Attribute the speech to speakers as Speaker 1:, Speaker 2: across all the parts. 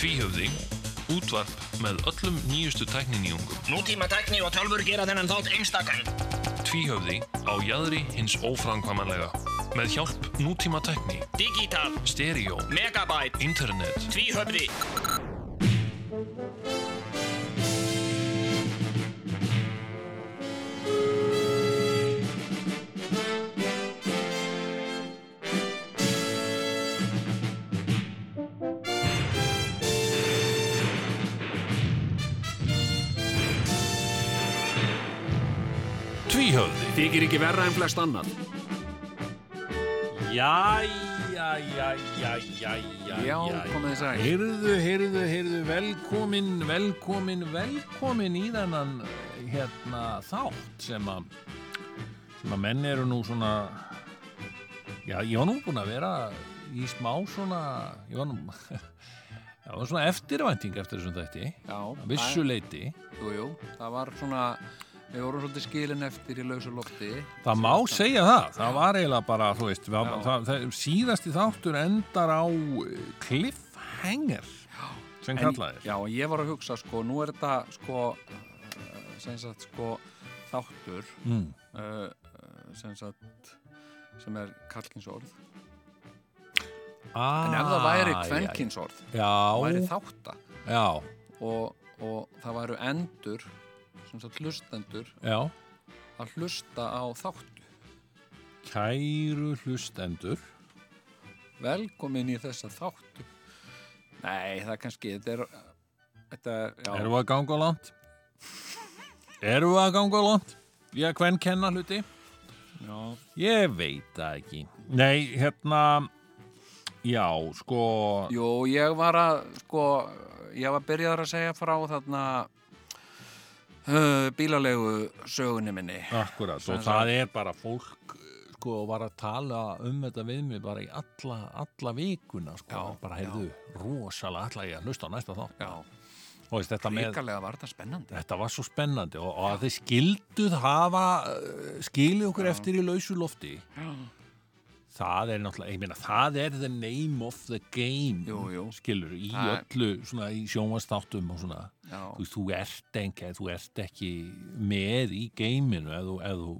Speaker 1: Tvíhöfði, útvarp með öllum nýjustu tækninýjungum.
Speaker 2: Nútíma tækni og tölfur gera þennan þátt einstakann.
Speaker 1: Tvíhöfði á jaðri hins óframkvæmanlega. Með hjálp nútíma tækni,
Speaker 2: Digital,
Speaker 1: stereo,
Speaker 2: megabyte,
Speaker 1: internet.
Speaker 2: tvíhöfði.
Speaker 1: Tvíhöfði.
Speaker 3: Þykir ekki verra en flest annar.
Speaker 4: Jæja, jæja, jæja,
Speaker 3: Já, komið þess að.
Speaker 4: Heyrðu, heyrðu, heyrðu, velkomin, velkomin, velkomin í þennan hérna þátt sem að, sem að menn eru nú svona, já, ég var nú búinn að vera í smá svona, ég var nú, já, var svona eftirvænting eftir þessum þætti,
Speaker 3: Já,
Speaker 4: að vissu leiti.
Speaker 3: það- Jú, jú, það var svona, við vorum svolítið skilin eftir í lausu lofti.
Speaker 4: Það má segja það, það var eiginlega bara, þú veist, það,
Speaker 3: Já.
Speaker 4: það, það, síðasti þáttur endar á eh, cliffhanger sem kallaðir.
Speaker 3: Já, og ég var að hugsa, sko, nú er þetta, sko, eh, sem sagt, sko, þáttur,
Speaker 4: Mm.
Speaker 3: uh, sem sagt, sem er kallkinsorð.
Speaker 4: Ah,
Speaker 3: En ef það væri
Speaker 4: já,
Speaker 3: kvenkinsorð,
Speaker 4: já,
Speaker 3: það væri þátta
Speaker 4: já,
Speaker 3: og, og það væru endur, sem sagt, hlustendur,
Speaker 4: já,
Speaker 3: að hlusta á þáttu.
Speaker 4: kæru hlustendur
Speaker 3: velkomin í þessa þáttu Nei, það er kannski þetta er, eh, þetta er, já,
Speaker 4: erum við að ganga á land erum við að ganga á land ég að hvern kenna hluti
Speaker 3: já,
Speaker 4: ég veit það ekki nei, hérna já, sko
Speaker 3: Jú, ég var að sko, ég var byrjaður að segja frá þarna uh, bílalegu sögunni minni
Speaker 4: akkurat, og það er bara fólk sko, var að tala um þetta við mig bara í alla, alla vikuna sko,
Speaker 3: Já,
Speaker 4: bara heyrðu, rosalega ætla ég að hlusta á næsta þá
Speaker 3: Já,
Speaker 4: og veist, þetta með
Speaker 3: líkalega var þetta spennandi
Speaker 4: Þetta var svo spennandi og, og að þið skilduð hafa eh, skilið okkur eftir í lausu lofti það er náttúrulega, ég meina það er the name of the game
Speaker 3: Jú, jú.
Speaker 4: skilur, í
Speaker 3: Það-
Speaker 4: öllu svona í sjónvastáttum og svona
Speaker 3: Já,
Speaker 4: þú, veist, þú, ert enga, þú ert ekki með í geiminu ef þú, ef þú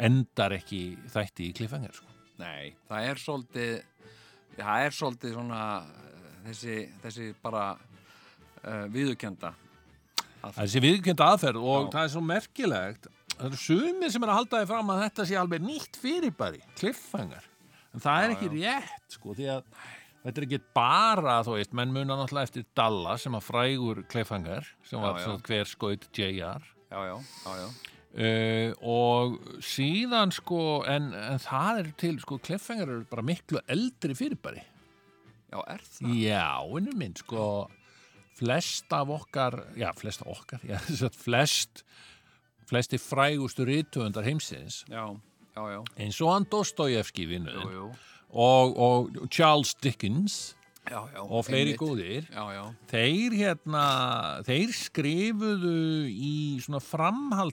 Speaker 4: endar ekki þætti í kliffengar sko.
Speaker 3: nei, það er svolítið það er svolítið svona eh, þessi, þessi bara uh, viðukenda
Speaker 4: Það er þessi viðkjönd aðferð og
Speaker 3: Já.
Speaker 4: það er svo merkilegt það eru sumir sem er að halda því fram að þetta sé alveg nýtt fyrirbæri, kliffangar en það er ekki rétt sko því að þetta er ekki bara þú veist, menn muna náttúrulega eftir Dallas sem að frægur kliffangar sem var
Speaker 3: já.
Speaker 4: svona hver skaut JR
Speaker 3: Já, já, já, já
Speaker 4: Uh, og síðan sko en, en það eru til sko kleffengar eru bara miklu eldri fyrirbæri
Speaker 3: Já, er það?
Speaker 4: Já, innum minn, sko flest af okkar, já, flest af okkar, já, þess að flest flesti frægustu rýtöfundar heimsins
Speaker 3: Já, já, já,
Speaker 4: eins og hann Dostojevski vinnuðin
Speaker 3: jú, jú
Speaker 4: og, og Charles Dickens
Speaker 3: já, já,
Speaker 4: og fleiri
Speaker 3: einmitt.
Speaker 4: góðir
Speaker 3: já, já,
Speaker 4: þeir hérna þeir skrifuðu í svona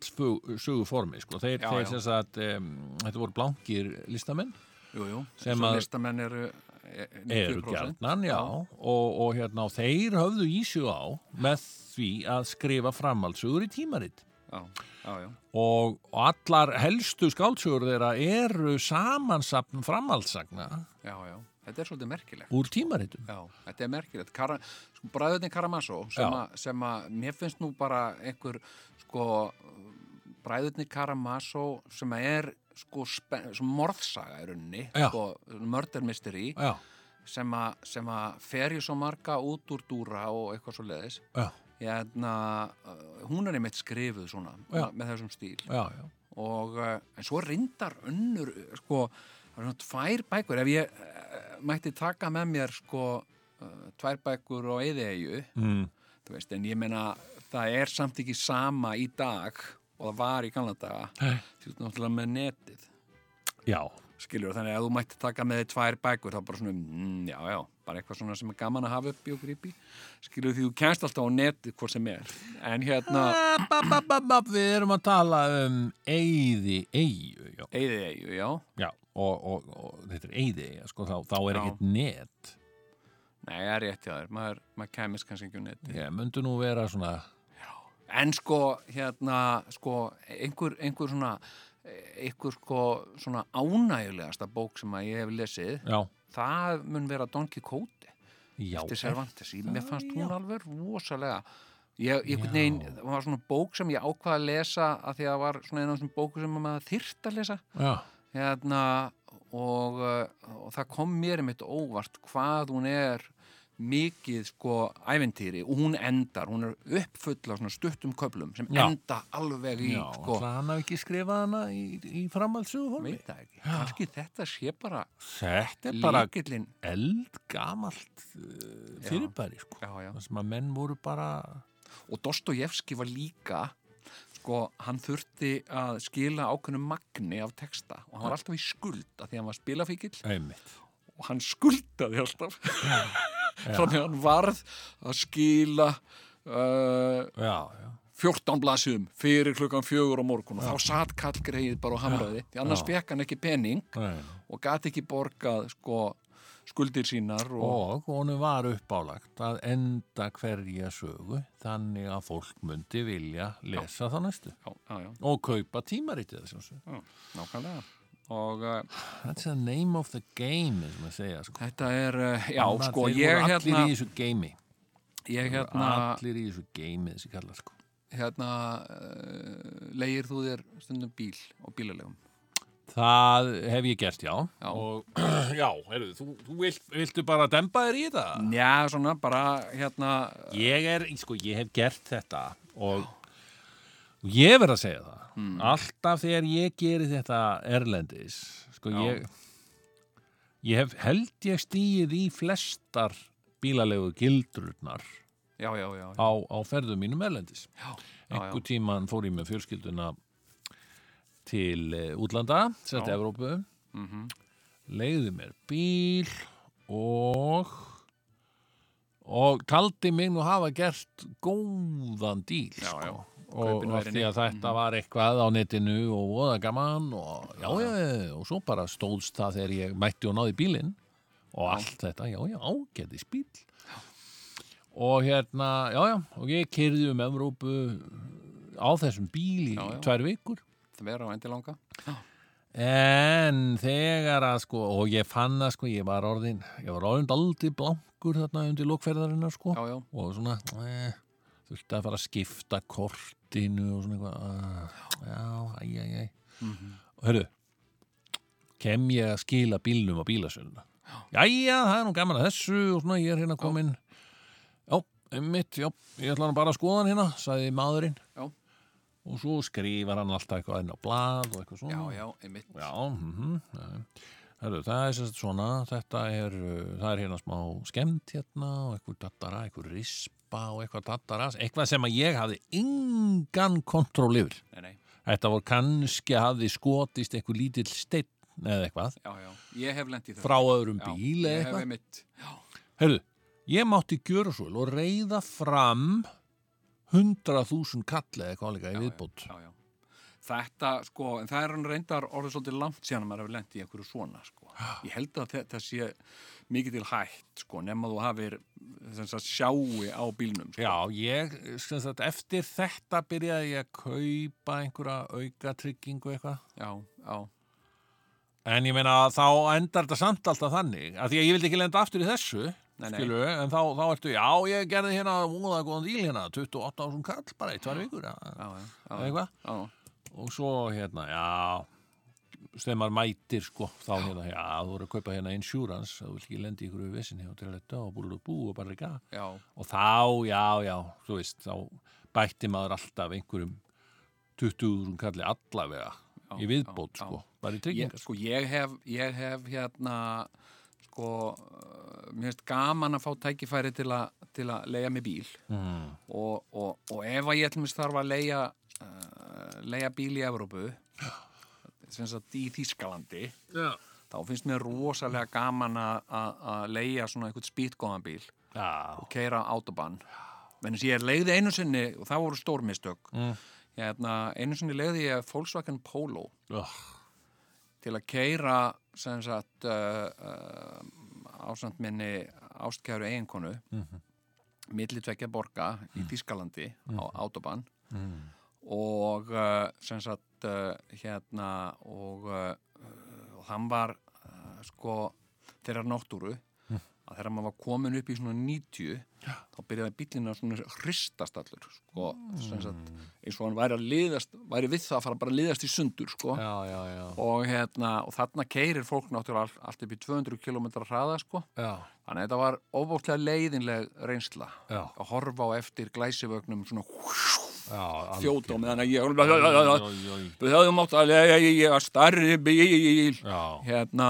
Speaker 4: framhaldssögu formi sko, þeir,
Speaker 3: Já,
Speaker 4: þeir
Speaker 3: já.
Speaker 4: sem sagt um, þetta voru blankir listamenn
Speaker 3: jú, jú
Speaker 4: Sem
Speaker 3: sem að
Speaker 4: að-
Speaker 3: listamenn eru eh, 90%
Speaker 4: eru gjarnan, já, Og, og hérna, og þeir höfðu ísju á með því að skrifa framhaldsugur í tímaritt
Speaker 3: já, já, já,
Speaker 4: og, og allar helstu skáldsögur þeirra eru samansapn framhaldsagna
Speaker 3: já, já þetta er svolítið merkilegt
Speaker 4: úr tímarittum
Speaker 3: já, þetta er merkilegt Kara, sko, bræðunni Karamasso
Speaker 4: Já.
Speaker 3: sem, a, sem að mér finnst nú bara einhver sko bræðunni Karamasso sem að er sko spen, sem morðsaga í rauninni
Speaker 4: Já.
Speaker 3: sko, murder mystery
Speaker 4: Já,
Speaker 3: sem að, sem að ferju svo marga út úr dúra og eitthvað svo leiðis
Speaker 4: já,
Speaker 3: hérna, uh, hún er einmitt skrifuð svona
Speaker 4: Já.
Speaker 3: með þessum stíl
Speaker 4: já, já
Speaker 3: og uh, en svo reyndar önnur uh, sko, það eru svona tvær bækur ef ég uh, mætti taka með mér sko, uh, tvær bækur og eðeigju,
Speaker 4: mm.
Speaker 3: þú veist, en ég meina það er samt ekki sama í dag og það var í gamla daga
Speaker 4: Nei.
Speaker 3: þú veist, náttúrulega með netið
Speaker 4: Já,
Speaker 3: skilur, þannig að ef þú mætti taka með þér tvær bækur þá bara svona, mm, já, já, bara eitthvað svona sem er gaman að hafa upp í og grípi skilur því þú kennst alltaf á netið hvort sem er en hérna,
Speaker 4: Eh, ba, ba, ba, ba, við erum að tala um eyði, eyju, já
Speaker 3: eðeigju, já
Speaker 4: Já, og, og, og þetta er eyði, sko, þá, þá er
Speaker 3: Já.
Speaker 4: ekkert net
Speaker 3: Nei, það er rétt hjá þér, maður, maður kæmis kannski ekki um neitt.
Speaker 4: Ég myndi nú vera svona
Speaker 3: En sko, hérna, sko, einhver, einhver svona, einhver sko, svona ánægulegasta bók sem að ég hef lesið,
Speaker 4: Já,
Speaker 3: það mun vera Don Quixote
Speaker 4: já
Speaker 3: eftir Cervantes. Ég, mér fannst
Speaker 4: já.
Speaker 3: hún alveg rosalega. Ég, ég,
Speaker 4: Já.
Speaker 3: nein, það var svona bók sem ég ákvaði að lesa að því að það var svona eina af þessum bóku sem maður þyrft að lesa.
Speaker 4: Já,
Speaker 3: hérna og, uh, og það kom mér mitt óvart hvað hún er mikið sko æventýri og hún endar, hún er uppfull af svona stuttum köflum sem
Speaker 4: Já.
Speaker 3: enda alveg í
Speaker 4: já
Speaker 3: sko,
Speaker 4: ætli hann hafi ekki skrifað hana í, í framhaldsögu formi
Speaker 3: veit það ekki kannski þetta sé bara
Speaker 4: Þetta er bara
Speaker 3: líkillin
Speaker 4: eldgamalt uh, fyrirbæri sko.
Speaker 3: já, já.
Speaker 4: Það sem að menn voru bara
Speaker 3: og Dostojevski var líka sko, hann þurfti að skila ákveðnum magni af texta og hann var alltaf í skuld af því að hann var spilafíkil
Speaker 4: einmitt
Speaker 3: og hann skuldaði alltaf þannig að hann varð að skila uh,
Speaker 4: Já, já,
Speaker 3: 14 blasiðum fyrir klukkan fjögur á morgun og þá satt kall greið bara á hamraði því annars
Speaker 4: Já.
Speaker 3: fekk hann ekki pening
Speaker 4: Nei.
Speaker 3: og gat ekki borgað sko, skuldir sínar og,
Speaker 4: og honum var uppálagt að enda hverja sögu þannig að fólk myndi vilja lesa það næstu
Speaker 3: já, já, já,
Speaker 4: og kaupa tímaritið þessum sögu.
Speaker 3: já, nákvæmlega og uh,
Speaker 4: That's the name of the game eins og maður segja sko.
Speaker 3: þetta er uh, já,
Speaker 4: Þannig að
Speaker 3: sko,
Speaker 4: þeir
Speaker 3: ég
Speaker 4: voru allir
Speaker 3: hérna
Speaker 4: í þessu geimi
Speaker 3: ég hérna,
Speaker 4: allir í þessu geimi þessi kallar sko.
Speaker 3: hérna uh, leigir þú þér stundum bíl og bílalegum
Speaker 4: það hef ég gert, já
Speaker 3: Já.
Speaker 4: og, já, heyrðu, þú, þú vilt, viltu bara dempa þér í þetta
Speaker 3: já, svona, bara hérna
Speaker 4: Ég er, sko, ég hef gert þetta og, Hmm. og ég verð að segja það. Alltaf þegar ég geri þetta erlendis, sko,
Speaker 3: Já.
Speaker 4: ég, ég hef held ég stíð í flestar bílalegu gildrurnar
Speaker 3: já, já, já, já,
Speaker 4: á, á ferðum mínum erlendis.
Speaker 3: já, já, já.
Speaker 4: Einhver tíman fór ég með fjölskylduna til eh, útlanda, sett
Speaker 3: Já.
Speaker 4: Evrópu,
Speaker 3: Mm
Speaker 4: leiði mér bíl og og taldi mig nú hafa gert góðan díl
Speaker 3: Já,
Speaker 4: sko.
Speaker 3: já.
Speaker 4: og
Speaker 3: Kaupin
Speaker 4: af
Speaker 3: væri Mhm.
Speaker 4: því að þetta var eitthvað á netinu og voða gaman og já, já, já, og svo bara stóðst það þegar ég mætti og náði bílinn og allt þetta, já, já, ágætis bíl og hérna, já, já og ég kyrði um Evrópu á þessum bíl í
Speaker 3: Já, já.
Speaker 4: tvær vikur
Speaker 3: það vera á endilanga
Speaker 4: En þegar að sko, og ég fann að sko, ég var orðin, ég var orðin daldi blankur þarna undir lokferðarinnar sko
Speaker 3: já, já,
Speaker 4: og svona, eh, þurfti að fara að skipta kortinu og svona eitthvað, ah, já, æ, æ, æ.
Speaker 3: Mhm.
Speaker 4: Og hörru, kem ég að skila bílnum á bílasöluna? Jæja, það er nú gaman að þessu og svona, ég er hérna komin, já, mitt, já, ég ætla nú bara að skoða hann hérna, sagði maðurinn
Speaker 3: Já.
Speaker 4: og svo skrifar hann alltaf eitthvað inn á blað og eitthvað svona.
Speaker 3: já, já, einmitt
Speaker 4: Já, mhm, já, já. Herru, það er sérst svona, þetta er, uh, það er hérna smá skemmt hérna og eitthvað dattara, eitthvað rispa og eitthvað dattara, eitthvað sem að ég hafði engan kontról yfir.
Speaker 3: nei, nei,
Speaker 4: Þetta voru kannski hafði skotist eitthvað lítill steinn eða eitthvað
Speaker 3: já, já, ég hef lent í þau
Speaker 4: frá öðrum
Speaker 3: já,
Speaker 4: bíl eða
Speaker 3: ég hef
Speaker 4: eitthvað.
Speaker 3: einmitt já,
Speaker 4: Herru, ég mátti gjöra svo vel og reyða fram 100.000 kall eða eitthvað líka í viðbót.
Speaker 3: já, já. þetta, sko, en það er hann reyndar orðið svolítið langt síðan að maður hefur lent í einhverju svona, sko, ég held að þetta sé mikið til hægt, sko, nema þú hafir þess að sjái á bílnum, sko,
Speaker 4: Já, ég, sem sagt, eftir þetta byrjaði ég að kaupa einhverja aukatryggingu eitthvað.
Speaker 3: já, já,
Speaker 4: En ég meina að þá endar þetta samt alltaf þannig, að því að ég vildi ekki lenda aftur í þessu,
Speaker 3: Nei, nei.
Speaker 4: skilu, en þá, þá ertu, já, ég gerði hérna múða góðan díl hérna, 28.000 kall bara í tvær vikur,
Speaker 3: já,
Speaker 4: ja,
Speaker 3: já, já,
Speaker 4: eitthvað.
Speaker 3: já,
Speaker 4: Og svo hérna, já, þegar maður mætir, sko, þá hérna, já, þú voru að kaupa hérna insurance, þú vil ekki lenda í ykkur við vissin hjá til þetta og búið að bú og bara ekki
Speaker 3: já,
Speaker 4: og þá, já, já, þú veist þá bætti maður alltaf einhverjum 20.000 kalli allavega
Speaker 3: Já,
Speaker 4: í viðbót,
Speaker 3: já, já.
Speaker 4: sko, bara í
Speaker 3: ég,
Speaker 4: tryggingar
Speaker 3: sko, ég hef, ég hef hérna sko, uh, mér finnst gaman að fá tækifæri til, a, til að leia með bíl
Speaker 4: mm.
Speaker 3: og, og, og ef að ég ætlum þarf að leia, uh, leia bíl í Evrópu sem sagt í Þýskalandi
Speaker 4: já.
Speaker 3: þá finnst mér rosalega gaman að- að að leia svona einhvern spýtgóðan bíl
Speaker 4: já,
Speaker 3: og keira autobann menn þess ég leiði einu sinni og það voru stórmistök mm. hérna, einu sinni leiði ég Volkswagen Polo
Speaker 4: Oh,
Speaker 3: til að keira sem sagt uh, uh, ásamt minni ástkæru eiginkonu milli tvekja borga í Þískalandi á Autobahn og uh, sem sagt uh, hérna og, uh, og hann var uh, sko þeirra náttúru að þegar maður var komin upp í svona 90 þá byrjaði bíllinn að svona hristast allur sko, sem sagt, eins og hann væri að liðast væri við það að fara bara að liðast í sundur sko
Speaker 4: já, já, já,
Speaker 3: og, hérna, og þarna keirir fólk náttúrulega all- allt upp í 200 km hraða sko.
Speaker 4: já,
Speaker 3: þannig að þetta var ofbóklega leiðinleg reynsla
Speaker 4: Já.
Speaker 3: að horfa á eftir glæsivögnum svona
Speaker 4: já algjör.
Speaker 3: þjóta á meðan að ég
Speaker 4: Oj, oj, oj.
Speaker 3: við höfum átt að leiða starri bíl
Speaker 4: Já,
Speaker 3: hérna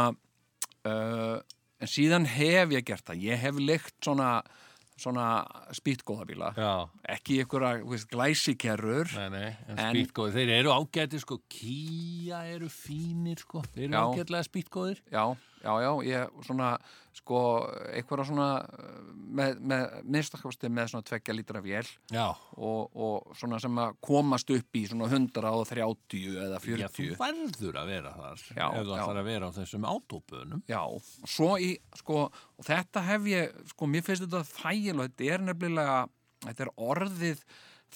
Speaker 3: uh, en síðan hef ég gert það ég hef leikt svona, svona spýtgóðabíla
Speaker 4: já,
Speaker 3: ekki ykkur glæsikerrur
Speaker 4: nei, nei, en,
Speaker 3: En-
Speaker 4: spýtgóðir, þeir eru ágæti sko, kýja eru fínir sko, þeir eru
Speaker 3: Já.
Speaker 4: ágætlega spýtgóðir.
Speaker 3: Já, já, já, ég svona, sko, eitthvað svona, eh, með, með, minnstakvasti með svona tvekja lítra vél
Speaker 4: Já,
Speaker 3: og, og svona sem að komast upp í svona 130 eða
Speaker 4: já, þú
Speaker 3: 40. Já,
Speaker 4: verður að vera þar,
Speaker 3: Já,
Speaker 4: ef þú
Speaker 3: já.
Speaker 4: ætlar að vera á þessum átópunum.
Speaker 3: og svo í, sko, og þetta hef ég, sko, mér finnst þetta þægilega, þetta er nefnilega, þetta er orðið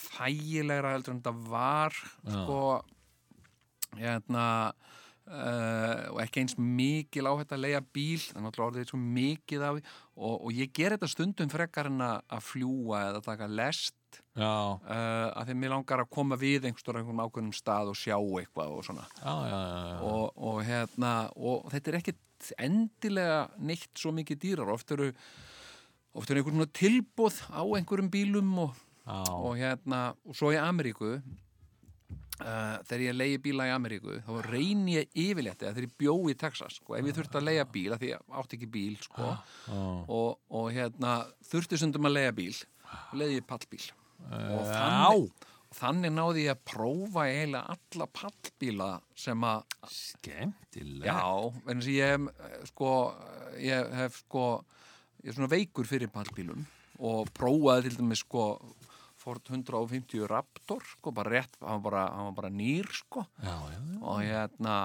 Speaker 3: þægilegra heldur en þetta var, sko, hérna, uh, og ekki eins mikil á þetta að leiða bíl, það er náttúrulega orðið svo mikið af því og, og ég ger þetta stundum frekar en að, að fljúa eða taka lest
Speaker 4: Já,
Speaker 3: uh, af því að mér langar að koma við einhverstur einhvern ákveðnum stað og sjá eitthvað og svona
Speaker 4: já, já, já, já.
Speaker 3: og, og hérna og þetta er ekkit endilega neitt svo mikið dýrar oft eru oft eru einhvern svona tilbúð á einhverjum bílum og,
Speaker 4: Já,
Speaker 3: og hérna og svo í Ameríku uh, þegar ég leiði bíla í Ameríku þá reyni ég yfirleitt eða þegar ég bjó í Texas sko, ef ég þurfti að leiða bíl af því ég átti ekki bíl sko,
Speaker 4: Ah, já.
Speaker 3: og, og hérna þurfti sundum að leiða bíl leiði ég pallbíl og
Speaker 4: já.
Speaker 3: þannig, og þannig náði ég að prófa eiginlega alla pallbíla sem að
Speaker 4: skemmtilega.
Speaker 3: Já, en þess að ég hef, eh, sko, ég hef sko, ég er svona veikur fyrir pallbílum og prófaði til dæmis sko Ford 150 Raptor, sko, bara rétt, hann var bara, hann var bara nýr, sko,
Speaker 4: já, já, já.
Speaker 3: og hérna,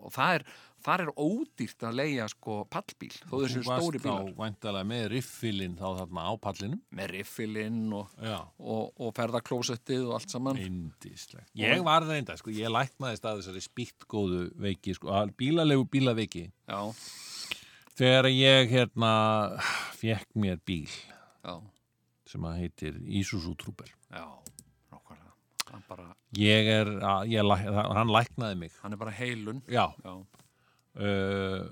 Speaker 3: og það er, þar er ódýrt að leigja sko pallbíl, þó þessu stóri
Speaker 4: Þú varst
Speaker 3: bílar,
Speaker 4: þá væntalega með riffilinn þá þarna á pallinum.
Speaker 3: með riffilinn og,
Speaker 4: Já.
Speaker 3: og, og ferðaklósettið og allt saman.
Speaker 4: Indislegt. Ég var reynda, sko, ég læknaðist að þessari spýttgóðu veiki, sko, að bílalegu bílaveiki.
Speaker 3: Já,
Speaker 4: Þegar ég, hérna, fekk mér bíl
Speaker 3: já,
Speaker 4: sem að heitir Isuzu Trooper.
Speaker 3: já, nákvæmlega, hann bara,
Speaker 4: Ég er, að, ég, læk- hann læknaði mig.
Speaker 3: hann er bara heilun,
Speaker 4: Já.
Speaker 3: já,
Speaker 4: Uh,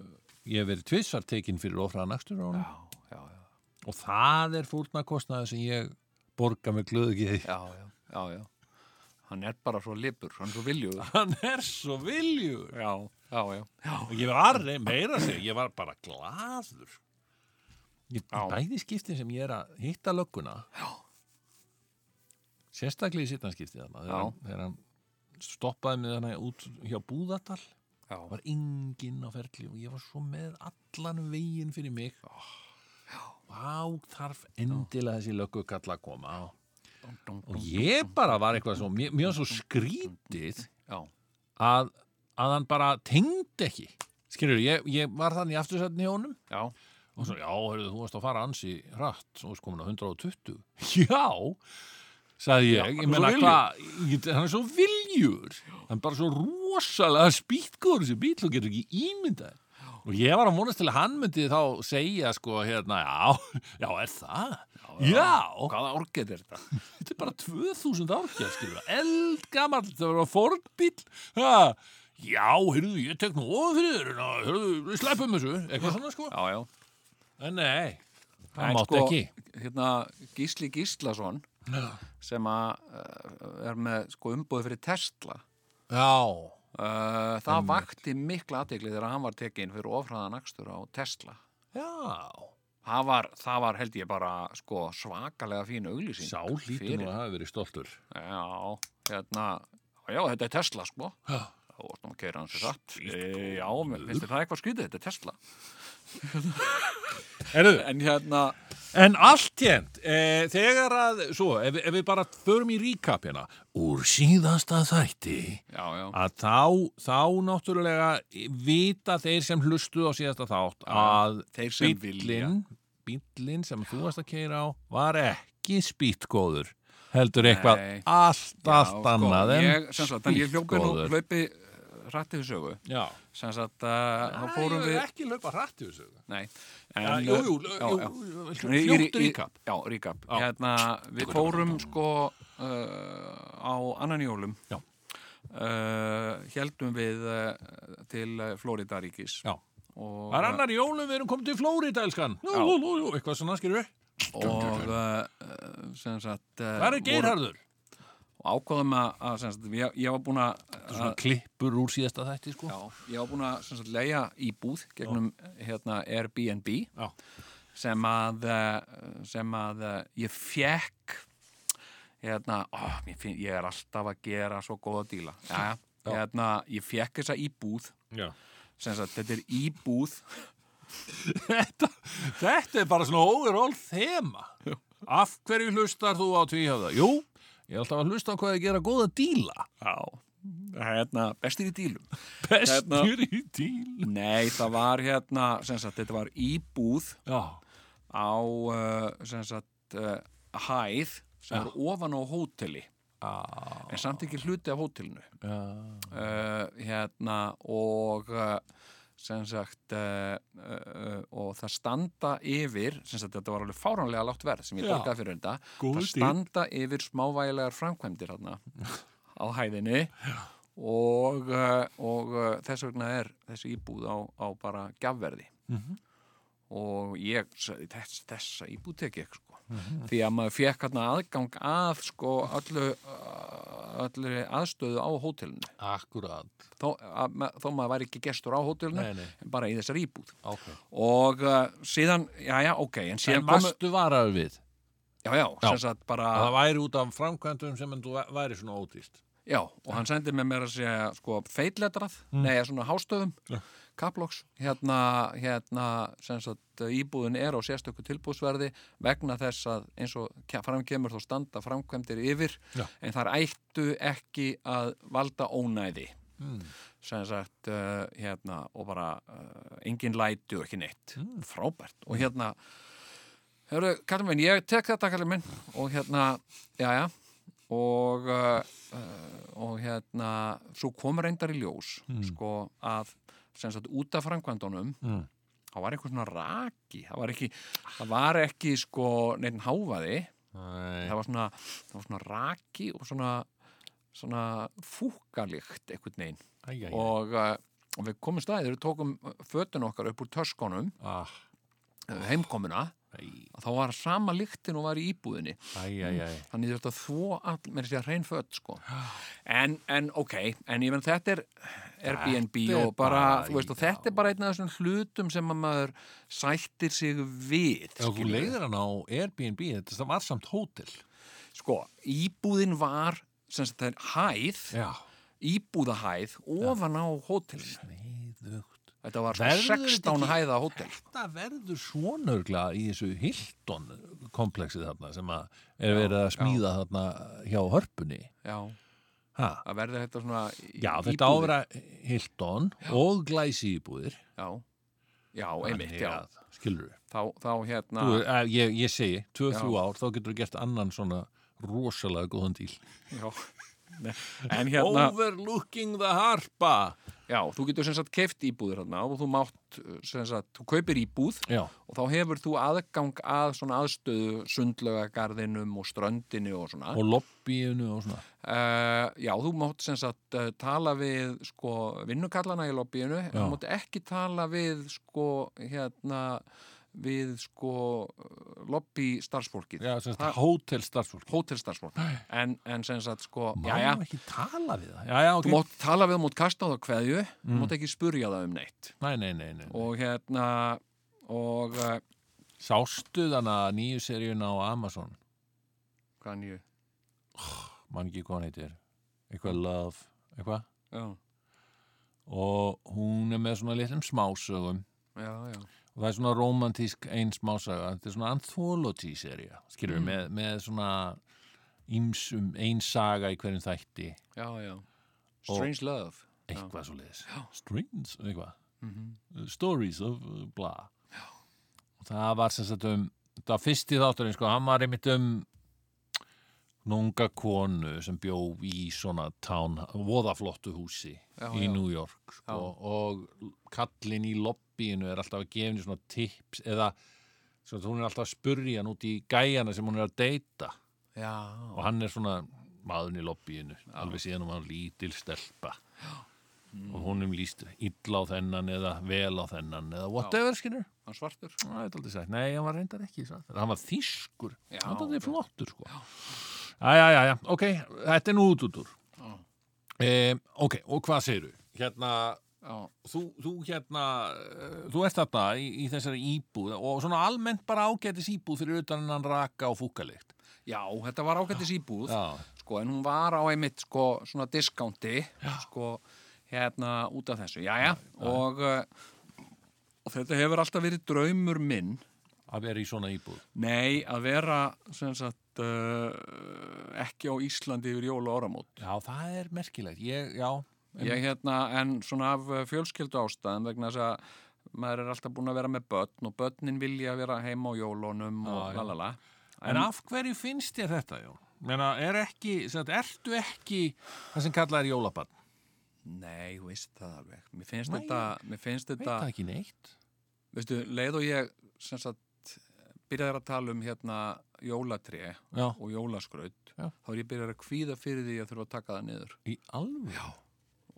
Speaker 4: ég hef verið tvissar tekin fyrir ofraðan akstur á hann.
Speaker 3: já, já, já.
Speaker 4: Og það er fórnarkostnaði sem ég borga með glöðugiði.
Speaker 3: já, já, já, já. Hann er bara svo lipur, hann er svo viljuður.
Speaker 4: Hann er svo viljur.
Speaker 3: Já, já, já. Já,
Speaker 4: Og ég var rey- meira sig, ég var bara glaður. Ég,
Speaker 3: Já.
Speaker 4: bæði skiptin sem ég er að hitta lögguna. Já. Sérstaklega í sittanskiptið þarna.
Speaker 3: Já.
Speaker 4: Þegar, hann- þegar hann stoppaði mig þarna út hjá Búðardal.
Speaker 3: já,
Speaker 4: var enginn á ferli og ég var svo með allan veginn fyrir mig. Vá, þarf endilega þessi löggukalla að koma.
Speaker 3: dong, dong,
Speaker 4: Og
Speaker 3: dong.
Speaker 4: ég bara var eitthvað svo, mér, mér var svo skrítið
Speaker 3: já,
Speaker 4: að, að hann bara tengdi ekki skilur, ég, ég var þannig í aftursætni hjá honum
Speaker 3: já,
Speaker 4: og svo, já, heyrðu, þú varst að fara ansi hratt, þú varst komin á 120 já, sagði ég
Speaker 3: Já, hann
Speaker 4: ég
Speaker 3: er svo
Speaker 4: meina
Speaker 3: viljur.
Speaker 4: hvað, ég- hann er svo viljur hann er bara svo rosalega spýtgóður þessi bíl, þú getur ekki ímyndað þér. og ég var að vonast til að hann myndi þá segja sko hérna, já, já, er það já,
Speaker 3: Hvaða orgið er þetta?
Speaker 4: þetta er bara 2000 árkjær, skilur við, eldgamall, þetta var fornbíl, ha, já, heyrðu, ég tek nú ofan fyrir þér, en að, heyrðu, við sleppum þessu, eitthvað svona, sko,
Speaker 3: Já, já.
Speaker 4: en nei,
Speaker 3: En
Speaker 4: það mátt
Speaker 3: sko,
Speaker 4: ekki,
Speaker 3: Hérna, Gísli Gíslason, sem að uh, er með sko umbúið fyrir Tesla,
Speaker 4: já,
Speaker 3: uh, það vakti mikla aðtegli þegar hann var tekinn fyrir ofræðan akstur á Tesla.
Speaker 4: já,
Speaker 3: Það var, það var held ég bara sko svakalega fín auglýsing.
Speaker 4: sá hlýtur
Speaker 3: fyrir-
Speaker 4: nú að hafa verið stoltur,
Speaker 3: Já, hérna, já, þetta er Tesla, sko. Já. Það var svona að keira hans satt. E, já, mér finnst þér það eitthvað skrítið, þetta er Tesla.
Speaker 4: heyrðu,
Speaker 3: En hérna,
Speaker 4: en allt hérnt, e, þegar að, svo, ef, við- ef við bara förum í recap hérna, úr síðasta þætti,
Speaker 3: já, já,
Speaker 4: að þá, þá náttúrulega vita þeir sem hlustuð á síðasta þátt að
Speaker 3: þeir sem vilja.
Speaker 4: bíllinn bíllinn sem þú varst að keira á var ekki spýtgóður heldur eitthvað
Speaker 3: Nei.
Speaker 4: allt,
Speaker 3: Já,
Speaker 4: allt
Speaker 3: sko,
Speaker 4: annað en
Speaker 3: ég, sem sagt, en ég hljópi nú
Speaker 4: spýtgóður.
Speaker 3: hlaupi rætti við sögu
Speaker 4: Já,
Speaker 3: sem sagt, uh, þá fórum
Speaker 4: Æ,
Speaker 3: við
Speaker 4: ekki laupa hrætt í þessu
Speaker 3: nei,
Speaker 4: Já,
Speaker 3: en,
Speaker 4: jú, jú, jú,
Speaker 3: uh, já, já.
Speaker 4: jú,
Speaker 3: Í- í-
Speaker 4: fljótt
Speaker 3: í-
Speaker 4: recap.
Speaker 3: já, ríkap
Speaker 4: Já.
Speaker 3: hérna, við fórum sko uh, á annan jólum
Speaker 4: Já.
Speaker 3: Uh, heldum við uh, til uh, Flóridaríkis
Speaker 4: Já.
Speaker 3: og,
Speaker 4: Það er annar jólum við erum komið til Flóríta, elskan. Jú,
Speaker 3: Já.
Speaker 4: jú, jú, jú, eitthvað svona skilur við.
Speaker 3: og uh, uh, sem sagt uh,
Speaker 4: Það er geirharður.
Speaker 3: og ákváðum að, að sem sagt, ég, ég var búin að
Speaker 4: Svona klippur úr síðasta þætti, sko.
Speaker 3: já, ég var búin að sem sagt, leia íbúð gegnum hérna Airbnb
Speaker 4: Já.
Speaker 3: sem að eh, sem að eh, ég fekk hérna, ó, mér finn, ég er alltaf að gera svo góða díla ja,
Speaker 4: Já.
Speaker 3: hérna, ég fekk þessa íbúð
Speaker 4: Já.
Speaker 3: sem sagt, þetta er íbúð
Speaker 4: þetta, þetta er bara svona overall þema. Af hverju hlustar þú á tvíhjöfða? Jú, ég er alltaf að hlusta á hvað ég gera góða díla.
Speaker 3: já, hérna, bestir í dílum
Speaker 4: Bestur í díla.
Speaker 3: nei, það var hérna sem sagt, þetta var íbúð
Speaker 4: Já.
Speaker 3: á uh, sem sagt, uh, hæð sem
Speaker 4: Já.
Speaker 3: er ofan á hóteli
Speaker 4: Á,
Speaker 3: en samt ekki hluti af hótelinu
Speaker 4: já.
Speaker 3: uh, hérna og uh, sem sagt uh, uh, og það standa yfir sem sagt þetta var alveg fáránlega lágt verð sem ég
Speaker 4: Já.
Speaker 3: borgaði fyrir þetta
Speaker 4: Góður
Speaker 3: það
Speaker 4: díll.
Speaker 3: standa yfir smávægilegar framkvæmdir hérna á hæðinni og, uh, og uh, þess vegna er þessi íbúð á, á bara gjafverði
Speaker 4: Mhm.
Speaker 3: og ég sagði, þess, þessa íbúð tek ég sko.
Speaker 4: Mhm.
Speaker 3: því að maður fekk hérna aðgang að sko öllu, eh, öllu aðstöðu á hótelinu
Speaker 4: Akkurat.
Speaker 3: þó, að, ma- þó maður væri ekki gestur á hótelinu
Speaker 4: Nei, nei.
Speaker 3: en bara í þessari íbúð
Speaker 4: Ok.
Speaker 3: og uh, síðan, já já, ok en
Speaker 4: En
Speaker 3: síðan komu,
Speaker 4: varstu varaður við?
Speaker 3: já já,
Speaker 4: Já.
Speaker 3: sem sagt bara
Speaker 4: Það væri út af framkvæmdum sem en þú væ- væri svona ódýst.
Speaker 3: já, og hann sendi með mér að segja sko feitletrað, nei, svona hástöðum
Speaker 4: Mm. Já.
Speaker 3: kaploks, hérna, hérna sem sagt íbúðin er á sérstöku tilbúðsverði vegna þess að eins og ke- fram kemur þó standa framkvæmdir yfir
Speaker 4: Já.
Speaker 3: en þar ættu ekki að valda ónæði
Speaker 4: Mm.
Speaker 3: sem sagt uh, hérna og bara uh, engin læti og ekki neitt
Speaker 4: Mm.
Speaker 3: frábært og hérna Hörru, kallum minn, ég tek þetta kallum minn og hérna, já já og uh, uh, og hérna, svo kom reyndar í ljós sko að sem sagt út af framkvæmdunum
Speaker 4: Mm.
Speaker 3: það var einhver svona raki það var ekki, það var ekki sko neitt háfaði
Speaker 4: Nei.
Speaker 3: það var svona, það var svona raki og svona svona fúkalikt einhvern veginn
Speaker 4: Æ, æ, æ.
Speaker 3: og, uh, og við komum staðið, við tókum fötun okkar upp úr töskunum
Speaker 4: Ah,
Speaker 3: oh. heimkomuna,
Speaker 4: æ.
Speaker 3: að þá var sama lyktin og var í íbúðinni
Speaker 4: Æj, æj, æj.
Speaker 3: þannig þetta þvó all, með þessi að hrein fött sko. en, en ok, en ég menn þetta er Airbnb
Speaker 4: Þetta er
Speaker 3: og bara,
Speaker 4: bara-
Speaker 3: þú veist, og
Speaker 4: já.
Speaker 3: þetta er bara einn af þessum hlutum sem að maður sættir sig við
Speaker 4: Ef þú
Speaker 3: skilurðu.
Speaker 4: leiðir hann á Airbnb, þetta er það varsamt hótel.
Speaker 3: sko, íbúðin var sem sagt það er hæð,
Speaker 4: Já.
Speaker 3: íbúðahæð ofan á hótelinu,
Speaker 4: Neiðugt.
Speaker 3: þetta var sko 16 hæða hótel sko.
Speaker 4: Þetta verður svonurgla í þessu Hilton kompleksið þarna sem að er verið að smíða þarna hjá hörpunni.
Speaker 3: já,
Speaker 4: Ha?
Speaker 3: að verði þetta svona í-
Speaker 4: Já,
Speaker 3: íbúðir.
Speaker 4: þetta ávera Hilton og glæsi íbúðir.
Speaker 3: já, já, einmitt, já,
Speaker 4: Skilur við.
Speaker 3: þá, þá hérna
Speaker 4: Þú, eh, ég, ég segi, tvö,
Speaker 3: Já.
Speaker 4: þrjú ár, þá getur þú gert annan svona rosalega góðan díl.
Speaker 3: já. Nei, en hérna,
Speaker 4: Overlooking the harpa.
Speaker 3: já, þú getur sem sagt keift íbúðir hérna og þú mátt sem sagt, þú kaupir íbúð
Speaker 4: Já.
Speaker 3: og þá hefur þú aðgang að svona aðstöðu sundlaugagarðinum og ströndinu og svona
Speaker 4: Og lobbyinu og svona.
Speaker 3: Uh, já, þú mátt sem sagt uh, tala við sko vinnukallana í lobbyinu en
Speaker 4: Já.
Speaker 3: þú mátt ekki tala við sko hérna við sko uh, lobby starfsfólkið,
Speaker 4: Já, sem
Speaker 3: Það-
Speaker 4: sagt, hótel starfsfólk.
Speaker 3: hótelstarfsfólk en, en sem sagt sko,
Speaker 4: Má
Speaker 3: já, já
Speaker 4: ekki tala við það? Já, já, ok.
Speaker 3: þú mátt tala við, þú mátt kasta á það kveðju þú
Speaker 4: Mm.
Speaker 3: mátt ekki spurja það um neitt
Speaker 4: Nei, nei, nei, nei.
Speaker 3: og hérna og uh,
Speaker 4: Sástu þannig að nýju seríun á Amazon,
Speaker 3: hvað hann ég
Speaker 4: mann ekki hvað hann heitir, eitthvað Love, eitthvað,
Speaker 3: já,
Speaker 4: og hún er með svona litlum smásögum
Speaker 3: já, já,
Speaker 4: og það er svona romantísk ein smásaga, þetta er svona anthology-sería, skilur við, með, með svona ímsum, ein saga í hverjum þætti,
Speaker 3: já, já Strange Love
Speaker 4: eitthvað
Speaker 3: Mhm.
Speaker 4: svo leiðis. Strings, eitthvað. Stories of uh, blah. uh, og það var sem sagt um það var fyrst í þátturinn sko, hann var einmitt um nunga konu sem bjó í svona tán, voðaflottu húsi
Speaker 3: Já,
Speaker 4: í
Speaker 3: já.
Speaker 4: New York sko, og kallinn í lobbyinu er alltaf að gefa henni svona tips eða svona, hún er alltaf að spurja hann út í gæjana sem hún er að deyta
Speaker 3: já,
Speaker 4: og hann er svona maðurinn í lobbyinu alveg síðan hún var lítil stelpa og honum líst illa á þennan eða vel á þennan eða whatever skilur
Speaker 3: hann svartur
Speaker 4: Það er aldrei sagt, nei, hann var reyndar ekki sagt. Hann var þýskur,
Speaker 3: Já,
Speaker 4: hann var aldrei
Speaker 3: ok.
Speaker 4: flottur sko. Æja, já, já, ok, þetta er nú út út úr
Speaker 3: Já.
Speaker 4: um, Ok, og hvað segirðu? Hérna,
Speaker 3: já,
Speaker 4: þú, þú hérna eh, þú ert þarna í, í þessari íbúð og svona almennt bara ágætis íbúð fyrir utan hennan raka og fúkalikt
Speaker 3: já, þetta var ágættis íbúð
Speaker 4: Já,
Speaker 3: sko, en hún var á einmitt sko, svona discounti sko, hérna út af þessu, jæja og, uh, og þetta hefur alltaf verið draumur minn
Speaker 4: að vera í svona íbúð
Speaker 3: nei, að vera sem sagt uh, ekki á Íslandi yfir jól og áramót
Speaker 4: Já, það er merkilegt, ég, já
Speaker 3: ég hérna, en svona af uh, fjölskyldu ástæðum vegna þess að maður er alltaf búin að vera með börn og börnin vilja vera heima á jólunum
Speaker 4: Já, já.
Speaker 3: og lalala
Speaker 4: En af hverju finnst þér þetta, Jón? Meina, er ekki, sem sagt, ertu ekki það sem kallað er jólabann?
Speaker 3: Nei, þú veist það alveg. Mér finnst
Speaker 4: Nei,
Speaker 3: þetta, mér finnst
Speaker 4: Veit
Speaker 3: þetta,
Speaker 4: það ekki neitt
Speaker 3: veistu, leið og ég sem sagt byrjaði að tala um hérna jólatrí
Speaker 4: Já,
Speaker 3: og jólaskraut,
Speaker 4: Já.
Speaker 3: þá er ég byrjaði að kvíða fyrir því að þurfa að taka það niður.
Speaker 4: í alveg Já,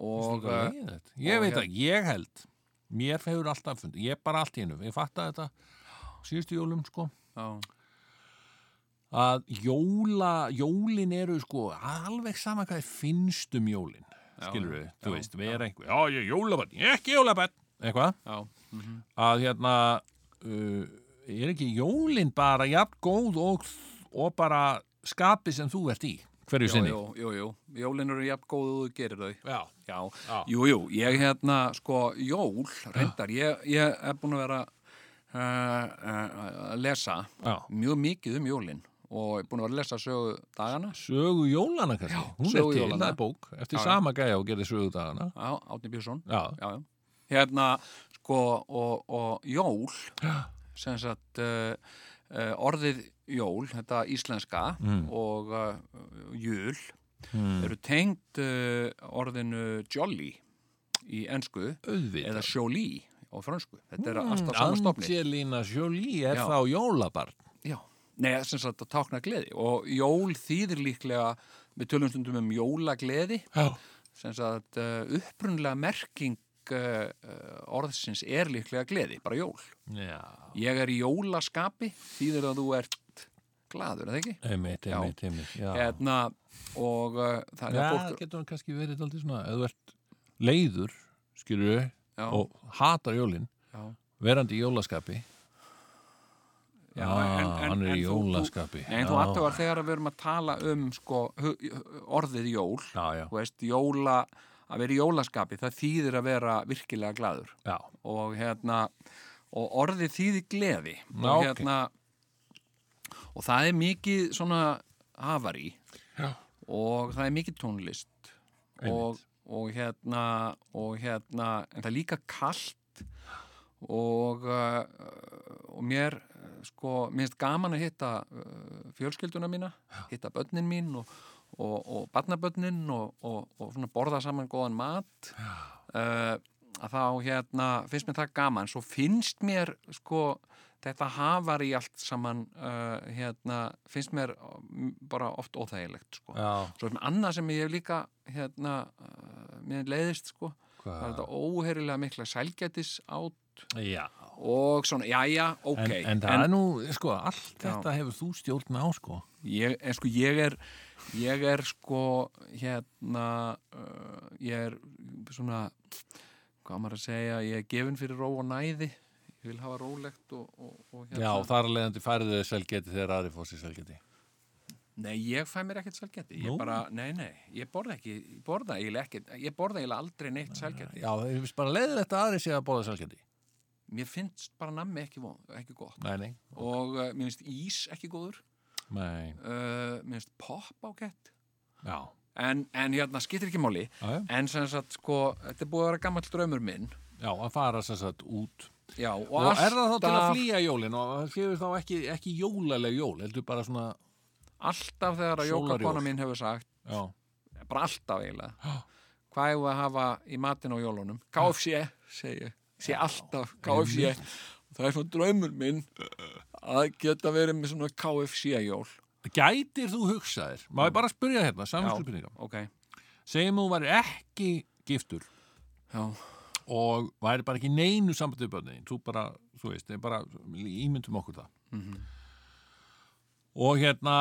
Speaker 3: Og, eh,
Speaker 4: Ég
Speaker 3: og
Speaker 4: veit
Speaker 3: hér-
Speaker 4: það, ég held Mér hefur alltaf fundið, ég bara allt í hennu Ég fatta þetta síðustu jólum sko
Speaker 3: já,
Speaker 4: að jóla, jólin eru sko alveg sama hvað þið finnst um jólin
Speaker 3: Já,
Speaker 4: skilur við, þú
Speaker 3: já,
Speaker 4: veist, við erum einhver Já, ég er jólabann, ég er ekki jólabann eitthvað
Speaker 3: já,
Speaker 4: að hérna uh, er ekki jólin bara jafn góð og, og bara skapi sem þú ert í hverju
Speaker 3: jú,
Speaker 4: sinni
Speaker 3: jú, jú, jú, jólin eru jafn góð og þú gerir þau.
Speaker 4: Já,
Speaker 3: Já,
Speaker 4: Já.
Speaker 3: jú, jú, ég hérna, sko, jól, reyndar, ég, ég er búin að vera eh, eh, að lesa
Speaker 4: já.
Speaker 3: mjög mikið um jólin og er búin að vera að lesa sögu dagana.
Speaker 4: Sögu jólana kannski, hún er
Speaker 3: Sögu
Speaker 4: til,
Speaker 3: jólanna.
Speaker 4: það er bók eftir
Speaker 3: Já, já.
Speaker 4: sama gæja og gerir sögu dagana
Speaker 3: Já, Átni Björnsson.
Speaker 4: Já,
Speaker 3: já, já. Hérna, sko, og, og jól, sem sagt, uh, uh, orðið jól, þetta íslenska
Speaker 4: Mm.
Speaker 3: og uh, jól, eru tengd uh, orðinu jolly í ensku
Speaker 4: auðvitað
Speaker 3: eða jolie á fransku. Þetta
Speaker 4: Hmm.
Speaker 3: er alltaf saman stofni.
Speaker 4: Angelina Jolie er
Speaker 3: Já.
Speaker 4: þá jólabarn
Speaker 3: Já. Nei, sem sagt, að tákna gleði. Og jól þýðir líklega, við tölum stundum um jólagleði.
Speaker 4: Já,
Speaker 3: sem sagt uh, upprunlega merking uh, uh, orðsins er líklega gleði, bara jól.
Speaker 4: já.
Speaker 3: Ég er í jólaskapi, þýðir að þú ert gladur, eða ekki?
Speaker 4: einmitt,
Speaker 3: Já.
Speaker 4: einmitt, einmitt Já, já
Speaker 3: Hérna, og uh, það er að
Speaker 4: það
Speaker 3: fólk...
Speaker 4: getur hann kannski verið aldrei svona eða þú ert leiður, skilur við
Speaker 3: Já,
Speaker 4: og hatar jólin
Speaker 3: já,
Speaker 4: verandi í jólaskapi
Speaker 3: já,
Speaker 4: Ah,
Speaker 3: en, en,
Speaker 4: hann er
Speaker 3: en
Speaker 4: í
Speaker 3: þú- þú-
Speaker 4: jólaskapi.
Speaker 3: Nei, En þú
Speaker 4: Já.
Speaker 3: aðtögar þegar við erum að tala um sko, hu- orðið jól,
Speaker 4: Já, já,
Speaker 3: þú veist, jóla, að vera í jólaskapi, það þýðir að vera virkilega gladur.
Speaker 4: já,
Speaker 3: og hérna og orðið þýði gleði
Speaker 4: Já,
Speaker 3: og
Speaker 4: ok.
Speaker 3: hérna og það er mikið svona hafari
Speaker 4: Já.
Speaker 3: og það er mikið tónlist og,
Speaker 4: Einmitt.
Speaker 3: og hérna og hérna en það er líka kalt og uh, og mér uh, sko, mér finnst gaman að hitta uh, fjölskylduna mína, hitta börnin mín og, og, og barnabörnin og, og, og svona borða saman góðan mat uh, að þá hérna finnst mér það gaman svo finnst mér sko þetta hafar í allt saman uh, hérna finnst mér mm, bara oft óþægilegt sko
Speaker 4: já
Speaker 3: svo er mér annað sem ég hef líka hérna uh, mér leiðist sko það er
Speaker 4: hvað-
Speaker 3: þetta óherilega mikla sælgætis átt
Speaker 4: Já,
Speaker 3: og svona, jæja, ok
Speaker 4: en, en það er nú, sko, allt
Speaker 3: Já.
Speaker 4: þetta hefur þú stjórn á, sko
Speaker 3: ég, en sko, ég er ég er sko hérna uh, ég er svona hvað á maður að segja, ég er gefin fyrir ró og næði ég vil hafa rólegt og, og, og hérna.
Speaker 4: Já, þar að leiðandi færðu þau selgeti þegar aðri fór sér selgeti
Speaker 3: nei, ég fæ mér ekkert selgeti ég
Speaker 4: Nú?
Speaker 3: bara, nei, nei, ég borða ekki ég borða eiginlega ekkert, ég borða eiginlega aldrei neitt selgeti,
Speaker 4: Já, það er víst bara leiðilegt að aðri sé að bóða selgeti
Speaker 3: mér finnst bara nammi ekki, von, ekki gott
Speaker 4: Nei, nei,
Speaker 3: og uh, mér finnst ís ekki góður
Speaker 4: nei,
Speaker 3: uh, mér finnst pop ágætt
Speaker 4: já
Speaker 3: en, en hérna, skiptir ekki máli
Speaker 4: Já, já.
Speaker 3: en sem sagt, sko, þetta er búið að vera gammal draumur minn
Speaker 4: Já, að fara sem sagt út
Speaker 3: Já, og,
Speaker 4: Og er það þá til að
Speaker 3: alltaf-
Speaker 4: flýja jólin og það séu þá ekki, ekki jólaleg jól, heldur bara svona,
Speaker 3: alltaf þegar að Jóka
Speaker 4: Sólarjól.
Speaker 3: kona mín hefur sagt
Speaker 4: já,
Speaker 3: bara alltaf eiginlega hvað hefur að hafa í matinn á jólunum KFC, segi ég sé alltaf KFC það er svona draumur minn að geta verið með svona KFC-jól
Speaker 4: gætir þú hugsaðir? Má ég bara spyrja hérna, samvinskjöpinninga.
Speaker 3: ok,
Speaker 4: Segjum þú væri ekki giftur
Speaker 3: já,
Speaker 4: og væri bara ekki í neinu sambandi við börnin, þín. þú bara, þú veist, ég bara ímyndum okkur það.
Speaker 3: Mhm.
Speaker 4: Og hérna,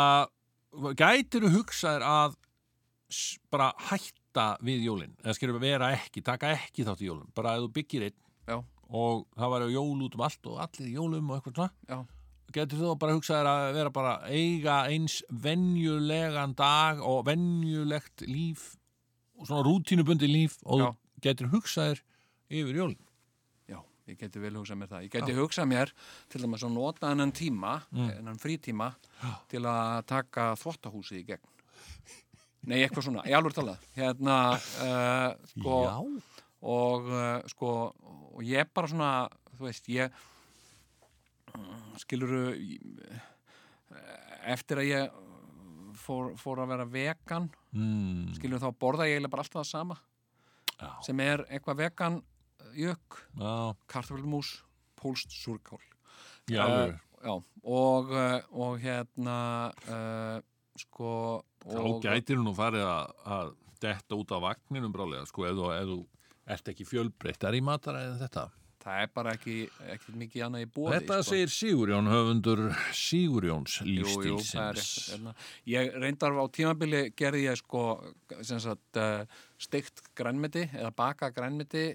Speaker 4: gætir þú hugsaðir að s- bara hætta við jólin, eða skilur vera ekki, taka ekki þátt í jólum, bara ef þú byggir einn
Speaker 3: já,
Speaker 4: og það væri jól út um allt og allir í jólum og eitthvað svona
Speaker 3: já
Speaker 4: getur þú bara hugsað þér að vera bara eiga eins venjulegan dag og venjulegt líf og svona rútínubundi líf og
Speaker 3: Já.
Speaker 4: þú getur hugsað þér yfir jólin
Speaker 3: Já, ég geti vel hugsað mér það. Ég geti hugsað mér til dæmis að nota hennan tíma, mm. hennan frítíma, til að taka þvottahúsið í gegn. Nei, eitthvað svona, ég alveg talað. Hérna, uh, sko, og uh, sko, og ég bara svona, þú veist, ég, skiluru, eh, eftir að ég fór, fór að vera vegan,
Speaker 4: mm,
Speaker 3: skiluru, þá borða ég eiginlega bara alltaf það sama,
Speaker 4: Já.
Speaker 3: sem er eitthvað vegan eh, jökk
Speaker 4: já,
Speaker 3: kartafölmús, pólst, súrkál
Speaker 4: já,
Speaker 3: Eh, já, og, eh, og hérna uh, sko
Speaker 4: þá
Speaker 3: og,
Speaker 4: gætir þú nú farið að, að detta út af vagninum brálega sko, ef þú, ef þú ert ekki fjölbreyttar í mataræðin þetta
Speaker 3: það er bara ekki, ekki mikið annað í bóði
Speaker 4: Þetta segir Sigurjón höfundur Sigurjóns
Speaker 3: sko- Jú, jú, það er
Speaker 4: lífstílsins
Speaker 3: rétt, hérna. ég reyndar á tímabili gerði ég sko sem sagt uh, steikt grænmeti eða baka grænmeti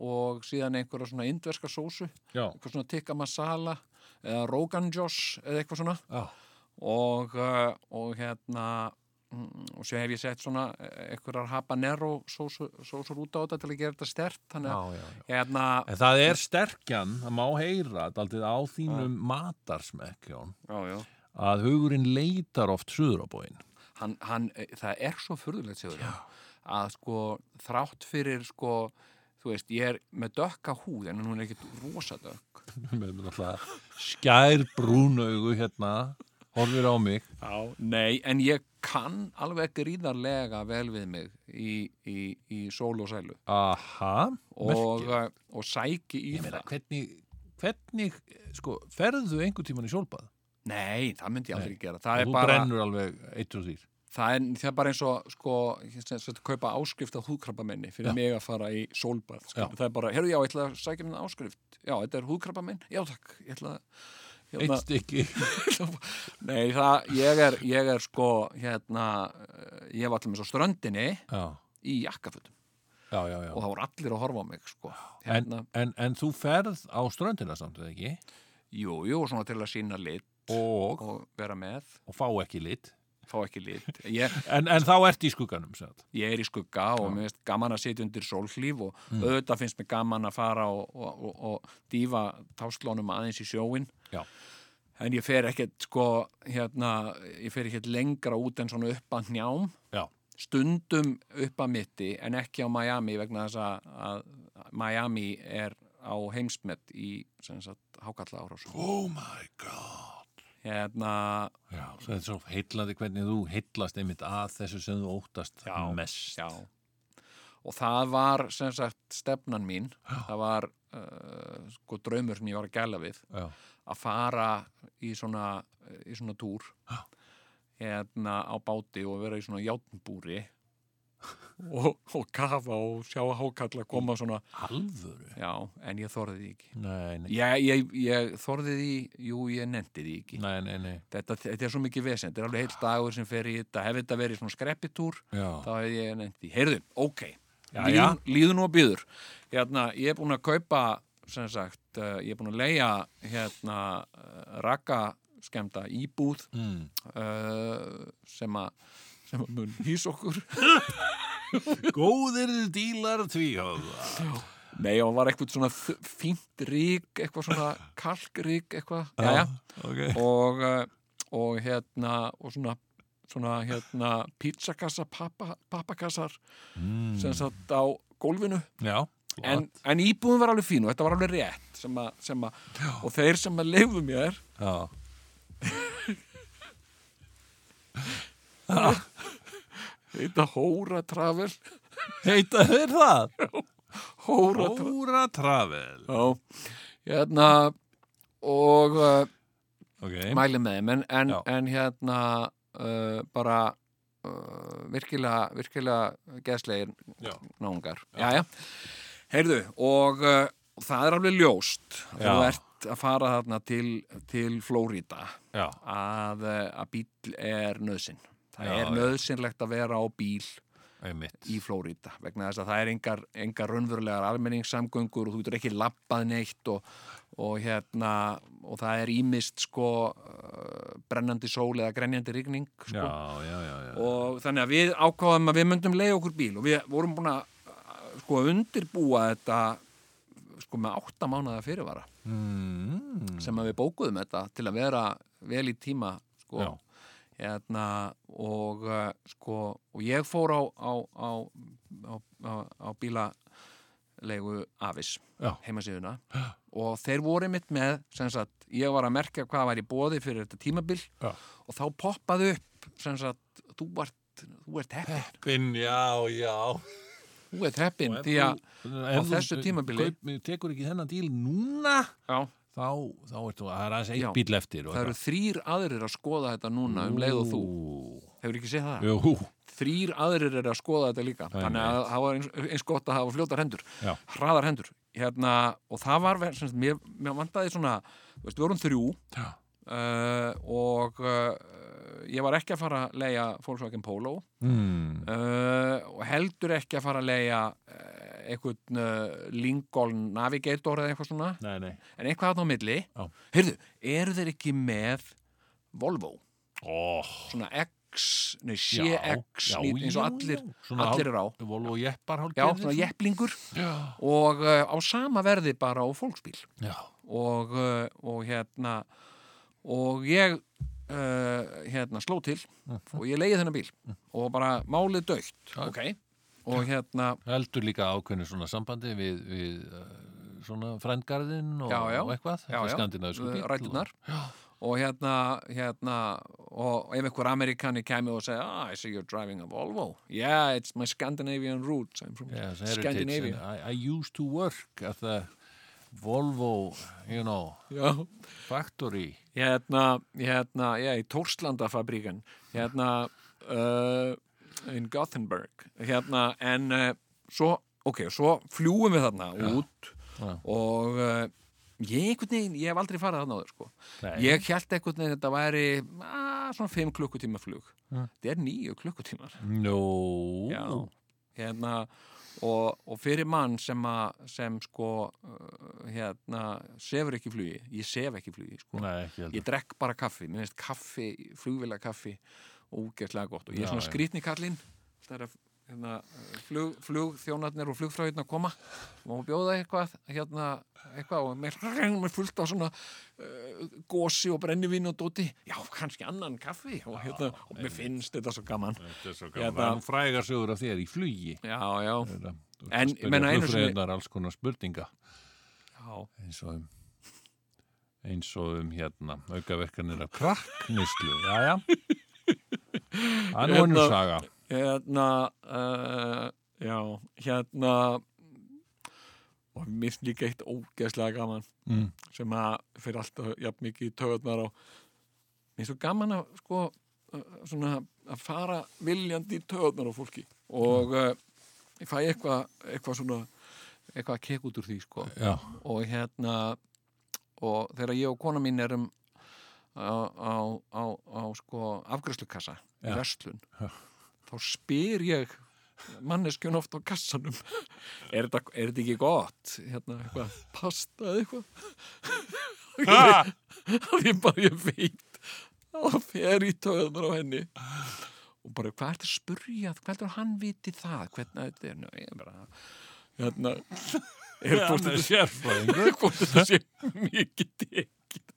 Speaker 3: og síðan einhverja svona indverska sósu
Speaker 4: Já,
Speaker 3: eitthvað svona tikka masala eða rogan josh eða eitthvað svona
Speaker 4: já
Speaker 3: og, uh, og hérna mm, og svo hef ég sett svona eh, einhverjar habanero sósu- sósur út á þetta til að gera þetta stert þannig að
Speaker 4: já, já.
Speaker 3: hérna,
Speaker 4: En það er sterkjan, það má heyra daldið á þínum matarsmekk Jón,
Speaker 3: já, já.
Speaker 4: að hugurinn leitar oft suður á bóin
Speaker 3: Hann, hann, eh, það er svo furðulegt sér að sko þrátt fyrir sko þú veist, ég er með dökka húð en hún er ekkit rosa dökk
Speaker 4: með með alltaf skær brúnaugu hérna horfir á mig
Speaker 3: já, nei, en ég kann alveg gríðarlega vel við mig í, í, í sól og sælu
Speaker 4: Aha,
Speaker 3: og,
Speaker 4: merkið.
Speaker 3: eh, og sæki í
Speaker 4: Ég meina,
Speaker 3: það
Speaker 4: hvernig, hvernig eh, sko, ferðu einhvern tíman í sólbað?
Speaker 3: nei, það myndi ég aldrei gera
Speaker 4: Og þú
Speaker 3: það er bara
Speaker 4: brennur alveg eitt og þýr
Speaker 3: það er, það er bara eins og sko, sem sagt, kaupa áskrift á húðkrabbamenni fyrir mig að fara í sólbað sko.
Speaker 4: Já.
Speaker 3: það er bara, herru já, ég ætla að sækja minna áskrift já, þetta er húðkrabbamenn, já takk ég ætla að
Speaker 4: Eitt
Speaker 3: hérna,
Speaker 4: stykki
Speaker 3: nei, það, ég er, ég er sko, hérna eh, ég var allir með svo ströndinni
Speaker 4: Já,
Speaker 3: í jakkafutum
Speaker 4: já, já, já.
Speaker 3: og það voru allir að horfa á mig sko.
Speaker 4: En,
Speaker 3: hérna,
Speaker 4: en, en þú ferð á ströndina samt eða ekki
Speaker 3: jú, jú, svona til að sína lit
Speaker 4: og,
Speaker 3: og vera með,
Speaker 4: og fá ekki lit
Speaker 3: fá ekki lit ég,
Speaker 4: En, en þá ert í skugganum satt.
Speaker 3: ég er í skugga og mér finnst gaman að sitja undir sólhlíf og auðvitað finnst mér gaman að fara og, og, og, og dýfa táslónum aðeins í sjóin
Speaker 4: Já.
Speaker 3: en ég fer ekkert sko hérna, ég fer ekkert lengra út en svona upp að njám
Speaker 4: Já.
Speaker 3: stundum upp að mitti en ekki á Miami vegna þess að, að Miami er á heimsmet í sem sagt hákalla árásum
Speaker 4: Oh my god
Speaker 3: hérna,
Speaker 4: Já, svo þetta er svo heitlandi hvernig þú heitlast einmitt að þessu sem þú óttast
Speaker 3: Já,
Speaker 4: mest
Speaker 3: Já. Og það var sem sagt stefnan mín, það var uh, sko draumur sem ég var að gæla við
Speaker 4: Já.
Speaker 3: að fara í svona, í svona túr hérna á báti og vera í svona játnbúri og, og kafa og sjá hákalla koma svona,
Speaker 4: Alvöru?
Speaker 3: já, en ég þorði því ekki.
Speaker 4: Nei, nei,
Speaker 3: Ég, ég, ég þorði því, jú, ég nefndi því ekki.
Speaker 4: nei, nei, nei.
Speaker 3: Þetta, þetta er svo mikið vesend, þetta er alveg heilt dagur sem fer í þetta, hefði þetta verið svona skreppitúr, þá
Speaker 4: Já.
Speaker 3: hefði ég nefnt því, heyrðu, ok
Speaker 4: Já,
Speaker 3: líðun, líðun og býður hérna, ég er búin að kaupa sem sagt, uh, ég er búin að leia hérna, uh, raka skemmta íbúð
Speaker 4: Mm.
Speaker 3: uh, sem að sem að mun hýs okkur
Speaker 4: Góðir dílar tvíhöfða
Speaker 3: nei, og var eitthvað svona þ- fínt rík eitthvað svona kalkrík eitthvað, já,
Speaker 4: ok
Speaker 3: og, uh, og hérna og svona svona hérna
Speaker 4: Mm.
Speaker 3: pizzakassa pappa, pappakassar sem sagt á gólfinu
Speaker 4: Já,
Speaker 3: en, en íbúðum var alveg fín og þetta var alveg rétt sem að, sem að, og þeir sem að leifðu mér
Speaker 4: Já.
Speaker 3: heita Hóra Travel
Speaker 4: Heita þeir það?
Speaker 3: Hóra Travel
Speaker 4: Óra Travel.
Speaker 3: Já, hérna og uh,
Speaker 4: Ok.
Speaker 3: mæli með þeim en, en,
Speaker 4: Já.
Speaker 3: en hérna uh, bara uh, virkilega, virkilega geðslegir
Speaker 4: Já.
Speaker 3: náungar Jæja, heyrðu og uh, það er alveg ljóst
Speaker 4: Já.
Speaker 3: þú ert að fara þarna til, til Flórída
Speaker 4: Já.
Speaker 3: að, eh, að bíl er nöðsinn. Það
Speaker 4: Já,
Speaker 3: er
Speaker 4: já.
Speaker 3: nöðsynlegt að vera á bíl
Speaker 4: Einmitt.
Speaker 3: í Flóríta vegna þess að það er engar, engar raunverulegar almenningssamgöngur og þú getur ekki labbað neitt og, og hérna og það er ímist sko eh, brennandi sól eða grenjandi rigning
Speaker 4: Já,
Speaker 3: sko.
Speaker 4: já, já, já.
Speaker 3: og þannig að við ákváðum að við myndum leiða okkur bíl og við vorum búin að eh, sko undirbúa þetta sko með átta mánuða fyrirvara
Speaker 4: Mm.
Speaker 3: sem að við bókuðum þetta til að vera vel í tíma sko,
Speaker 4: Já.
Speaker 3: hérna, og, uh, sko, og ég fór á, á, á, á, á, á bílalegu Avis
Speaker 4: Já.
Speaker 3: heimasíðuna og þeir voru mitt með sem sagt, ég var að merkja hvað var í bóði fyrir þetta tímabil
Speaker 4: Já.
Speaker 3: og þá poppaði upp sem sagt, þú ert, þú ert heppin
Speaker 4: Finn, já, já.
Speaker 3: þú ert heppin
Speaker 4: Og ef
Speaker 3: því að
Speaker 4: þú- ef
Speaker 3: á
Speaker 4: þú
Speaker 3: þessu tímabili-
Speaker 4: kaup- tekur ekki þennan díl núna,
Speaker 3: já,
Speaker 4: þá, þá ertu, það er aðeins
Speaker 3: Já.
Speaker 4: eitt bíl eftir.
Speaker 3: það eru þrýr aðrir að skoða þetta núna um leið og þú hefur ekki séð það?
Speaker 4: Jú,
Speaker 3: þrýr aðrir eru að skoða þetta líka
Speaker 4: Einmitt.
Speaker 3: þannig að það var eins, eins gott að hafa fljótar hendur
Speaker 4: Já.
Speaker 3: hraðar hendur hérna, og það var, ver- sem, sagt, mér, mér vandaði svona þú veist, við vorum þrjú
Speaker 4: já,
Speaker 3: uh, og uh, ég var ekki að fara að leia Volkswagen Polo
Speaker 4: mm.
Speaker 3: uh, og heldur ekki að fara að leia uh, einhvern uh, Lincoln Navigator eða eitthvað svona
Speaker 4: nei, nei,
Speaker 3: en eitthvað þarna á milli
Speaker 4: Já.
Speaker 3: heyrðu, eru þeir ekki með Volvo?
Speaker 4: ó,
Speaker 3: svona X, nei,
Speaker 4: já,
Speaker 3: CX
Speaker 4: já,
Speaker 3: eins og
Speaker 4: já,
Speaker 3: allir,
Speaker 4: já. Svona
Speaker 3: allir eru á
Speaker 4: hál- Volvo jeppar hálf
Speaker 3: já, svona jepplingur
Speaker 4: já,
Speaker 3: og uh, á sama verði bara á fólksbíl
Speaker 4: já,
Speaker 3: og, uh, og hérna og ég uh, hérna sló til
Speaker 4: Mhm.
Speaker 3: og ég leiði þennan bíl og bara málið dögt
Speaker 4: ok
Speaker 3: og hérna
Speaker 4: heldur líka ákveðnu svona sambandi við, við eh, svona frendgarðinn og,
Speaker 3: Já, já.
Speaker 4: og eitthvað,
Speaker 3: Já, já.
Speaker 4: skandinavísku bíl
Speaker 3: Ræturnar. og hérna, hérna og ef einhver amerikani kemi og segja ah, I see you're driving a Volvo yeah, it's my Scandinavian roots I'm from
Speaker 4: yes, heritage, and
Speaker 3: Scandinavia
Speaker 4: I, I used to work at the Volvo, you know
Speaker 3: já
Speaker 4: factory
Speaker 3: hérna, hérna, já, í Tórslandafabríkan, hérna uh, in Gothenburg hérna, en uh, svo, ok, svo fljúum við þarna út
Speaker 4: já.
Speaker 3: og uh, ég einhvern veginn, ég hef aldrei farið þarna áður, sko
Speaker 4: Nei.
Speaker 3: ég held einhvern veginn að þetta væri að, svona 5 klukkutíma flug þetta er 9 klukkutímar
Speaker 4: no
Speaker 3: Já. hérna og, og fyrir mann sem að sem sko uh, hérna, sefur ekki í flugi, ég sef ekki í flugi sko
Speaker 4: Nei, ekki heldur
Speaker 3: ég drekk bara kaffi, mér finnst kaffi flugvila kaffi ógeðslega gott og ég
Speaker 4: Já,
Speaker 3: er svona
Speaker 4: já.
Speaker 3: skrýtni kallinn það er að hérna, flug, flugþjónarnir og flugfræðin að koma og bjóða eitthvað hérna, eitthvað og mér reynum fullt á svona uh, gósi og brennivín og dóti já, kannski annan kaffi og, hérna, og mér finnst þetta svo gaman
Speaker 4: Þetta er svo
Speaker 3: Ég
Speaker 4: gaman.
Speaker 3: held
Speaker 4: Það
Speaker 3: að-
Speaker 4: er nú frægar sögur af þér í flugi.
Speaker 3: já, já,
Speaker 4: Þetta- þú ert
Speaker 3: En,
Speaker 4: að spyrja
Speaker 3: meina, einu sinni-
Speaker 4: flugfreyjurnar alls konar spurninga
Speaker 3: já.
Speaker 4: eins og um, eins og um hérna aukaverkanir af krakknýslu. Jæja. Það er nú
Speaker 3: Hérna-
Speaker 4: önnur saga.
Speaker 3: hérna uh, já, hérna og mér finnst líka eitt ógeðslega gaman
Speaker 4: Mm.
Speaker 3: sem að fyrir alltaf jafn mikið í töðunar og mér er svo gaman að sko uh, svona að fara viljandi í töðunar á fólki og uh, ég fæ eitthvað eitthvað svona eitthvað að kek út úr því sko
Speaker 4: Já.
Speaker 3: og hérna og þegar ég og kona mín erum á, á, á, á sko afgræslukassa í
Speaker 4: Já.
Speaker 3: verslun þá spyr ég manneskjun oft á kassanum er þetta, er þetta ekki gott hérna eitthvað, pasta eða eitthvað
Speaker 4: Ha!
Speaker 3: að ég bara ég veit að það fer í töðunar á henni og bara hvað ertu að spurja hvað heldur hann viti það hvernig þetta er Nei, ég bara, hérna er hvort þetta
Speaker 4: sérfræðingur.
Speaker 3: sé hvort þetta sé mikið tekið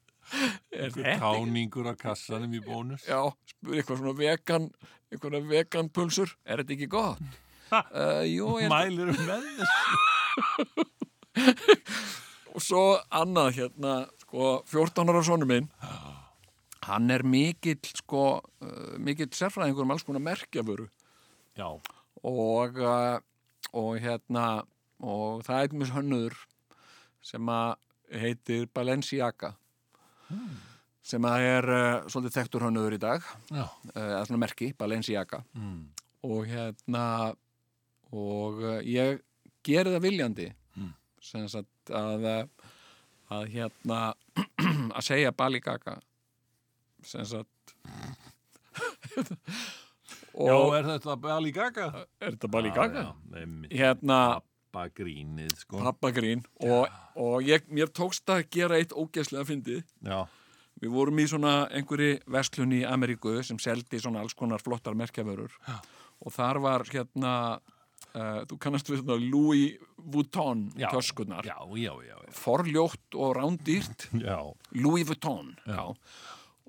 Speaker 3: er þetta
Speaker 4: Táningur á kassanum í bónus.
Speaker 3: já, spur eitthvað svona vegan eitthvað vegan pulsur, er þetta ekki gott uh, Jú, ég held
Speaker 4: Mælir um með þessu.
Speaker 3: og svo annað hérna, sko, 14 ára sonur minn hann er mikill, sko, uh, mikill sérfræðingur um alls konar merkjaföru
Speaker 4: Já,
Speaker 3: og, uh, og hérna og það er mjög hönnur sem að heitir Balenciaga Hmm. sem að er uh, svolítið þekktur hönnur í dag
Speaker 4: já,
Speaker 3: eh, eða svona merki, Balenciaga
Speaker 4: mm.
Speaker 3: og hérna og eh, ég geri það viljandi
Speaker 4: Mm.
Speaker 3: sem sagt að eh, að hérna að segja Bali Gaga sem sagt
Speaker 4: já,
Speaker 3: og
Speaker 4: er þetta Bali Gaga?
Speaker 3: er þetta Bali Gaga?
Speaker 4: Nefnir,
Speaker 3: Hérna
Speaker 4: Pappagrínið, sko.
Speaker 3: pappagrín og, og ég, mér tókst að gera eitt ógeðslega fyndið
Speaker 4: Já,
Speaker 3: Við vorum í svona einhverju verslun í Ameríku sem seldi svona alls konar flottar merkjavörur og þar var hérna, uh, þú kannast við svona Louis Vuitton
Speaker 4: Já.
Speaker 3: töskunar,
Speaker 4: já, já, já, já.
Speaker 3: forljótt og rándýrt
Speaker 4: Já,
Speaker 3: Louis Vuitton já.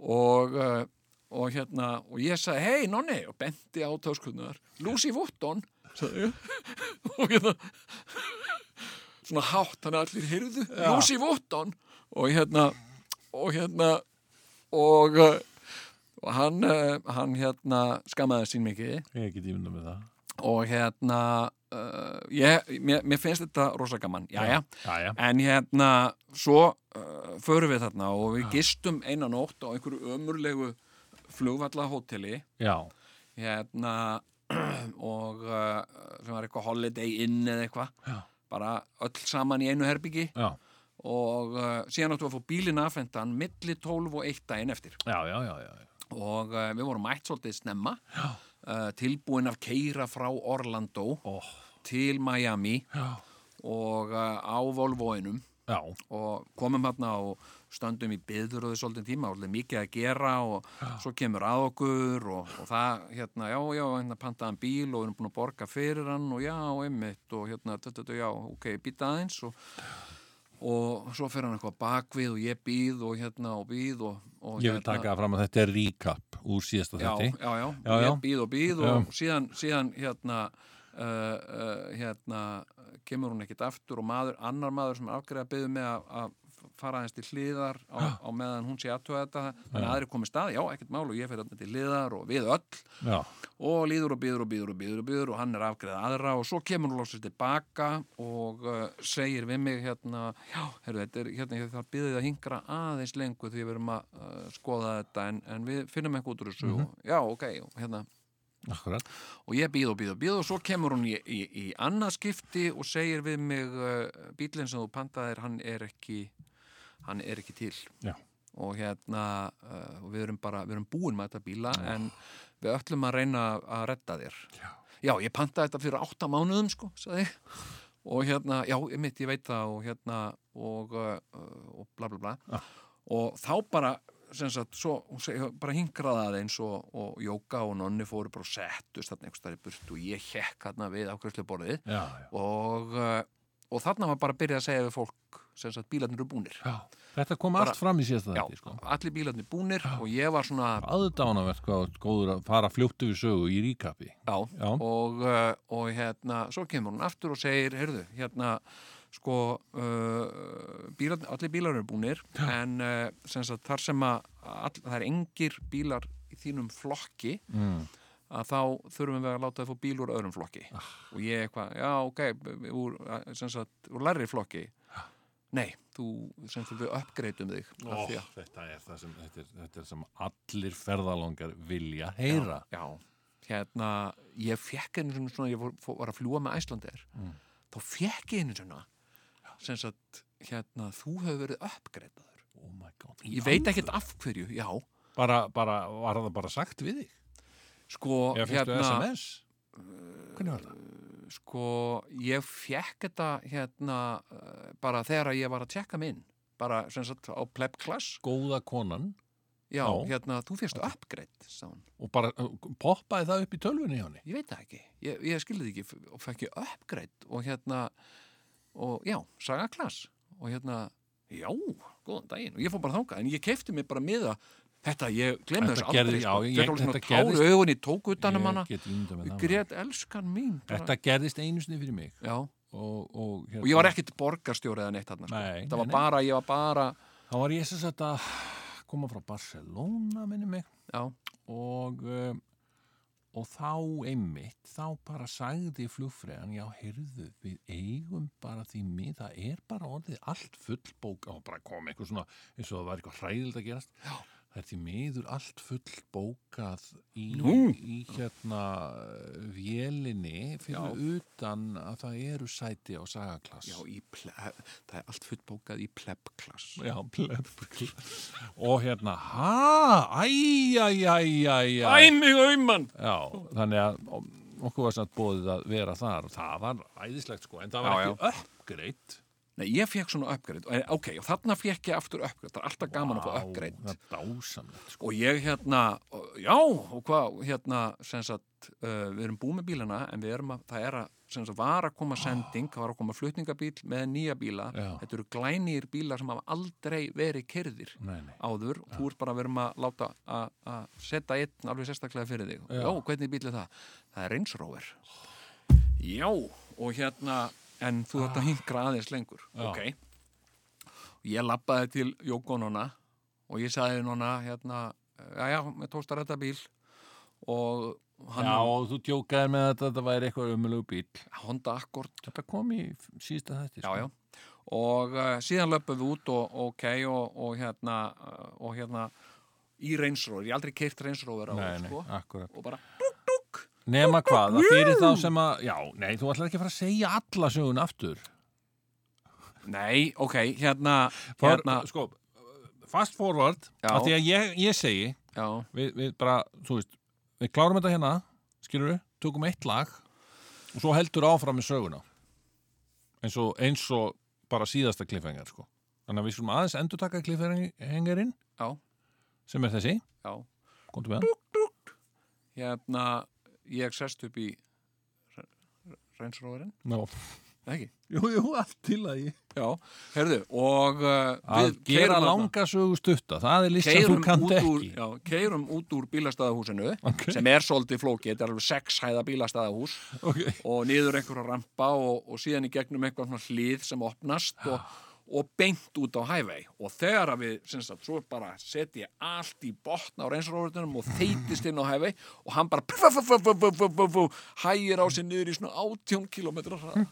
Speaker 3: og uh, og hérna, og ég sagði, hei nonni og benti á töskunar, Lucy Vuitton sagði ég og hérna svona hátt, þannig að allir heyrðu Lucy Vuitton og hérna og hérna og, uh, og hann uh, hann hérna skammaði sín mikið
Speaker 4: ég get ímynda með það.
Speaker 3: og hérna uh, ég, mér, mér finnst þetta rosa gaman, jæja
Speaker 4: Já, já,
Speaker 3: En hérna, svo uh, förum við þarna og við gistum eina nótt á einhverju ömurlegu flugvallahóteli
Speaker 4: já,
Speaker 3: hérna og uh, sem var eitthvað holiday inn eða eitthvað
Speaker 4: Já.
Speaker 3: bara öll saman í einu herbyggi
Speaker 4: já,
Speaker 3: og uh, síðan áttu að fá bílinn afhendan milli 12 og 1 daginn eftir
Speaker 4: já, já, já, já, já.
Speaker 3: og uh, við vorum mætt svolítið snemma uh, tilbúin af keira frá Orlando
Speaker 4: Ó,
Speaker 3: til Miami
Speaker 4: já,
Speaker 3: og uh, á Volvoinum
Speaker 4: já,
Speaker 3: og komum hérna og stöndum í byður og þess svolítið tíma og svolítið mikið að gera og svo kemur að okkur og, og það, hérna, já, já, hérna pantaðan bíl og erum búin að borga fyrir hann og já, einmitt og hérna, þetta, þetta, já, ok, býta aðeins og, og svo fer hann eitthvað bakvið og ég býð og hérna og býð og, og hérna
Speaker 4: ég vil taka fram að þetta er recap úr síðasta
Speaker 3: já,
Speaker 4: þetti.
Speaker 3: já, já,
Speaker 4: Já, já.
Speaker 3: ég býð og býð og síðan, síðan hérna uh, uh, hérna kemur hún ekkit aftur og maður, annar maður sem afgreða byggðu með að, að fara aðeins til hliðar á, á meðan hún sé aðtöða þetta þannig að aðri komið stað, já, ekkert mál og ég fer þarna til hliðar og við öll
Speaker 4: Já,
Speaker 3: og líður og býður og býður og býður og býður og hann er afgreða aðra og svo kemur hún lóksins tilbaka og uh, segir við mig hérna, já, heyrðu, þetta er hérna, ég þarf býðið að hingra aðeins lengur því við erum að uh, skoða þetta en, en við finnum eitthvað út úr þessu og, já, ok, og hérna,
Speaker 4: akkurat.
Speaker 3: og ég býð og býð og býð og svo kemur hún í, í, í annað skipti og segir við mig uh, bílinn sem þú pantaðir hann er ekki hann er ekki til
Speaker 4: Já.
Speaker 3: og hérna uh, og við erum bara, við erum búin með þetta bíla en við öllum að reyna að redda þér já, ég pantaði þetta fyrir átta mánuðum sko, sagði ég. og hérna, já, mitt, ég veit það og hérna og, uh, og bla bla bla og þá bara sem sagt, svo, hún segi, bara hingraði aðeins og, og Jóka og Nonni fóru bara og settust þarna einhvers þar í burt og ég hekk þarna við ákvæsluborðið
Speaker 4: Já, já,
Speaker 3: og, uh, og þarna var bara að byrja að segja við fólk sem sagt, bílarnir eru búnir
Speaker 4: já. Þetta kom
Speaker 3: Bara-
Speaker 4: allt fram í síðasta
Speaker 3: Já,
Speaker 4: þetti, sko.
Speaker 3: allir bílarnir búnir og ég var svona
Speaker 4: aðdánavert hvað þú ert góður að fara fljóttu við sögu í ríkapi.
Speaker 3: já,
Speaker 4: Já.
Speaker 3: Og, uh, og hérna, svo kemur hún aftur og segir, heyrðu, hérna sko, uh, bílarn, allir bílar eru búnir, en uh, sem sagt, þar sem að all, það er engir bílar í þínum flokki
Speaker 4: Mm.
Speaker 3: að þá þurfum við að láta þið fá bíl úr öðrum flokki
Speaker 4: Ah.
Speaker 3: og ég eitthvað, já ok b- b- úr, eh, sem sagt, úr lærri flokki
Speaker 4: Ah.
Speaker 3: nei, þú sem sagt við uppgreitum þig
Speaker 4: Oh.
Speaker 3: af því að-
Speaker 4: þetta er það sem, þetta er, þetta er sem allir ferðalongar vilja heyra.
Speaker 3: já, hérna ég fekk einu svona, svona ég fór, fór, var að fljúa með Æslandir
Speaker 4: Mm.
Speaker 3: þá fekk ég einu svona sem sagt, hérna, þú hefur verið uppgreitaður
Speaker 4: Oh my god.
Speaker 3: ég veit ekkert af hverju, já
Speaker 4: Bara, bara, var það bara sagt við þig?
Speaker 3: sko,
Speaker 4: Eða fyrstu SMS?
Speaker 3: Eh,
Speaker 4: Hvernig var það?
Speaker 3: sko, ég fekk þetta hérna eh, bara þegar að ég var að tjekka minn bara sem sagt á pleb class
Speaker 4: Góða konan
Speaker 3: já,
Speaker 4: Já.
Speaker 3: hérna, þú fyrst upgrade sá hún,
Speaker 4: og bara uh, poppaði það upp í tölvunni hjá henni.
Speaker 3: ég veit það ekki ég, ég skilði því ekki f- og fekk ég upgrade og hérna, og já, saga class og hérna, já, góðan daginn og ég fór bara þangað, en ég kefti mér bara miða Þetta, ég
Speaker 4: Þetta
Speaker 3: glemði þessu
Speaker 4: gerði-
Speaker 3: aldrei, sko.
Speaker 4: já, ég-
Speaker 3: Fekk alveg
Speaker 4: þetta
Speaker 3: svona tár
Speaker 4: gerðist-
Speaker 3: í augun, ég tók utanum hana,
Speaker 4: ég get ímynda með það
Speaker 3: grét elskan mín. bara.
Speaker 4: þetta gerðist einu sinni fyrir mig
Speaker 3: Já,
Speaker 4: og, og, hérna,
Speaker 3: og ég var ekkit borgarstjóri eða neitt þarna, sko.
Speaker 4: Nei, nei,
Speaker 3: það var
Speaker 4: nei.
Speaker 3: bara, ég var bara,
Speaker 4: þá var ég sem sagt að koma frá Barcelona minni mig
Speaker 3: já,
Speaker 4: og um, og þá einmitt, þá bara sagði flugfræðan, já, heyrðu, við eigum bara því mið, það er bara orðið allt fullbók, og bara kom eitthvað svona, eins og það var eitthvað hræðild að gerast, já. það er því miður allt fullbókað í,
Speaker 3: Nú.
Speaker 4: í hérna vélinni fyrir utan að það eru sæti á sagaklass.
Speaker 3: já, í ple, það er allt fullbókað í plebklass.
Speaker 4: Já, plebkla. Og hérna, ha, æj, æj, æj, æj, æj.
Speaker 3: mig auman!
Speaker 4: Já, þannig að okkur var samt bóðið að vera þar og það var æðislegt sko, en það var
Speaker 3: Já,
Speaker 4: ekki uppgreitt.
Speaker 3: Nei, ég fekk svona uppgreit, ok, og þarna fekk ég aftur uppgreit, það er alltaf gaman að fá uppgreit.
Speaker 4: Það er dásamlegt sko.
Speaker 3: og ég hérna, og- já, og hvað, hérna, sem sagt, uh, við erum búið með bílana, en við erum að, það er að, sem sagt, var að koma sending, það var að koma flutningabíl með nýja bíla,
Speaker 4: Já.
Speaker 3: þetta eru glænýjir bílar sem hafa aldrei verið kerðir
Speaker 4: Nei, nei.
Speaker 3: áður, og þú ert bara að verum að láta að- að setja einn alveg sérstaklega fyrir þig. Já,
Speaker 4: Já.
Speaker 3: hvernig bíl er það? Það er reynsróver. Já, og hérna, en þú þetta hingra aðeins lengur,
Speaker 4: Ah. Já.
Speaker 3: ok? ég labbaði til Jókonona og ég sagði núna hérna, já já, mér tókst að rætta bíl og hann
Speaker 4: Já, og þú djókaði með þetta, þetta væri eitthvað umulug bíl.
Speaker 3: Honda Accord
Speaker 4: Þetta kom í síðsta þætti.
Speaker 3: já, já. og uh, síðan löpum við út og ok og, og hérna uh, og hérna í reynsróður, ég hef aldrei keirt reynsróður á
Speaker 4: Nei, nei,
Speaker 3: sko,
Speaker 4: akkurat.
Speaker 3: og bara
Speaker 4: Nema hvað, það fyrir þá sem að, já, nei, þú ætlar ekki að fara að segja alla sögun aftur.
Speaker 3: nei, ok, hérna
Speaker 4: Far,
Speaker 3: hérna,
Speaker 4: Sko, fast forward,
Speaker 3: Já.
Speaker 4: af því að ég, ég segi,
Speaker 3: já,
Speaker 4: við, við bara, þú veist, við klárum þetta hérna, skilur við, tökum eitt lag og svo heldur áfram með söguna. Eins og, eins og bara síðasta kliffengar, sko. Þannig að við skulum aðeins endur taka kliffengarinn
Speaker 3: já,
Speaker 4: sem er þessi,
Speaker 3: já
Speaker 4: komdu með hann.
Speaker 3: hérna, ég sest upp í reynsróðurinn,
Speaker 4: Ná.
Speaker 3: ekki?
Speaker 4: Jú, jú, allt til að ég.
Speaker 3: Já, herðu, og uh,
Speaker 4: Að
Speaker 3: keyrum
Speaker 4: gera
Speaker 3: þarna-
Speaker 4: langa sögu stutta, það er list sem þú
Speaker 3: keirum
Speaker 4: kannt
Speaker 3: út, úr,
Speaker 4: ekki.
Speaker 3: já, keirum út úr bílastæðahúsinu
Speaker 4: Ok.
Speaker 3: sem er svolítið flókið, þetta er alveg sex hæða bílastæðahús
Speaker 4: Okay.
Speaker 3: og niður einhverja rampa og, og síðan í gegnum einhverjum svona hlið sem opnast og, og beint út á hævei og þegar að við, sem sagt, svo bara setja ég allt í botna á reynsróðurinnum og þeitist inn á hævei og hann bara pf, pf, pf, pf, pf, pf, pf, hægir á sig niður í svona 18 kilometra hraða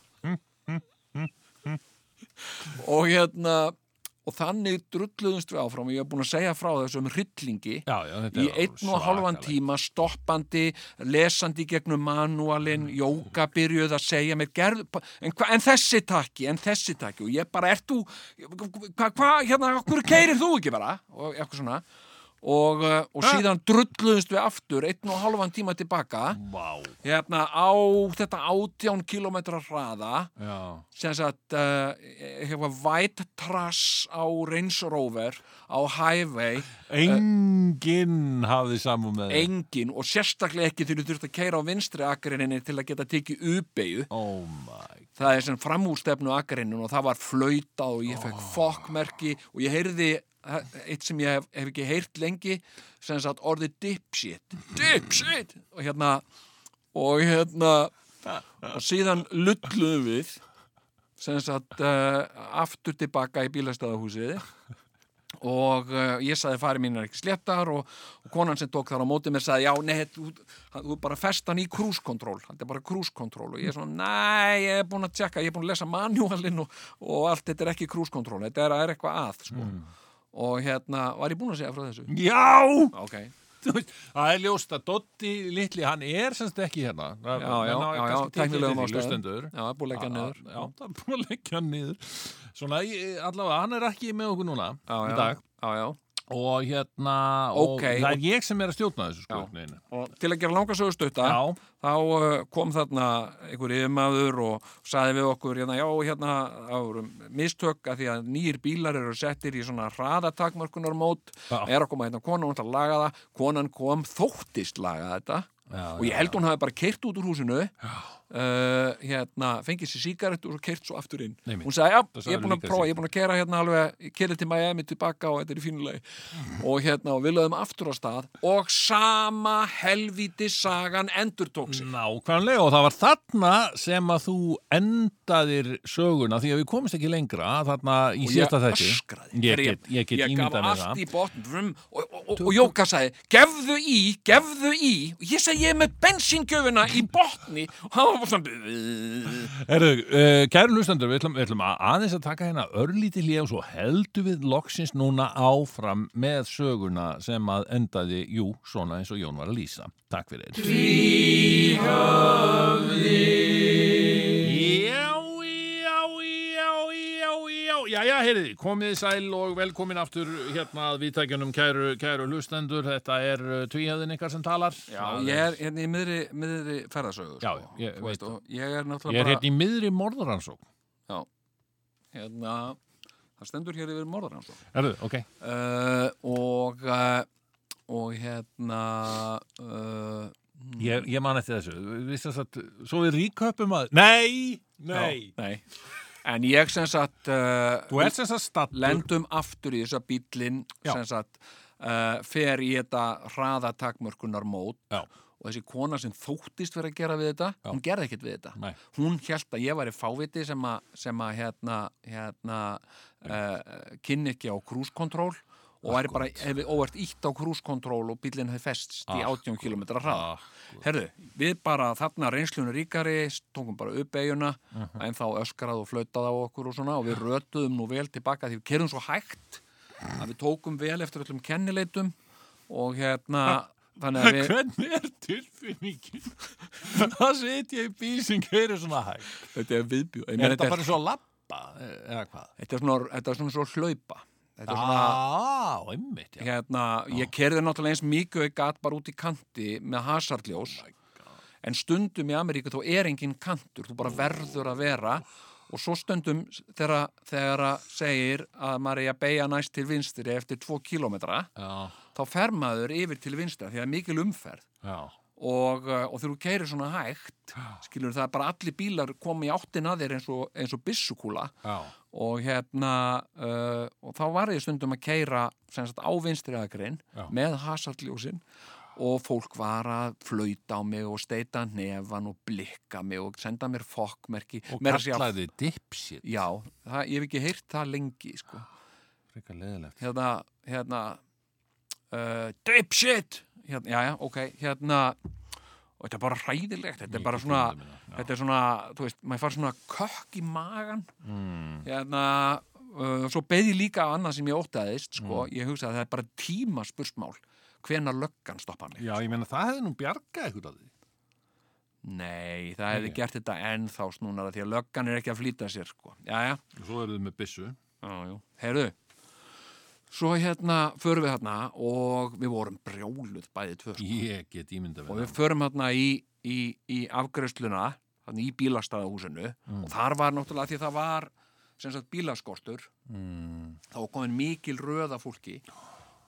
Speaker 3: og hérna og þannig drulluðumst við áfram og ég hef búin að segja frá þessu um hryllingi
Speaker 4: Já, já, þetta
Speaker 3: í
Speaker 4: er
Speaker 3: einn og halvan
Speaker 4: svakalegt.
Speaker 3: tíma stoppandi, lesandi í gegnum manualinn,
Speaker 4: Mm.
Speaker 3: jóka byrjuð að segja mér, gerð, en, hva, en þessi takki, en þessi takki og ég bara, ert þú, hvað, hva, hérna, okkur keirir þú ekki bara og eitthvað svona og, uh, og
Speaker 4: Ah.
Speaker 3: síðan drulluðumst við aftur einn og halvan tíma tilbaka
Speaker 4: Vá.
Speaker 3: hérna á þetta 18 kilometra hraða
Speaker 4: Já.
Speaker 3: sem sagt uh, eitthvað white trash á Range Rover á highway
Speaker 4: Enginn hafði samum með þetta.
Speaker 3: engin og sérstaklega ekki þegar þú þurft að keira á vinstri akrininni til að geta tekið uppeyju
Speaker 4: Oh my
Speaker 3: það er sem framúrstefnu akrininu og það var flauta og ég fekk fokkmerki og ég heyrði eh, eitt sem ég hef, hef ekki heyrt lengi sem sagt orðið dipshit dipshit og hérna og hérna og síðan lulluðum við sem sagt uh, aftur tilbaka í bílastæðahúsið og uh, ég saði fari mín er ekki sléttar og, og konan sem tók þar á móti mér saði já, nei, þú, hann- þú bara fest hann í krúskontról, hann er bara krúskontról og ég er svona, næ, ég er búin að tjekka ég er búin að lesa manualinn og, og allt þetta er ekki krúskontról, þetta er, er eitthvað að sko.
Speaker 4: Mm.
Speaker 3: og hérna, var ég búin að segja frá þessu?
Speaker 4: Já!
Speaker 3: Ok,
Speaker 4: Þú veist, það er ljóst að Dotti litli, hann er semst ekki hérna Það-
Speaker 3: Já,
Speaker 4: menn
Speaker 3: já,
Speaker 4: hafa
Speaker 3: já, já,
Speaker 4: kannski tekið
Speaker 3: tæknilegum
Speaker 4: eftir því,
Speaker 3: ástæðum.
Speaker 4: hlustendur.
Speaker 3: Já, það er búið að leggja hann
Speaker 4: Að-
Speaker 3: niður.
Speaker 4: já, það er búið að leggja hann niður svona, ég- allavega, hann er ekki með okkur núna
Speaker 3: já,
Speaker 4: í
Speaker 3: já,
Speaker 4: dag
Speaker 3: já, já.
Speaker 4: og hérna, og
Speaker 3: Ókei,
Speaker 4: það
Speaker 3: og-
Speaker 4: er ég sem er að stjórna þessu sko
Speaker 3: Já.
Speaker 4: einhvern veginn.
Speaker 3: og til að gera langa sögu stutta
Speaker 4: Já.
Speaker 3: þá uh, kom þarna einhver yfirmaður og saði við okkur hérna, já, hérna, það voru mistök að því að nýjir bílar eru settir í svona hraðatakmörkunarmót
Speaker 4: Já.
Speaker 3: er að koma hérna kona og ætla að laga það konan kom þóttist laga þetta
Speaker 4: Já,
Speaker 3: og ég held hún hafi bara keirt út úr húsinu já. uh, hérna, fengið sér sígarettu og svo keirt svo aftur inn
Speaker 4: Nei, mitt.
Speaker 3: hún sagði, já,
Speaker 4: Það
Speaker 3: ég er
Speaker 4: sagði
Speaker 3: búin að
Speaker 4: líka
Speaker 3: prófa,
Speaker 4: sig.
Speaker 3: ég er búin að kera hérna alveg ég kerið til Miami tilbaka og þetta er í fínulegi og hérna, og við lögum aftur á stað og sama helvíti sagan endurtók sig
Speaker 4: Nákvæmlega og það var þarna sem að þú endaðir söguna því að við komumst ekki lengra þarna í
Speaker 3: og
Speaker 4: Mm, síðasta
Speaker 3: ég
Speaker 4: þætti.
Speaker 3: öskraði
Speaker 4: Ég get, ég get
Speaker 3: ég gaf
Speaker 4: ímyndað með
Speaker 3: allt
Speaker 4: það.
Speaker 3: í botn vrum, og, og, og, og Jóka sagði gefðu í, gefðu í og ég sagði ég er með bensíngjöfuna í botni og hann var bara svona
Speaker 4: Herðu, uh, kæru hlustendur, við ætlum, við ætlum að aðeins að taka hérna örlítið hlið og svo heldum við loksins núna áfram með söguna sem að endaði, jú, svona eins og Jón var að lýsa. Takk fyrir. Já, já, já, já, já, já, já, heyrði, komið sæl og velkomin aftur hérna að viðtækjunum kæru, kæru hlustendur, þetta er tvíhjöðin ykkar sem talar.
Speaker 3: já, ég er hérna í miðri, miðri ferðasögur
Speaker 4: Já,
Speaker 3: sko,
Speaker 4: ég
Speaker 3: þú
Speaker 4: veit
Speaker 3: og ég er
Speaker 4: Ég
Speaker 3: náttúrulega
Speaker 4: er
Speaker 3: bara
Speaker 4: hérna í miðri morðaransók.
Speaker 3: hérna, það stendur hér yfir sko. morðar hans
Speaker 4: Herðu, ok.
Speaker 3: uh, og uh, og hérna uh,
Speaker 4: Ég, ég man eftir þessu. Við sem sagt, svo við ríköpum að... Nei, nei.
Speaker 3: já, nei en ég sem sagt uh,
Speaker 4: Þú ert sem sagt stattur.
Speaker 3: lendum aftur í þessa bílinn
Speaker 4: Já.
Speaker 3: sem sagt uh, fer í þetta hraðatakmörkunar mót
Speaker 4: Já.
Speaker 3: og þessi kona sem þóttist verið að gera við þetta
Speaker 4: Já.
Speaker 3: hún gerði ekkert við þetta
Speaker 4: Nei.
Speaker 3: hún held að ég væri fáviti sem að, sem að hérna, hérna uh, kynni ekki á krúskontról og væri bara, hefði óvert ítt á krúskontról og bílinn hefði festst í 18 km hraða Herðu, við bara þarna reynslunum ríkari tókum bara upp eiguna
Speaker 4: Mhm.
Speaker 3: en þá öskrað og flautað á okkur og svona og við rötuðum nú vel tilbaka því við kerum svo hægt að við tókum vel eftir öllum kennileitum og hérna þannig að við,
Speaker 4: Hvernig er tilfinningin? það set ég í bíl sem gerir svona hæg.
Speaker 3: þetta er viðbjú Ég
Speaker 4: Er
Speaker 3: meina,
Speaker 4: þetta bara svo að lappa? Eða hvað?
Speaker 3: þetta er svona, þetta er svona svo hlaupa þetta er svona
Speaker 4: Á, einmitt, já.
Speaker 3: hérna, ég kerði náttúrulega eins mikið og ég gat bara út í kanti með hasardljós
Speaker 4: Oh
Speaker 3: en stundum í Ameríku þá er engin kantur, þú
Speaker 4: Oh.
Speaker 3: bara verður að vera og svo stundum þegar, þegar að segir að maður er að beigja næst til vinstri eftir tvo kilometra,
Speaker 4: Já,
Speaker 3: þá fer maður yfir til vinstri af því það er mikil umferð
Speaker 4: já.
Speaker 3: og, uh, og þegar þú keirir svona hægt skilur það er bara allir bílar koma í áttin að þér eins og, eins og byssukúla
Speaker 4: Já,
Speaker 3: og hérna uh, og þá var ég stundum að keira sem sagt á vinstri aðgrinn
Speaker 4: Já.
Speaker 3: með hasarljósin og fólk var að flauta á mig og steita nefan og blikka mig og senda mér fokkmerki
Speaker 4: og
Speaker 3: Meira að segja-
Speaker 4: kallaði dipshit.
Speaker 3: Já, það, ég hef ekki heyrt það lengi sko.
Speaker 4: Frekar leðilegt.
Speaker 3: hérna, hérna uh, dipshit hérna, já, já, ok, hérna og þetta er bara hræðilegt þetta er bara svona, þetta er svona þú veist, maður fara svona kökk í magan
Speaker 4: Mm,
Speaker 3: hérna, uh, svo beði líka af annað sem ég óttaðist, sko,
Speaker 4: Mm.
Speaker 3: ég hugsaði að það er bara tíma spursmál hvenar löggan stoppa mig.
Speaker 4: já, ég meina það hefði nú bjargað ykkur að því.
Speaker 3: Nei, það hefði
Speaker 4: Nei.
Speaker 3: gert þetta ennþá snúnara því að löggan er ekki að flýta sér, sko. Jæja,
Speaker 4: Og Svo eruðu með byssu.
Speaker 3: já, já, heyrðu. Svo hérna, förum við hérna og við vorum brjóluð bæði tvö, sko.
Speaker 4: Ég get ímynda
Speaker 3: Og
Speaker 4: við
Speaker 3: við förum hérna í, í, í afgreifsluna, hérna í bílastæðahúsinu og þar var náttúrulega því að það var sem sagt bílaskortur
Speaker 4: Mm.
Speaker 3: þá var komin mikil röða fólki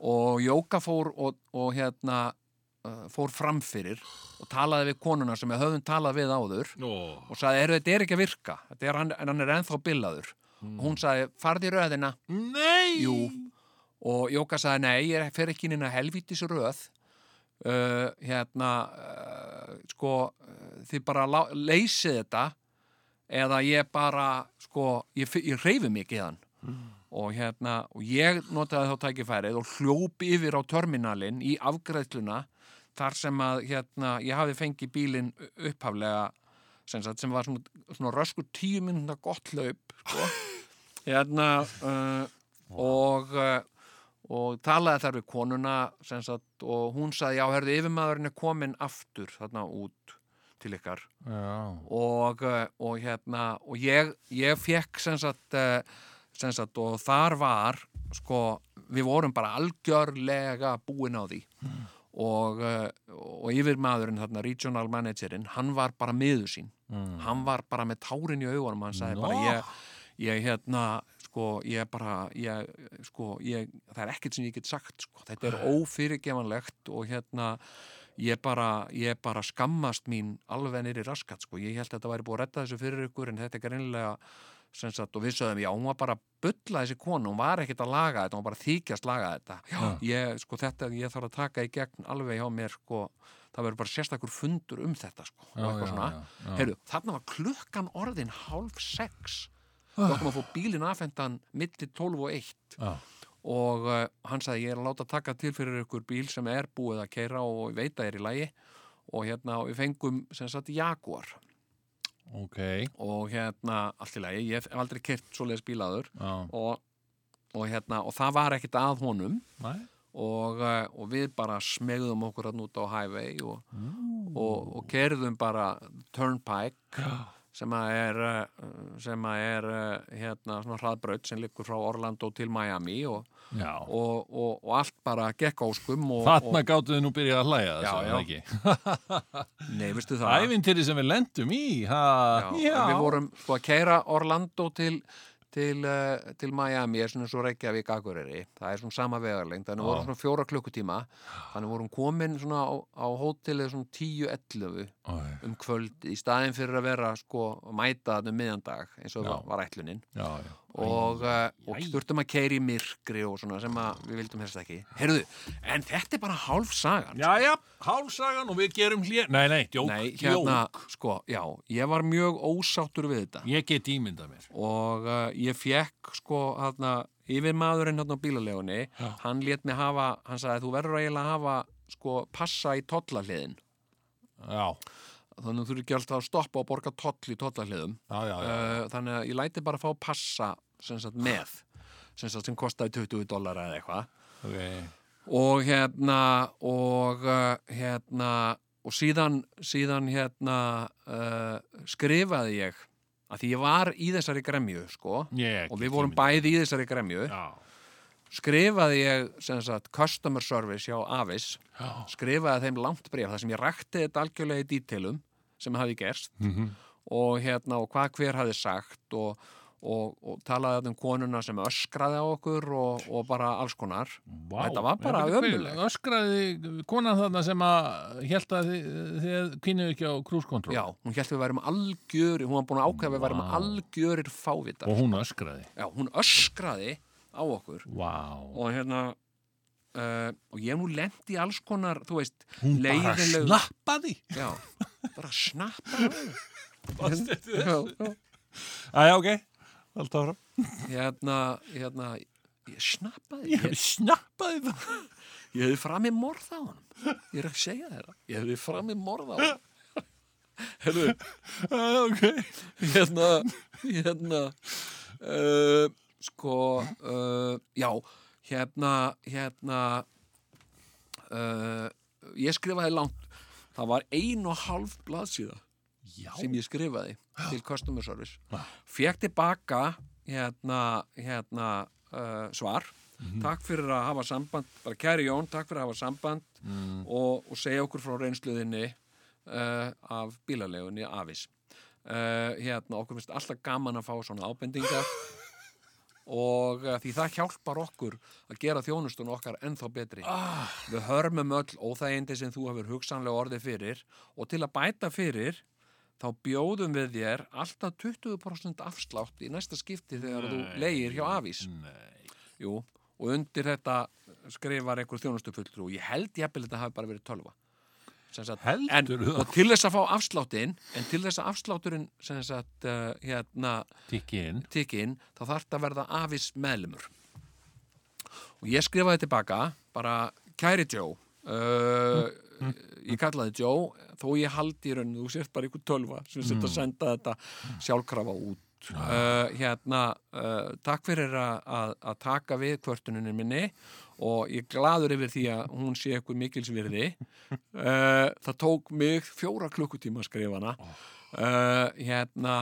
Speaker 3: og Jóka fór og, og hérna uh, fór framfyrir og talaði við konuna sem við höfum talað við áður
Speaker 4: Ó,
Speaker 3: og sagði, eru þetta er ekki að virka þetta er, hann, en hann er ennþá bilaður og hún sagði, farði í röðina
Speaker 4: Nei!
Speaker 3: Jú. og Jóka sagði, nei, ég fer ekki inn inn að helvítis röð uh, hérna uh, sko, uh, þið bara lá- leysið þetta eða ég bara sko, ég, fi- ég reyfi mig ekki þann og hérna, og ég notaði þá tækifærið og hljóp yfir á terminalin í afgræðsluna þar sem að hérna, ég hafi fengið bílinn upphaflega sem, sagt, sem var svona, svona röskur tíu minna gott hlaup sko. hérna uh, og uh, og talaði þar við konuna sem sagt, og hún sagði, já, herðu, yfirmaðurinn er komin aftur þarna út til ykkar
Speaker 4: Já.
Speaker 3: og, eh, og hérna og ég, ég fekk sem sagt, eh, sem sagt og þar var sko, við vorum bara algjörlega búin á því og, eh, og yfirmaðurinn þarna, regional managerinn, hann var bara miður sín,
Speaker 4: Mm.
Speaker 3: hann var bara með tárin í augunum, hann sagði bara
Speaker 4: Nó.
Speaker 3: ég, ég hérna, sko, ég bara ég, sko, ég, það er ekkert sem ég get sagt, sko, þetta er ófyrirgefanlegt og hérna ég bara, ég bara skammast mín alveg nýri raskat sko. ég held að þetta væri búið að redda þessu fyrir ykkur en þetta er greinilega sem sagt, og við sögðum, já, hún var bara að bulla þessi konu, hún var ekkert að laga þetta hún var bara að þykjast laga þetta já, ég, sko, þetta, ég þarf að taka í gegn alveg hjá mér, sko, það verður bara sérstakur fundur um þetta, sko, og eitthvað svona
Speaker 4: já.
Speaker 3: Heyrðu, þarna var klukkan orðin hálf sex við okkur að fá bílinn afhendan milli 12 og 1
Speaker 4: Ah. Já.
Speaker 3: og uh, hann sagði ég er að láta taka til fyrir ykkur bíl sem er búið að keira og ég veit að er í lagi og hérna og við fengum sem sagt Jaguar
Speaker 4: ok,
Speaker 3: og hérna allt í lagi, ég hef aldrei kert svoleiðis bílaður
Speaker 4: já,
Speaker 3: og, og hérna og það var ekkert að honum
Speaker 4: næ,
Speaker 3: og, uh, og við bara smegðum okkur hann út á highway og, og, og kerðum bara turnpike sem að er, uh, sem að er uh, hérna svona hraðbraut sem liggur frá Orlando til Miami og,
Speaker 4: já.
Speaker 3: og, og, og allt bara gekk áskum og,
Speaker 4: Þarna gáttu þið nú byrjað að hlæja
Speaker 3: Já,
Speaker 4: þessu,
Speaker 3: já.
Speaker 4: eða ekki?
Speaker 3: og nei, veistu það
Speaker 4: Ævintýri sem við lendum í, ha?
Speaker 3: já, en við vorum sko að keira Orlando til til, uh, til Miami er svona svo Reykjavík Akureyri, það er svona sama vegarlengd þannig
Speaker 4: Já.
Speaker 3: vorum svona fjóra klukkutíma þannig vorum komin svona á, á hótelið svona 10-11
Speaker 4: Æ,
Speaker 3: um kvöld í staðin fyrir að vera sko að mæta þarna um miðjandag eins og
Speaker 4: Já.
Speaker 3: var, var ætlunin
Speaker 4: já, já.
Speaker 3: og, uh, og
Speaker 4: æ.
Speaker 3: þurftum að keira í myrkri og svona sem að við vildum helst ekki Heyrðu, en þetta er bara hálf sagan
Speaker 4: Jæja, hálfsagan og við gerum hlér Nei, nei, djók,
Speaker 3: Nei,
Speaker 4: djók
Speaker 3: hérna, sko, já, ég var mjög ósáttur við þetta
Speaker 4: Ég get ímyndað mér
Speaker 3: og uh, ég fekk sko hérna, yfir maðurinn hérna á bílalegunni
Speaker 4: Já.
Speaker 3: hann lét mig hafa, hann sagði þú verður eiginlega að hafa sko passa í tollahliðin
Speaker 4: Já,
Speaker 3: þannig að þú eru ekki alltaf að stoppa og borga toll í tollarliðum
Speaker 4: já, já, já.
Speaker 3: uh, þannig að ég læti bara að fá passa sem sagt með sem sagt sem kostaði 20 dólar eða eitthvað
Speaker 4: Okay.
Speaker 3: og hérna og uh, hérna og síðan, síðan hérna uh, skrifaði ég að því ég var í þessari gremju sko
Speaker 4: Ég
Speaker 3: og
Speaker 4: get
Speaker 3: við vorum
Speaker 4: ímyndað-
Speaker 3: bæði í þessari gremju
Speaker 4: Já,
Speaker 3: skrifaði ég sem sagt customer service hjá Avis
Speaker 4: já,
Speaker 3: skrifaði þeim langt bref þar sem ég rakti þetta algjörlega í dítilum sem hafi gerst
Speaker 4: Mhm.
Speaker 3: og hérna og hvað hver hafi sagt og, og, og talaði þarna um konuna sem öskraði á okkur og, og bara alls konar
Speaker 4: Vá.
Speaker 3: Þetta var bara
Speaker 4: Já, bíddu,
Speaker 3: ömurlegt.
Speaker 4: hver Öskraði konan þarna sem að held að þið, þið kynuðu ekki á krúskontról
Speaker 3: Já, hún held við værum algjöri hún var búin að ákveða að við værum
Speaker 4: Vá.
Speaker 3: algjörir fávitar
Speaker 4: og hún öskraði
Speaker 3: Já, hún öskraði á okkur
Speaker 4: Vá,
Speaker 3: og hérna uh, og ég hef nú lent í alls konar þú veist,
Speaker 4: hún bara
Speaker 3: leiðinlegu-
Speaker 4: snappaði
Speaker 3: já, bara snappa já, já.
Speaker 4: Æja, ok, allt ára
Speaker 3: hérna, hérna ég snappaði
Speaker 4: Ég
Speaker 3: ég,
Speaker 4: hef snappaði það
Speaker 3: ég hefði framið morð á hann ég er að segja þér það. ég hefði framið morð á hann hérna,
Speaker 4: Æja, ok
Speaker 3: hérna, hérna uh, sko uh, já, hérna hérna uh, ég skrifaði langt það var ein og hálf blaðsíða
Speaker 4: Já,
Speaker 3: sem ég skrifaði til customer service
Speaker 4: Já.
Speaker 3: fekk tilbaka hérna, hérna uh, svar
Speaker 4: Mhm.
Speaker 3: takk fyrir að hafa samband bara kæri Jón, takk fyrir að hafa samband
Speaker 4: Mm.
Speaker 3: og, og segja okkur frá reynsluðinni uh, af bílalegunni Avis uh, hérna, okkur finnst alltaf gaman að fá svona ábendingar og uh, því það hjálpar okkur að gera þjónustun okkar ennþá betri við hörmum öll óþægindi sem þú hefur hugsanlega orðið fyrir og til að bæta fyrir þá bjóðum við þér alltaf 20% afslátt í næsta skipti þegar þú leigir hjá Avís.
Speaker 4: nei
Speaker 3: Jú, og undir þetta skrifar einhver þjónustufulltrú og ég held jafnvel þetta hafi bara verið tölva. Sem Sagt, en,
Speaker 4: Heldurðu það?
Speaker 3: og til þess að fá afsláttinn en til þess að afslátturinn sem sagt, uh, hérna,
Speaker 4: Tikki inn
Speaker 3: tikinn þá þarf þetta að verða afis meðlumur og ég skrifaði tilbaka bara kæri Joe uh, ég kallaði Joe þó ég haldi í rauninu, þú sért bara ykkur tölva sem setja að senda þetta sjálfkrafa út Uh, hérna, uh, takk fyrir að- að að taka við kvörtuninni minni og ég er gladur yfir því að hún sé eitthvað mikilsvirði uh, það tók mig fjóra klukkutíma að skrifa hana uh, hérna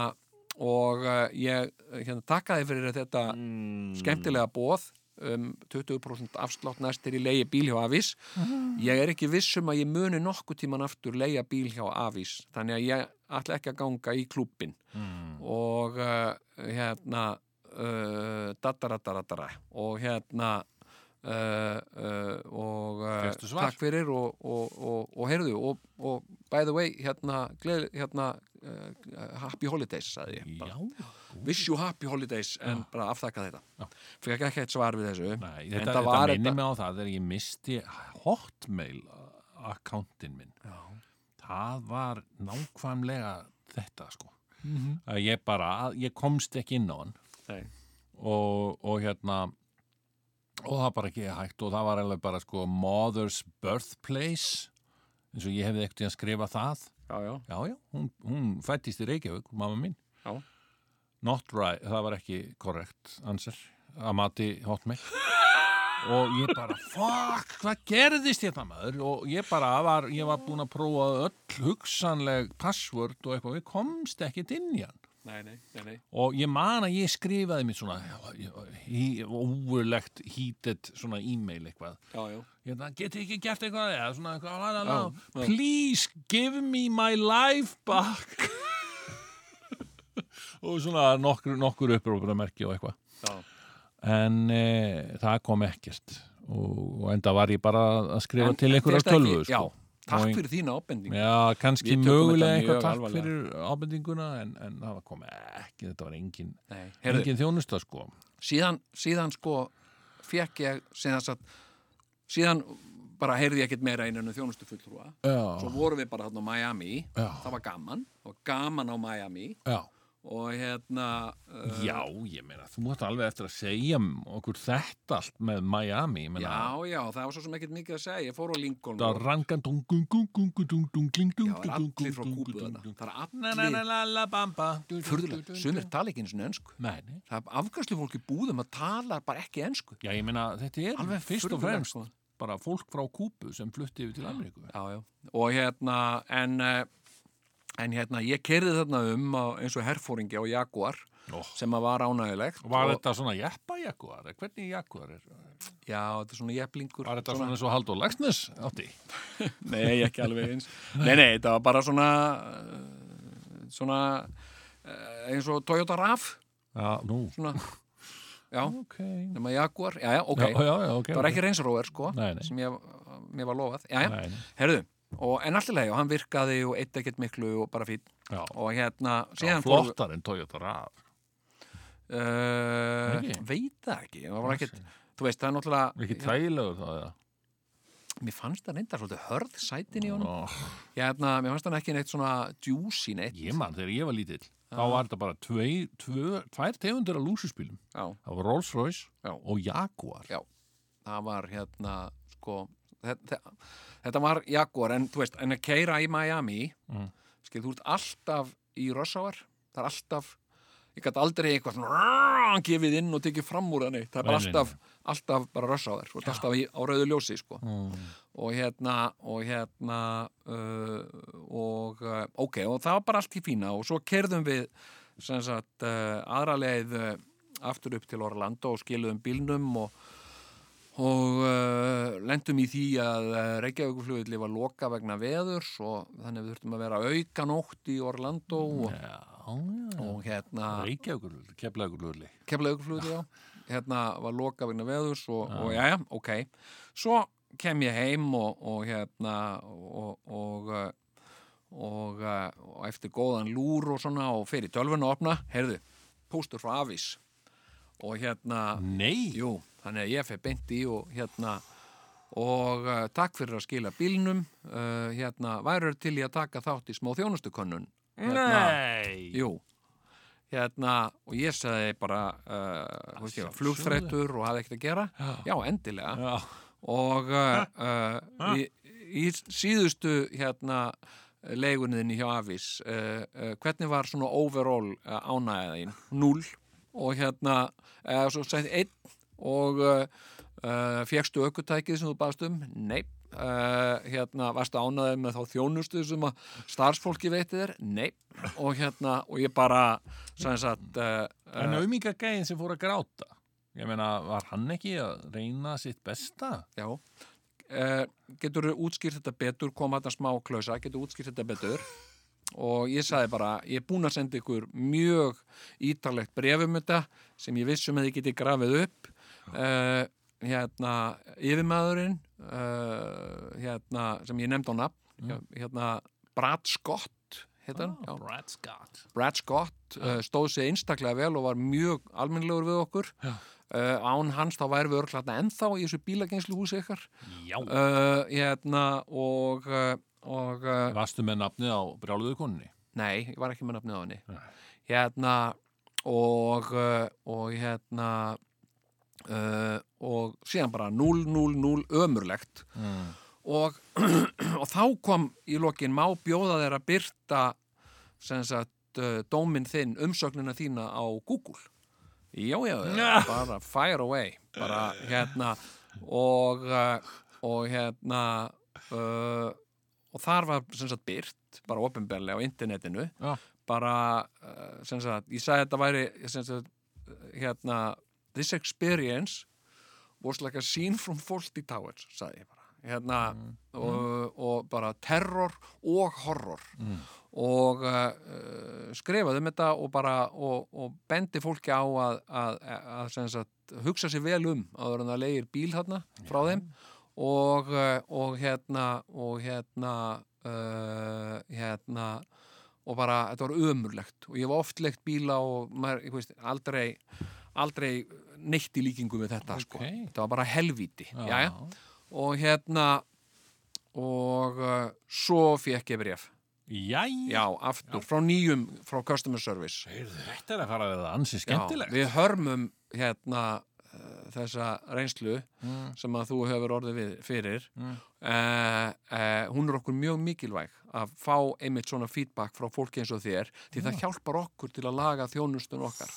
Speaker 3: og uh, ég uh, hérna, takkaði fyrir þetta
Speaker 4: Mm.
Speaker 3: skemmtilega bóð um 20% afslátt næstir í leiði bíl hjá Avís ég er ekki viss um að ég muni nokkuð tíman aftur leiða bíl hjá Avís þannig að ég ætla ekki að ganga í klúbbin
Speaker 4: Mm.
Speaker 3: og eh, uh, hérna uh, dataradatara og hérna uh, uh, uh, og uh,
Speaker 4: Fékkstu svar?
Speaker 3: takk fyrir og, og, og, og heyrðu og, og by the way hérna, gleð, hérna uh, happy holidays sagði ég bara.
Speaker 4: Já,
Speaker 3: wish you happy holidays en bara afþakka þetta fyrir ekki eitt svar við þessu
Speaker 4: Nei,
Speaker 3: Enda
Speaker 4: þetta, þetta
Speaker 3: var
Speaker 4: minni mig á það þegar ég misti hotmail akkántin minn
Speaker 3: Já.
Speaker 4: það var nákvæmlega þetta sko
Speaker 3: Mhm.
Speaker 4: að ég bara, að, ég komst ekki inn á hann
Speaker 3: Nei.
Speaker 4: og, og hérna og það var bara ekki hægt og það var alveg bara sko mother's birthplace eins og ég hefði ekkert í að skrifa það
Speaker 3: já, já,
Speaker 4: já, já, hún, hún fættist í Reykjavík mamma mín
Speaker 3: Já.
Speaker 4: not right, það var ekki korrekt answer, að mati hotmail og ég bara fuck, hvað gerðist þetta maður og ég bara var, ég var búin að prófa öll hugsanleg password og eitthvað, ég komst ekkit inn í hann
Speaker 3: nei, nei, nei, nei.
Speaker 4: og ég man að ég skrifaði mér svona hí- ógurlegt heated svona e-mail eitthvað
Speaker 3: Já, já.
Speaker 4: hérna, geti ekki gert eitthvað eða svona eitthvað, la, la, la,
Speaker 3: Já, já.
Speaker 4: please give me my life back og svona nokkur, nokkur upprópunamerki og eitthvað
Speaker 3: Já.
Speaker 4: en e, það kom ekkert og, og enda var ég bara að skrifa til einhverja
Speaker 3: fékkstu ekki-
Speaker 4: tölvu sko.
Speaker 3: já, takk
Speaker 4: Og-
Speaker 3: fyrir þína ábending
Speaker 4: Já, kannski
Speaker 3: Við tökum þetta
Speaker 4: mögulega
Speaker 3: mjög
Speaker 4: eitthvað takk
Speaker 3: alvarlega.
Speaker 4: fyrir ábendinguna en, en það var komið ekki, þetta var engin,
Speaker 3: Nei, heyrðu,
Speaker 4: engin þjónusta sko.
Speaker 3: síðan, síðan sko fekk ég síðan, satt, síðan bara heyrði ég ekkert meira einan þjónustu fulltrúa svo
Speaker 4: Já,
Speaker 3: vorum við bara þarna á Miami
Speaker 4: Já.
Speaker 3: það var gaman, það var gaman á Miami
Speaker 4: já.
Speaker 3: og hérna uh,
Speaker 4: Já, ég meina, þú mátt alveg eftir að segja okkur þetta allt með Miami, ég meina,
Speaker 3: já, já, það var svo sem ekkert mikið að segja ég fór á Lincoln
Speaker 4: þetta
Speaker 3: og- já, það er allir frá Kúbu þarna
Speaker 4: rangan
Speaker 3: það er allir, furðulega, sumir tala ekki eins og ennsku
Speaker 4: Nei, nei.
Speaker 3: það er afgjörslu fólki búðum að tala bara ekki ennsku
Speaker 4: Já, ég meina, þetta er
Speaker 3: Alveg
Speaker 4: fyrst og
Speaker 3: furðulegt,
Speaker 4: fremst
Speaker 3: sko.
Speaker 4: bara fólk frá Kúbu sem flutti yfir til Ameríku.
Speaker 3: já, já. og hérna en, eh, en hérna ég kerði þarna um á, eins og herfóringi á Jaguar
Speaker 4: Nó.
Speaker 3: sem að var ánægilegt
Speaker 4: Var
Speaker 3: og,
Speaker 4: þetta svona jeppa-jakuar? Hvernig jakuar er?
Speaker 3: já, þetta er svona jeflingur
Speaker 4: Var þetta svona eins og Haldur Lagsnes átti?
Speaker 3: nei, ekki alveg eins nei, nei, þetta var bara svona eh, svona eh, eins og Toyota RAV
Speaker 4: Já, nú.
Speaker 3: svona, já,
Speaker 4: Ok.
Speaker 3: nema Jaguar já, já, ok,
Speaker 4: Já, já, já, ok.
Speaker 3: það var ekki reynsróver sko,
Speaker 4: Nei, nei.
Speaker 3: sem ég, mér var lofað já, já,
Speaker 4: Nei, nei.
Speaker 3: herðu og, en allir leið og hann virkaði og eitt ekkert miklu og bara fín
Speaker 4: Já,
Speaker 3: og hérna,
Speaker 4: já
Speaker 3: síðan fórum við-
Speaker 4: flottar en Toyota RAV.
Speaker 3: Uh,
Speaker 4: Ekki?
Speaker 3: veit það ekki, það var ekkert
Speaker 4: Ekki.
Speaker 3: þú veist, það er náttúrulega hérna,
Speaker 4: Ekki tægilegur það, já.
Speaker 3: mér fannst það reyndar svolítið hörð sætin í honum
Speaker 4: Ó,
Speaker 3: ég, hérna, mér fannst það ekki neitt svona juicy neitt
Speaker 4: ég man, þegar ég var lítill, þá var þetta bara tvei, tvö, tvær tegundur af lúsuspílum.
Speaker 3: já,
Speaker 4: Það var Rolls Royce
Speaker 3: Já.
Speaker 4: og Jaguar.
Speaker 3: Já. það var hérna sko, þetta, þetta var Jaguar, en þú veist, en að keira í Miami
Speaker 4: Mm.
Speaker 3: skil, þú ert alltaf í Rossáar, það er alltaf ég gæti aldrei eitthvað svona gefið inn og tekið fram úr það neitt það er bara
Speaker 4: Nei, nei,
Speaker 3: alltaf, alltaf bara Rossáar og alltaf í, á rauðu ljósi, sko
Speaker 4: Mm.
Speaker 3: og hérna og hérna uh, og uh, ok, og það var bara allt í fína og svo kerðum við sem sagt uh, aðra leið uh, aftur upp til Orlando og skiluðum bílnum og og uh, lendum í því að uh, Reykjavíkuflugulli var loka vegna veðurs og þannig við þurftum að vera aukanótt í Orlando og,
Speaker 4: Mm, Já, já.
Speaker 3: og hérna
Speaker 4: Reykjavíkurlöðli, keflavíkurlöðli.
Speaker 3: Keflaugurflugur, já. Hérna var loka vegna veðurs og, og já, já, ok. Svo kem ég heim og, og hérna og, og, eh, og, eh, og eftir góðan lúr og svona og fer í tölvun og opna, heyrðu, póstur frá Avís og
Speaker 4: Mm.
Speaker 3: hérna,
Speaker 4: Nei!
Speaker 3: jú, þannig að ég fer beint í og hérna og uh, takk fyrir að skila bílnum uh, hérna, værur til ég að taka þátt í smá þjónustukönnun hérna,
Speaker 4: Nei!
Speaker 3: Jú hérna, og ég sagði bara uh, veist, ég var flugþreytur og hafði ekkert að gera já, endilega
Speaker 4: Já,
Speaker 3: og uh, uh, í, í síðustu hérna leigunniðinni hjá Avís uh, uh, hvernig var svona overall uh, ánæðin? Null og hérna, eða svo sett einn og uh, uh, fegstu aukutækið sem þú baðst um? Nei Uh, hérna, varstu ánæðið með þá þjónustu sem að starfsfólki veiti þér? Nei og hérna, og ég bara sem sagt uh,
Speaker 4: en
Speaker 3: uh,
Speaker 4: auðminga gæðin sem fór að gráta. Ég meina, var hann ekki að reyna sitt besta?
Speaker 3: Já. Uh, getur útskýrt þetta betur, kom þetta smá klausa, getur útskýrt þetta betur og ég sagði bara, ég er búin að senda ykkur um mjög ítarlegt brefum þetta sem ég vissum að ég geti grafið upp uh, hérna yfirmaðurinn uh, hérna, sem ég nefndi á
Speaker 4: Mm.
Speaker 3: nafn hérna Brad Scott heitan,
Speaker 4: Ah, Brad Scott
Speaker 3: Brad Scott uh, stóð sér einstaklega vel og var mjög almennlegur við okkur uh, án hans þá væri við örglatna ennþá í þessu bílagengslu húsi ykkar
Speaker 4: Já
Speaker 3: uh, hérna og, uh, og uh,
Speaker 4: Vastu með nafnið á brjáluðu konni
Speaker 3: Nei, ég var ekki með nafnið á henni Hérna og, uh, og hérna uh, og síðan bara 0-0-0 ömurlegt
Speaker 4: mm.
Speaker 3: og, og þá kom í lokin má bjóða þeir að byrta sem sagt uh, dóminn þinn, umsögnina þína á Google Já, já, já, bara fire away bara hérna og, uh, og hérna uh, og þar var sem sagt byrt, bara ofinberlega á internetinu
Speaker 4: Já.
Speaker 3: bara uh, sem sagt, ég sagði þetta væri sem sagt, uh, hérna this experience was like a scene from Fawlty Towers sagði ég bara hérna, og, og bara terror og horror og uh, uh, skrifaði um þetta og bara og, og bendi fólki á að, að, að, að sagt, hugsa sér vel um áður en það leigir bíl þarna frá þeim og, uh, og hérna og hérna uh, hérna og bara, þetta var ömurlegt og ég var oft leikt bíla og maður, ég veist, aldrei aldrei neitt í líkingu við þetta sko.
Speaker 4: Ókei.
Speaker 3: þetta var bara helvíti Jæja. og hérna og uh, svo fekk ég bref
Speaker 4: Jæja
Speaker 3: já, aftur, frá nýjum frá customer service
Speaker 4: Heyrðu, Þetta er að fara að verða ansi
Speaker 3: Já,
Speaker 4: skemmtilegt
Speaker 3: við hörmum hérna uh, þessa reynslu sem að þú hefur orðið við, fyrir mm. hún er okkur mjög mikilvæg að fá einmitt svona feedback frá fólki eins og þér því það hjálpar okkur til að laga þjónustun okkar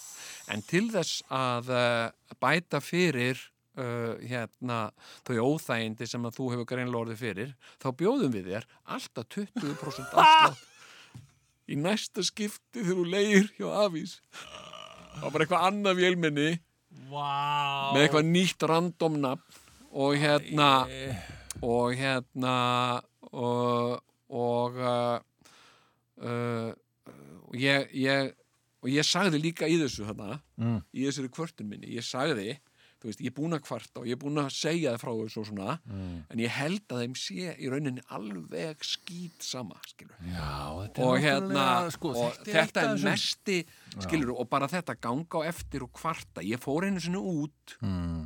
Speaker 3: en til þess að uh, bæta fyrir Uh, hérna, þau óþægindi sem að þú hefur greinlega orðið fyrir þá bjóðum við þér alltaf 20% afslátt í næsta skipti þegar þú leigir hjá Avís það var bara eitthvað annað vélminni
Speaker 4: Vá
Speaker 3: með eitthvað nýtt random nafn og hérna og hérna og, og uh, uh, og ég, ég og ég sagði líka í þessu þarna
Speaker 4: Mm.
Speaker 3: í þessari kvörtun minni, ég sagði þú veist, ég er búin að kvarta og ég er búin að segja það frá þessu og svona, en ég held að þeim sé í rauninni alveg skýt sama, skilur
Speaker 4: Já, þetta er
Speaker 3: og hérna
Speaker 4: náttúrulega, sko,
Speaker 3: og
Speaker 4: þetta er,
Speaker 3: þetta er
Speaker 4: eitt af þessum-
Speaker 3: mesti skilur og bara þetta ganga á eftir og kvarta ég fór einu sinni út
Speaker 4: mm.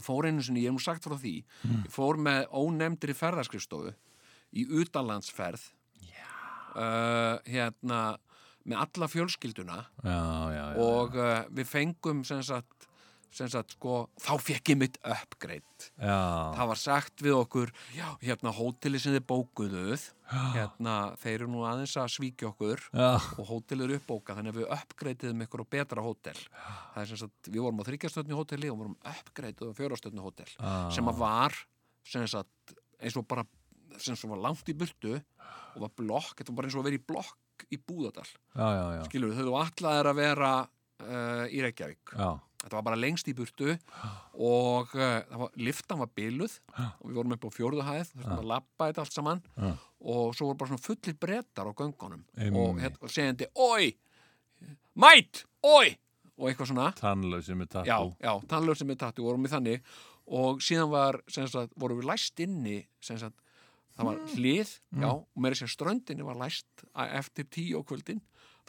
Speaker 3: ég fór einu sinni, ég hef nú sagt frá því
Speaker 4: Hmm.
Speaker 3: ég fór með ónefndri ferðarskristofu í utanlandsferð uh, hérna með alla fjölskylduna
Speaker 4: Já, já, já
Speaker 3: og uh, við fengum sem sagt, sem sagt sko, þá fekk ég mitt uppgreitt
Speaker 4: Já,
Speaker 3: það var sagt við okkur já, hérna hóteli sem þið bókuðuð hérna þeir eru nú aðeins að svíkja okkur
Speaker 4: já
Speaker 3: og hótel er uppbókað þannig að við uppgreitiðum ykkur á betra hótel það er sem sagt, við vorum á þryggjastöðnu hóteli og vorum uppgreitið á fjórastöðnu hótel
Speaker 4: Ah.
Speaker 3: sem að var sem sagt, eins og bara sem svo var langt í burtu og var blokk, þetta var bara eins og að vera í blokk í Búðardal,
Speaker 4: Já, já, já
Speaker 3: skilur við, þau allar er að vera uh, í Reykjavík
Speaker 4: Já,
Speaker 3: þetta var bara lengst í burtu og uh, það var, liftan var byluð og við vorum upp á fjórðu hæð þessum að labba þetta allt saman
Speaker 4: Já.
Speaker 3: og svo voru bara svona fullir brettar á göngunum og,
Speaker 4: Einmitt.
Speaker 3: hér, og segjandi, oi mætt, oi og eitthvað svona,
Speaker 4: tannlausi með tattoo
Speaker 3: já, já, tannlöf sem er tattu vorum við þannig og síðan var, sem sagt, vorum við læst inni sem sagt, það var hlið já, og meira sér ströndinni var læst að eftir tíu á kvöldin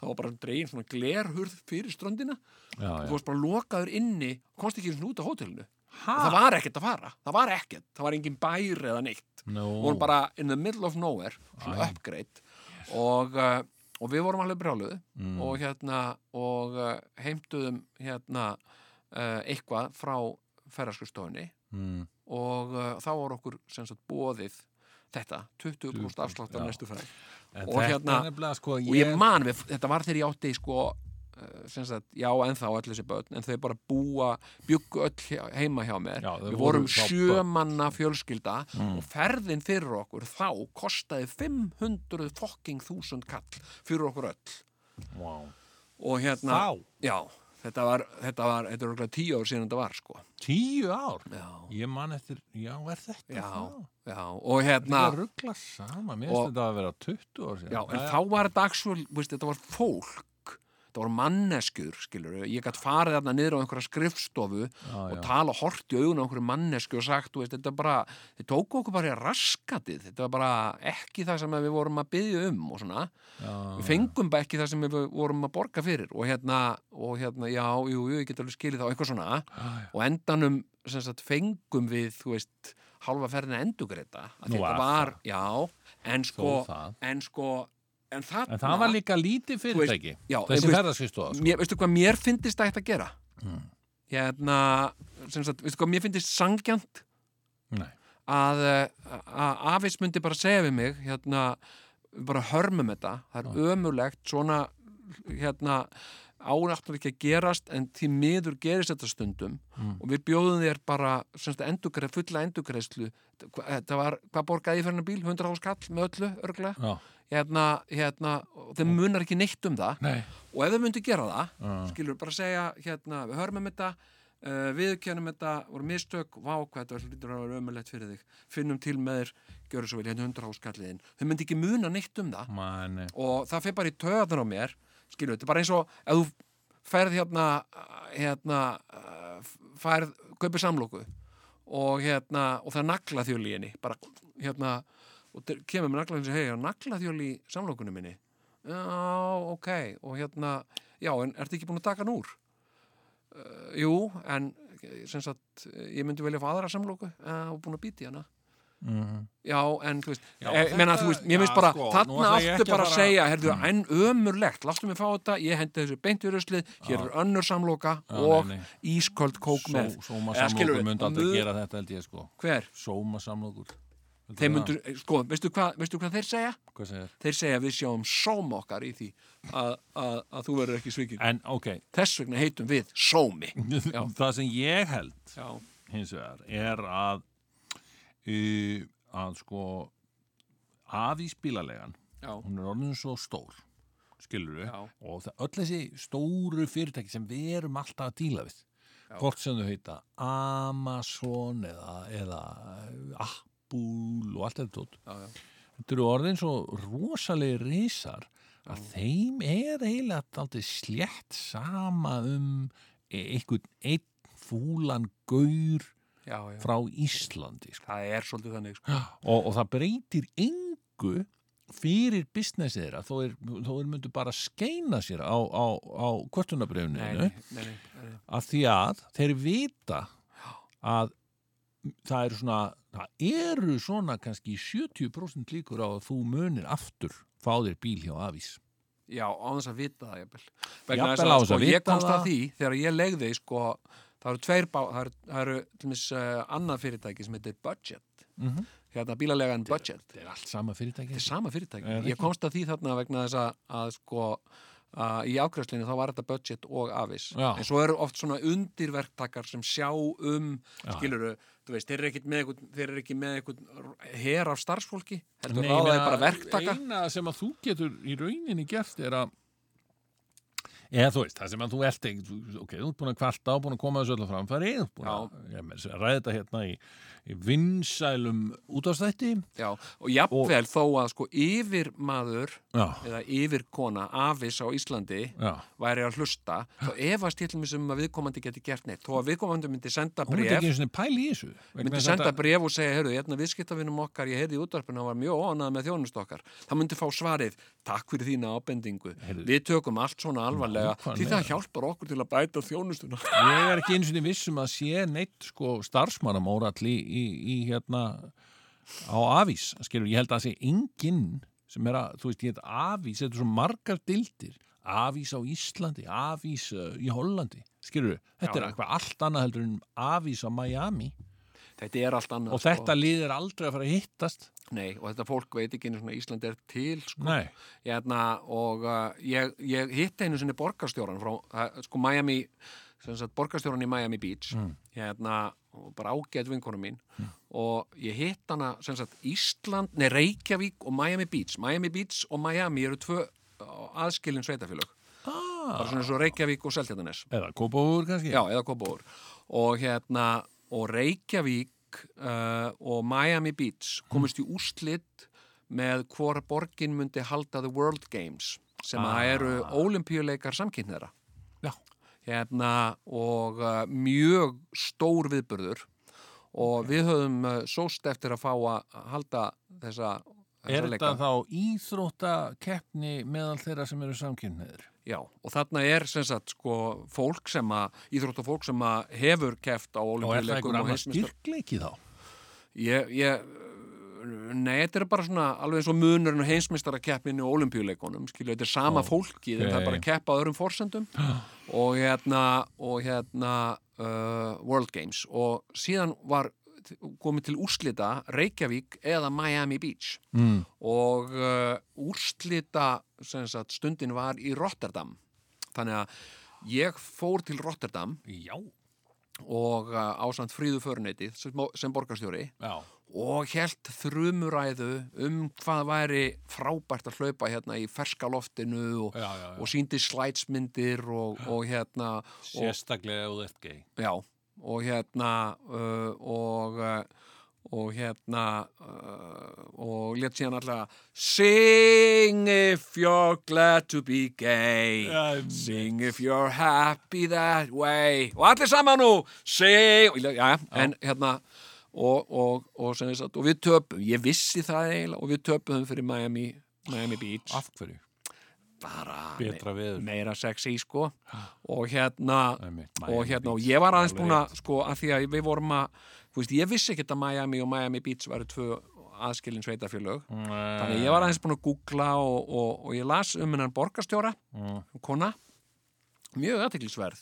Speaker 3: þá var bara dregin svona glerhurð fyrir ströndina
Speaker 4: já,
Speaker 3: þú
Speaker 4: já.
Speaker 3: varst bara lokaður inni komst ekki eins og út á hótelinu og það var ekkert að fara, það var ekkert það var engin bær eða neitt
Speaker 4: Nú,
Speaker 3: við vorum bara in the middle of nowhere svona uppgreitt og, uh, og við vorum alveg brjáluð
Speaker 4: Mm.
Speaker 3: og hérna og uh, heimtuðum hérna uh, eitthvað frá ferðarskristofunni
Speaker 4: mm,
Speaker 3: og uh, þá var okkur sem sagt bóðið þetta, 20% afslátt af
Speaker 4: Já.
Speaker 3: næstu ferð
Speaker 4: en
Speaker 3: og
Speaker 4: þetta
Speaker 3: hérna-
Speaker 4: er nefnilega, sko,
Speaker 3: og ég man, við, þetta var þegar ég átti sko, eh, sem sagt, já ennþá öll þessi börn, en þau bara búa bjuggu öll hjá- heima hjá mér
Speaker 4: Já, þau
Speaker 3: við
Speaker 4: voru
Speaker 3: vorum
Speaker 4: þá Mm.
Speaker 3: sjömanna fjölskylda og ferðin fyrir okkur þá kostaði 500 fokking þúsund kall fyrir okkur öll
Speaker 4: wow.
Speaker 3: og hérna,
Speaker 4: Þá?
Speaker 3: já þetta var, þetta var, þetta er okkur tíu ár síðan þetta var sko,
Speaker 4: Tíu ár?
Speaker 3: já,
Speaker 4: Ég man eftir, já, er þetta
Speaker 3: já,
Speaker 4: það?
Speaker 3: já og
Speaker 4: Þetta
Speaker 3: hérna
Speaker 4: er ruggla sama, mér finnst
Speaker 3: Og-
Speaker 4: þetta að vera 20 ár síðan
Speaker 3: Já, en
Speaker 4: Það er-
Speaker 3: þá var þetta actual, veist, þetta var fólk þetta voru manneskjur, skilur ég gætt farið þarna niður á einhverja skrifstofu
Speaker 4: Já,
Speaker 3: og
Speaker 4: já.
Speaker 3: tala hort í augun á einhverju mannesku og sagt, þú veist, þetta bara þið tóku okkur bara í raskatið, þetta var bara ekki það sem við vorum að byggja um og svona,
Speaker 4: já,
Speaker 3: við fengum bara ekki það sem við vorum að borga fyrir og hérna, og hérna, já, jú, jú, ég get alveg skilið þá eitthvað svona
Speaker 4: já.
Speaker 3: og endanum, sem sagt, fengum við, þú veist, halva ferðina endugreita að
Speaker 4: Nú var
Speaker 3: þetta var, já, en sko,
Speaker 4: það.
Speaker 3: en sko en,
Speaker 4: En það var líka lítið
Speaker 3: veist,
Speaker 4: fyrirtæki,
Speaker 3: já, en þú
Speaker 4: þessi
Speaker 3: veist-
Speaker 4: ferðarskristofa. sko. Mm.
Speaker 3: mér, veistu hvað mér finnist ætti að gera hérna sem sagt, veistu hvað mér finnist sangjant
Speaker 4: Nei.
Speaker 3: að, eh, að Afis myndi bara segja við mig hérna, við bara hörmum þetta það er ömulegt, svona hérna, ánáttur ekki að gerast en því miður gerist þetta stundum
Speaker 4: Mm.
Speaker 3: og við bjóðum þér bara sem sagt, endugreið, fulla endugreislu það var, hvað borgaði ég fyrir hennar bíl 100 áskall með öllu, örgla
Speaker 4: Já,
Speaker 3: hérna, hérna, og þeim munar ekki neitt um það
Speaker 4: nei.
Speaker 3: og ef þau myndu gera það,
Speaker 4: Já.
Speaker 3: skilur bara segja hérna, við hörmum þetta uh, við kennum þetta, voru mistök vá hvað þetta var lítur að vera ömulegt fyrir þig finnum til með þér, gjöru svo vel hérna hundra áskalliðin, þau myndi ekki muna neitt um það
Speaker 4: Mæni.
Speaker 3: og það fyrir bara í töðan á mér skilur, þetta er bara eins og ef þú ferð hérna hérna, eh, færð kaupir samlóku og hérna, og það er naglaþjóli í henni, bara hérna og þeir kemur með naglaþjóli og segja, hei, naglaþjóli í samlókunum minni já, ok, og hérna já, en ertu ekki búin að taka hann úr uh, jú, en eh, sem sagt, ég myndi velja að fá aðra samlóku uh, og búin að býti hana já, en þú veist,
Speaker 4: Já,
Speaker 3: ég meina,
Speaker 4: þetta-
Speaker 3: þú veist, mér
Speaker 4: já,
Speaker 3: finnst bara
Speaker 4: sko, nú
Speaker 3: þarna
Speaker 4: ætla ég
Speaker 3: aftur
Speaker 4: ekki að
Speaker 3: bara
Speaker 4: fara-
Speaker 3: að
Speaker 4: Mm.
Speaker 3: segja, herðu, en ömurlegt láttu mig fá þetta, ég hendi þessu beint í ruslið hér er önnur samloka
Speaker 4: Já,
Speaker 3: og
Speaker 4: nei, nei.
Speaker 3: ísköld kók með
Speaker 4: Sóma
Speaker 3: Eða skilurðu,
Speaker 4: samlokur myndi
Speaker 3: og
Speaker 4: aldrei
Speaker 3: mu-
Speaker 4: gera þetta held ég sko.
Speaker 3: hver?
Speaker 4: Sóma samlokur.
Speaker 3: Þeir myndu, sko, veistu hvað, veistu hvað þeir segja?
Speaker 4: Hvað segir?
Speaker 3: Þeir segja við sjáum sóm okkar í því að, að, að þú verður ekki svikið.
Speaker 4: En ok,
Speaker 3: Þess vegna heitum við sómi.
Speaker 4: það sem ég held
Speaker 3: Já,
Speaker 4: hins vegar er að uh, að sko afís bílalegan
Speaker 3: já,
Speaker 4: hún er orðin svo stór skilur við
Speaker 3: Já.
Speaker 4: og það, öll þessi stóru fyrirtæki sem við erum alltaf að díla við hvort sem þau heita Amazon eða, eða Apple og allt þetta tótt
Speaker 3: já, já.
Speaker 4: þetta eru orðin svo rosalegi risar að þeim er eiginlega aldrei slétt sama um e- einhvern einn fúlan gaur
Speaker 3: já, já.
Speaker 4: frá Íslandi sko.
Speaker 3: Það er svolítið þannig, sko.
Speaker 4: og, og það breytir engu fyrir businessið þeirra þó er, þó er myndu bara skeina sér á, á, á kvörtunabrefninu
Speaker 3: nei, nei, nei, nei, nei.
Speaker 4: að því að þeir vita að það eru svona það eru svona kannski 70% líkur á að þú munir aftur fá þér bíl hjá Avís
Speaker 3: Já, á þess að vita það, jafnvel.
Speaker 4: Jafnvel
Speaker 3: Vegna þess
Speaker 4: á
Speaker 3: að,
Speaker 4: þess
Speaker 3: sko,
Speaker 4: að
Speaker 3: ég
Speaker 4: vita
Speaker 3: komst
Speaker 4: það.
Speaker 3: að því þegar ég legði, sko, það eru tveir bá, það eru, það eru til mis, uh, annað fyrirtæki sem heitir Budget.
Speaker 4: mm -hmm.
Speaker 3: Hérna, bílalegan Budget.
Speaker 4: Þetta er allt sama fyrirtæki
Speaker 3: Þetta er sama fyrirtæki.
Speaker 4: Er það
Speaker 3: Ég
Speaker 4: ekki?
Speaker 3: komst að því þarna vegna þess að, að sko að í ákvæðslinni þá var þetta budget og afis.
Speaker 4: Já.
Speaker 3: En svo eru oft svona undirverktakar sem sjá um, skiluru, þú veist, þeir eru ekkit með einhvern, þeir eru ekki með einhvern her af starfsfólki, heldur
Speaker 4: ég
Speaker 3: ráðaði
Speaker 4: meina,
Speaker 3: bara verktaka.
Speaker 4: eina sem að þú getur í rauninni gert er að eða þú veist, það sem að þú ert ekki þú- ok, þú ert búin að kvarta og búin að koma þessu öllu framfæri þú ert búin að, ég, meira að segja, ræða þetta hérna í, í vinsælum útastætti
Speaker 3: Já, og jafnvel þó að sko yfirmaður
Speaker 4: já,
Speaker 3: eða yfirkona afis á Íslandi
Speaker 4: já,
Speaker 3: væri að hlusta, þá efast ég til mér sem að viðkomandi geti gert neitt. Þó að viðkomandi myndi senda
Speaker 4: hún er
Speaker 3: bref
Speaker 4: ekki einu sinni pæl í þessu vegna
Speaker 3: myndi
Speaker 4: þess að
Speaker 3: senda
Speaker 4: þetta-
Speaker 3: bref og segja, heyrðu, hérna viðskiptavinum okkar, ég heyrði í útvarpinu, hann var mjög óanað með þjónust okkar. Það myndi fá svarið, takk fyrir þína ábendingu.
Speaker 4: Heyrðu.
Speaker 3: Við tökum allt svona alvarlega,
Speaker 4: Nákvæmlega.
Speaker 3: því það hjálpar okkur til að bæta þjónustuna.
Speaker 4: ég er ekki eins og niður vissum um að sé neitt sko starfsmannamórall í, í, í hérna á afís, skilur, ég held að það sé enginn sem er að, þú veist, ég heit afís þetta er svo margar dildir afís á Íslandi, afís uh, í Hollandi skilur, þetta
Speaker 3: Já,
Speaker 4: er
Speaker 3: já.
Speaker 4: eitthvað allt annað heldur en afís á Miami
Speaker 3: Þetta er allt annað.
Speaker 4: og þetta lið er aldrei að fara að hittast
Speaker 3: Sko. Nei, og þetta fólk veit ekki einu svona Ísland er til, sko.
Speaker 4: nei,
Speaker 3: Hérna, og uh, ég, ég hitti einu sinni borgarstjóran frá, uh, sko, Miami, sem sagt, borgarstjóran í Miami Beach. Hérna, og bara ágæð vinkonu mín og ég hitt hana sem sagt Ísland, nei Reykjavík og Miami Beach Miami Beach og Miami eru tvö á, aðskilin sveitafélög bara svona eins og Reykjavík og Seltjarnanes
Speaker 4: eða kópavúr kannski
Speaker 3: já, eða Kópavór og hérna, og Reykjavík uh, og Miami Beach komist í úrslit með hvora borgin myndi halda The World Games sem
Speaker 4: Ah.
Speaker 3: að eru ólimpíuleikar samkynniðra
Speaker 4: Já.
Speaker 3: hérna og uh, mjög stór viðburður og við höfum uh, sóst eftir að fá að halda þessa,
Speaker 4: Er
Speaker 3: þessa
Speaker 4: þetta þá íþróttakeppni meðal þeirra sem eru samkynniður?
Speaker 3: Já, og þarna er sem sagt sko fólk sem að, íþróttafólk sem að hefur keft á
Speaker 4: Og er það
Speaker 3: olimpíuleikum
Speaker 4: einhver
Speaker 3: og
Speaker 4: annar
Speaker 3: heimsmeistar.
Speaker 4: styrkleiki þá?
Speaker 3: Ég, ég, nei, þetta er bara svona alveg eins og munurinn og heimsmyndstarakeppinu og olimpíuleikunum, skilju, þetta er sama fólkið,
Speaker 4: ok.
Speaker 3: þetta
Speaker 4: Ah.
Speaker 3: er bara að keppa á öðrum forsendum og hérna, og hérna uh, World Games og síðan var komið til úrslita Reykjavík eða Miami Beach
Speaker 4: Mm.
Speaker 3: og uh, úrslita sem sagt, stundin var í Rotterdam þannig að ég fór til Rotterdam
Speaker 4: Já.
Speaker 3: og uh, ásand fríðu föruneytið sem, sem borgarstjóri
Speaker 4: Já.
Speaker 3: og held þrumuræðu um hvað væri frábært að hlaupa hérna í ferska loftinu og,
Speaker 4: Já, já, já.
Speaker 3: og síndi slætsmyndir og, og hérna og,
Speaker 4: Sérstaklega ef þú ert gei.
Speaker 3: já, og hérna uh, og uh, og hérna uh, og létt síðan alltaf Sing if you're glad to be gay
Speaker 4: Já, einmitt.
Speaker 3: Sing if you're happy that way og allir saman nú Sing já, já, en hérna og, og, og, sem ég sagt, og við töpum ég vissi það eiginlega og við töpum fyrir Miami, Miami Beach
Speaker 4: Af hverju?
Speaker 3: bara
Speaker 4: Betra veður.
Speaker 3: meira sexy sko og hérna
Speaker 4: Einmitt,
Speaker 3: og
Speaker 4: Miami
Speaker 3: hérna og
Speaker 4: Beach,
Speaker 3: ég var aðeins
Speaker 4: alveg
Speaker 3: búin að sko að því að við vorum að þú veist, ég vissi ekkert að Miami og Miami Beach væri tvö aðskilin sveitafjölög þannig að ég var aðeins búin að googla og, og, og ég las um hennan borgarstjóra
Speaker 4: Mm.
Speaker 3: kona, mjög aðtiklisverð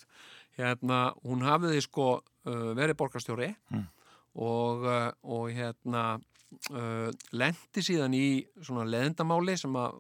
Speaker 3: hérna, hún hafiði sko uh, verið borgarstjóri
Speaker 4: Mm.
Speaker 3: og, uh, og hérna uh, lendi síðan í svona leðendamáli sem að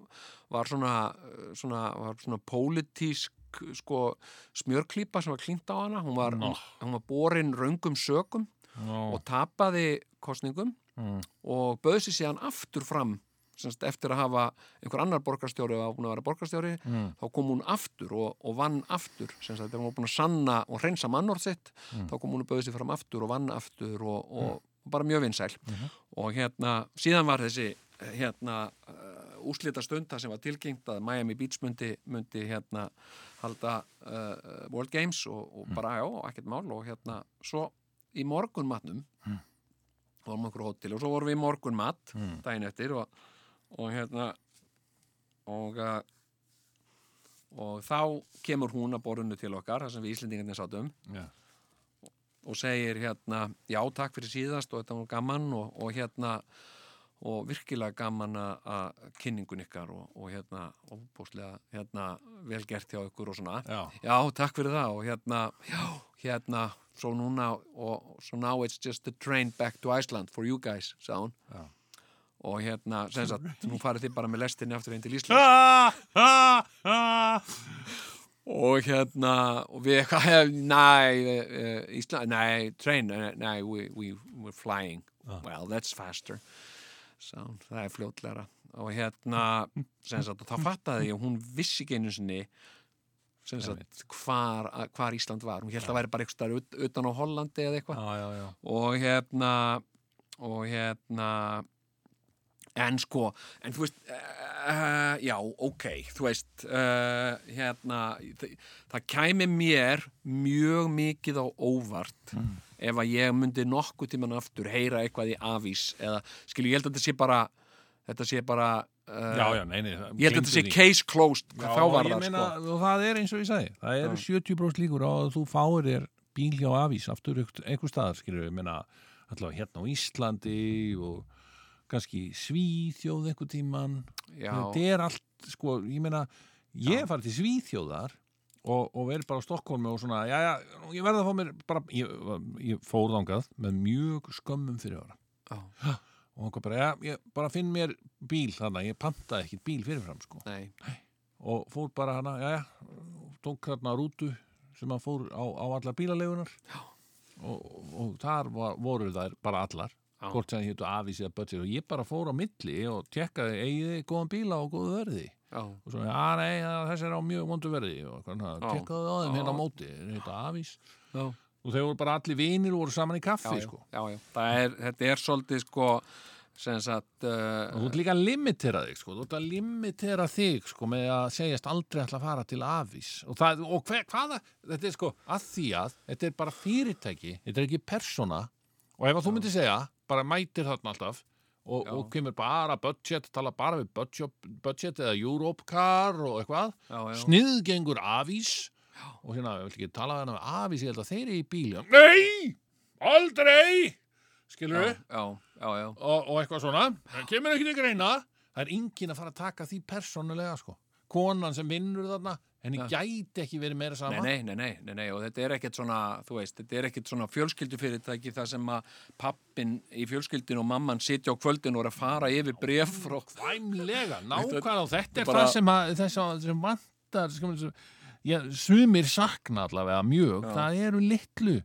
Speaker 3: var svona, uh, svona, var svona pólitísk sko smjörklípa sem var klínt á hana hún var,
Speaker 4: Nó.
Speaker 3: hún, hún var borin röngum sökum
Speaker 4: Nó.
Speaker 3: og tapaði kostningum
Speaker 4: Mm.
Speaker 3: og bauð sér síðan aftur fram semst, eftir að hafa einhver annar borgarstjóri og hún að vera borgarstjóri
Speaker 4: Mm.
Speaker 3: þá kom hún aftur og, og vann aftur semst, þegar hún var búin að sanna og hreinsa mannorð sitt
Speaker 4: Mm.
Speaker 3: þá kom hún að bauð sér fram aftur og vann aftur og, og bara mjög vinsæl
Speaker 4: Mhm.
Speaker 3: og hérna, síðan var þessi hérna uh, úslita stunda sem var tilgengt að Miami Beach myndi, myndi hérna halda uh, World Games og,
Speaker 4: Mm.
Speaker 3: og bara já, ekkert mál og hérna, svo í morgunmatnum vorum okkur á hótel og svo vorum við í morgunmat daginn eftir og, og hérna og uh, og þá kemur hún að borðinu til okkar þar sem við Íslendingarnir sátum
Speaker 4: Já.
Speaker 3: og segir hérna já takk fyrir síðast og þetta var gaman og, og hérna og virkilega gaman að- að kynningun ykkar og, og hérna óbúslega hérna vel gert hjá ykkur og svona
Speaker 4: Já.
Speaker 3: Já, takk fyrir það og hérna, já, hérna, svo núna og so now it's just the train back to Iceland for you guys, sagði hún.
Speaker 4: Já.
Speaker 3: Og hérna, sem sagt, nú farið þið bara með lestinni aftur einn til Ísland.
Speaker 4: Ah, ah, ah.
Speaker 3: Og hérna, og við eitthvað, nei, uh, Ísland, nei, train, eh, nei, we, we, we're flying. Well, that's faster. Sound, það er fljótlegra. Og hérna, sem sagt, og þá fattaði ég, að hún vissi ekki einu sinni, sem sagt, hvar, hvar Ísland var. Hún held að væri bara eitthvað utan á Hollandi eða eitthvað.
Speaker 4: Já, já, já.
Speaker 3: og hérna og hérna en sko, en þú veist uh, já, ok, þú veist uh, hérna það, það kæmi mér mjög mikið á óvart ef að ég myndi nokkuð tíman aftur heyra eitthvað í avís eða skilju, ég held að þetta sé bara þetta sé bara uh,
Speaker 4: Já, já, neini.
Speaker 3: ég held að þetta sé case closed já, þá var það
Speaker 4: meina,
Speaker 3: sko
Speaker 4: Og það er eins og ég sagði, það eru 70 brós líkur á að þú fáir þér bíl hjá afís aftur einhver- einhver staðar, skilur við, menna allavega hérna á Íslandi og kannski Svíþjóð einhver tíman.
Speaker 3: já,
Speaker 4: Þetta er allt, sko, ég meina, ég er farið til Svíþjóðar og, og verið bara á Stokkólmi og svona, já, já, ég verði að fá mér bara, ég, ég fór þangað með mjög skömmum fyrir ára
Speaker 3: já,
Speaker 4: og hún kom bara, já, ég bara finn mér bíl þarna, ég pantaði ekkert bíl fyrirfram, sko
Speaker 3: nei,
Speaker 4: og fór bara hana, já, já, tók hérna rútu sem að fór á, á allar bílalegunar og, og, og þar var, voru þær bara allar
Speaker 3: Já.
Speaker 4: hvort sem hétu afís eða budget og ég bara fór á milli og tekkaði eigiði góðan bíla og góðu verði
Speaker 3: já,
Speaker 4: og svo, já, nei, það- þessi er á mjög vondu verði og hvernig,
Speaker 3: Já.
Speaker 4: tekkaði á þeim
Speaker 3: Já.
Speaker 4: hérna á móti hérna afís
Speaker 3: já
Speaker 4: og þeir voru bara allir vinir og voru saman í kaffi,
Speaker 3: já,
Speaker 4: sko
Speaker 3: já, já, já. Það Er, þetta er svolítið sko sem sagt
Speaker 4: Og þú
Speaker 3: uh,
Speaker 4: ert líka að limitera þig, sko, þú ert að limitera þig, sko, með að segjast aldrei ætla að fara til afís. Og, það, og hver, hvaða, þetta er sko, að því að, þetta er bara fyrirtæki, þetta er ekki persóna. Og ef að þú myndir segja, bara mætir þarna alltaf, og,
Speaker 3: Já.
Speaker 4: og kemur bara budget, tala bara við budget, budget eða Europcar og eitthvað,
Speaker 3: já, já.
Speaker 4: sniðgengur afís, og hérna, ég vil ekki tala hérna við afís, ég held að þeir eru í bíli. Nei, aldrei, skilur
Speaker 3: já,
Speaker 4: við?
Speaker 3: já, já, já.
Speaker 4: og, og eitthvað svona það kemur ekki til greina það er engin að fara að taka því persónulega sko. konan sem vinnur þarna henni
Speaker 3: Ja.
Speaker 4: gæti ekki verið meira
Speaker 3: Nei,
Speaker 4: sama
Speaker 3: nei, nei, nei, nei, nei, og þetta er ekkert svona, þú veist, þetta er ekkert svona fjölskyldufyrirtæki þar sem að pappin í fjölskyldin og mamman sitja á kvöldin og er að fara yfir bref frá...
Speaker 4: væmlega, nákvæmlega og þetta er
Speaker 3: bara-
Speaker 4: það sem, að, þess að, sem vantar skum, já, sumir sakna allavega mjög það eru litlu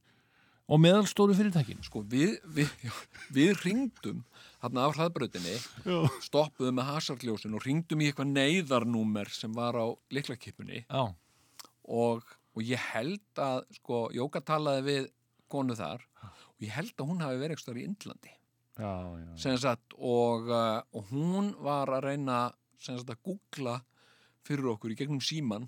Speaker 4: og meðalstóru fyrirtækin sko.
Speaker 3: Sko, við, við, já, við ringdum þarna af hlaðbrötinni, stoppuðum með hasarljósin og ringdum í eitthvað neyðarnúmer sem var á liklakipunni
Speaker 4: já,
Speaker 3: og, og ég held að, sko, Jóka talaði við konu þar og ég held að hún hafi verið eitthvað í Indlandi.
Speaker 4: já, já
Speaker 3: sem sagt, og, uh, og hún var að reyna sem sagt, að googla fyrir okkur í gegnum síman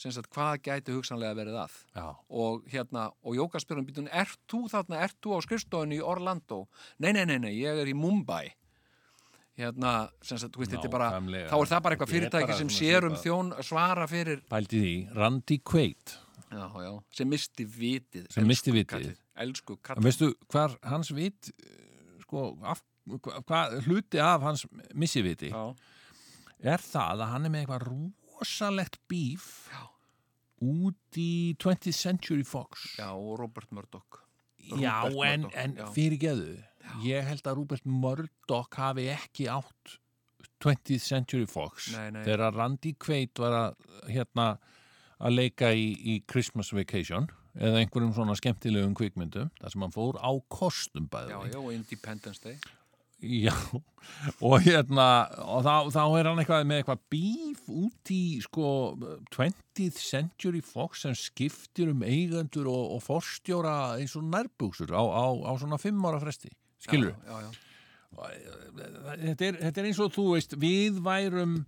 Speaker 3: sem sagt, hvað gæti hugsanlega verið að
Speaker 4: Já,
Speaker 3: og hérna, og Jóka spyrum býtum, ert þú þarna, ert þú á skrifstofinu í Orlando? Nei, nei, nei, nei, ég er í Mumbai hérna, sem sagt, þú veist, þetta er bara
Speaker 4: Nákvæmlega.
Speaker 3: þá er það bara eitthvað
Speaker 4: Þetta er bara
Speaker 3: fyrirtæki sem
Speaker 4: svona
Speaker 3: sér um
Speaker 4: svipað.
Speaker 3: þjón svara fyrir,
Speaker 4: pældi því, Randy Quaid
Speaker 3: já, já, sem misti vitið
Speaker 4: Sem
Speaker 3: elsku
Speaker 4: missti vitið.
Speaker 3: kallið, elsku
Speaker 4: En
Speaker 3: kallið,
Speaker 4: veistu, hvar hans vit eh, sko, af, hva, hva, hluti af hans missiviti
Speaker 3: já,
Speaker 4: er það að hann er með eitthvað rosalegt bíf
Speaker 3: Já.
Speaker 4: út í 20th Century Fox
Speaker 3: já, og Robert Murdoch
Speaker 4: Já,
Speaker 3: Rupert
Speaker 4: en,
Speaker 3: Murdoch,
Speaker 4: en
Speaker 3: já.
Speaker 4: fyrirgeðu ég held að Rupert Murdoch hafi ekki átt 20th Century Fox
Speaker 3: Nei, nei.
Speaker 4: þegar Randy Quaid var að, hérna, að leika í, í Christmas Vacation eða einhverjum svona skemmtilegum kvikmyndum þar sem hann fór á kostum bæði
Speaker 3: já, já, og Independence Day
Speaker 4: Já, og hérna, og þá, þá er hann eitthvað með eitthvað bíf út í sko 20th Century Fox sem skiptir um eigendur og, og forstjóra eins og nærbúksur á, á, á svona fimm ára fresti, skilur
Speaker 3: já, já, já.
Speaker 4: þetta er, þetta er eins og þú veist, við værum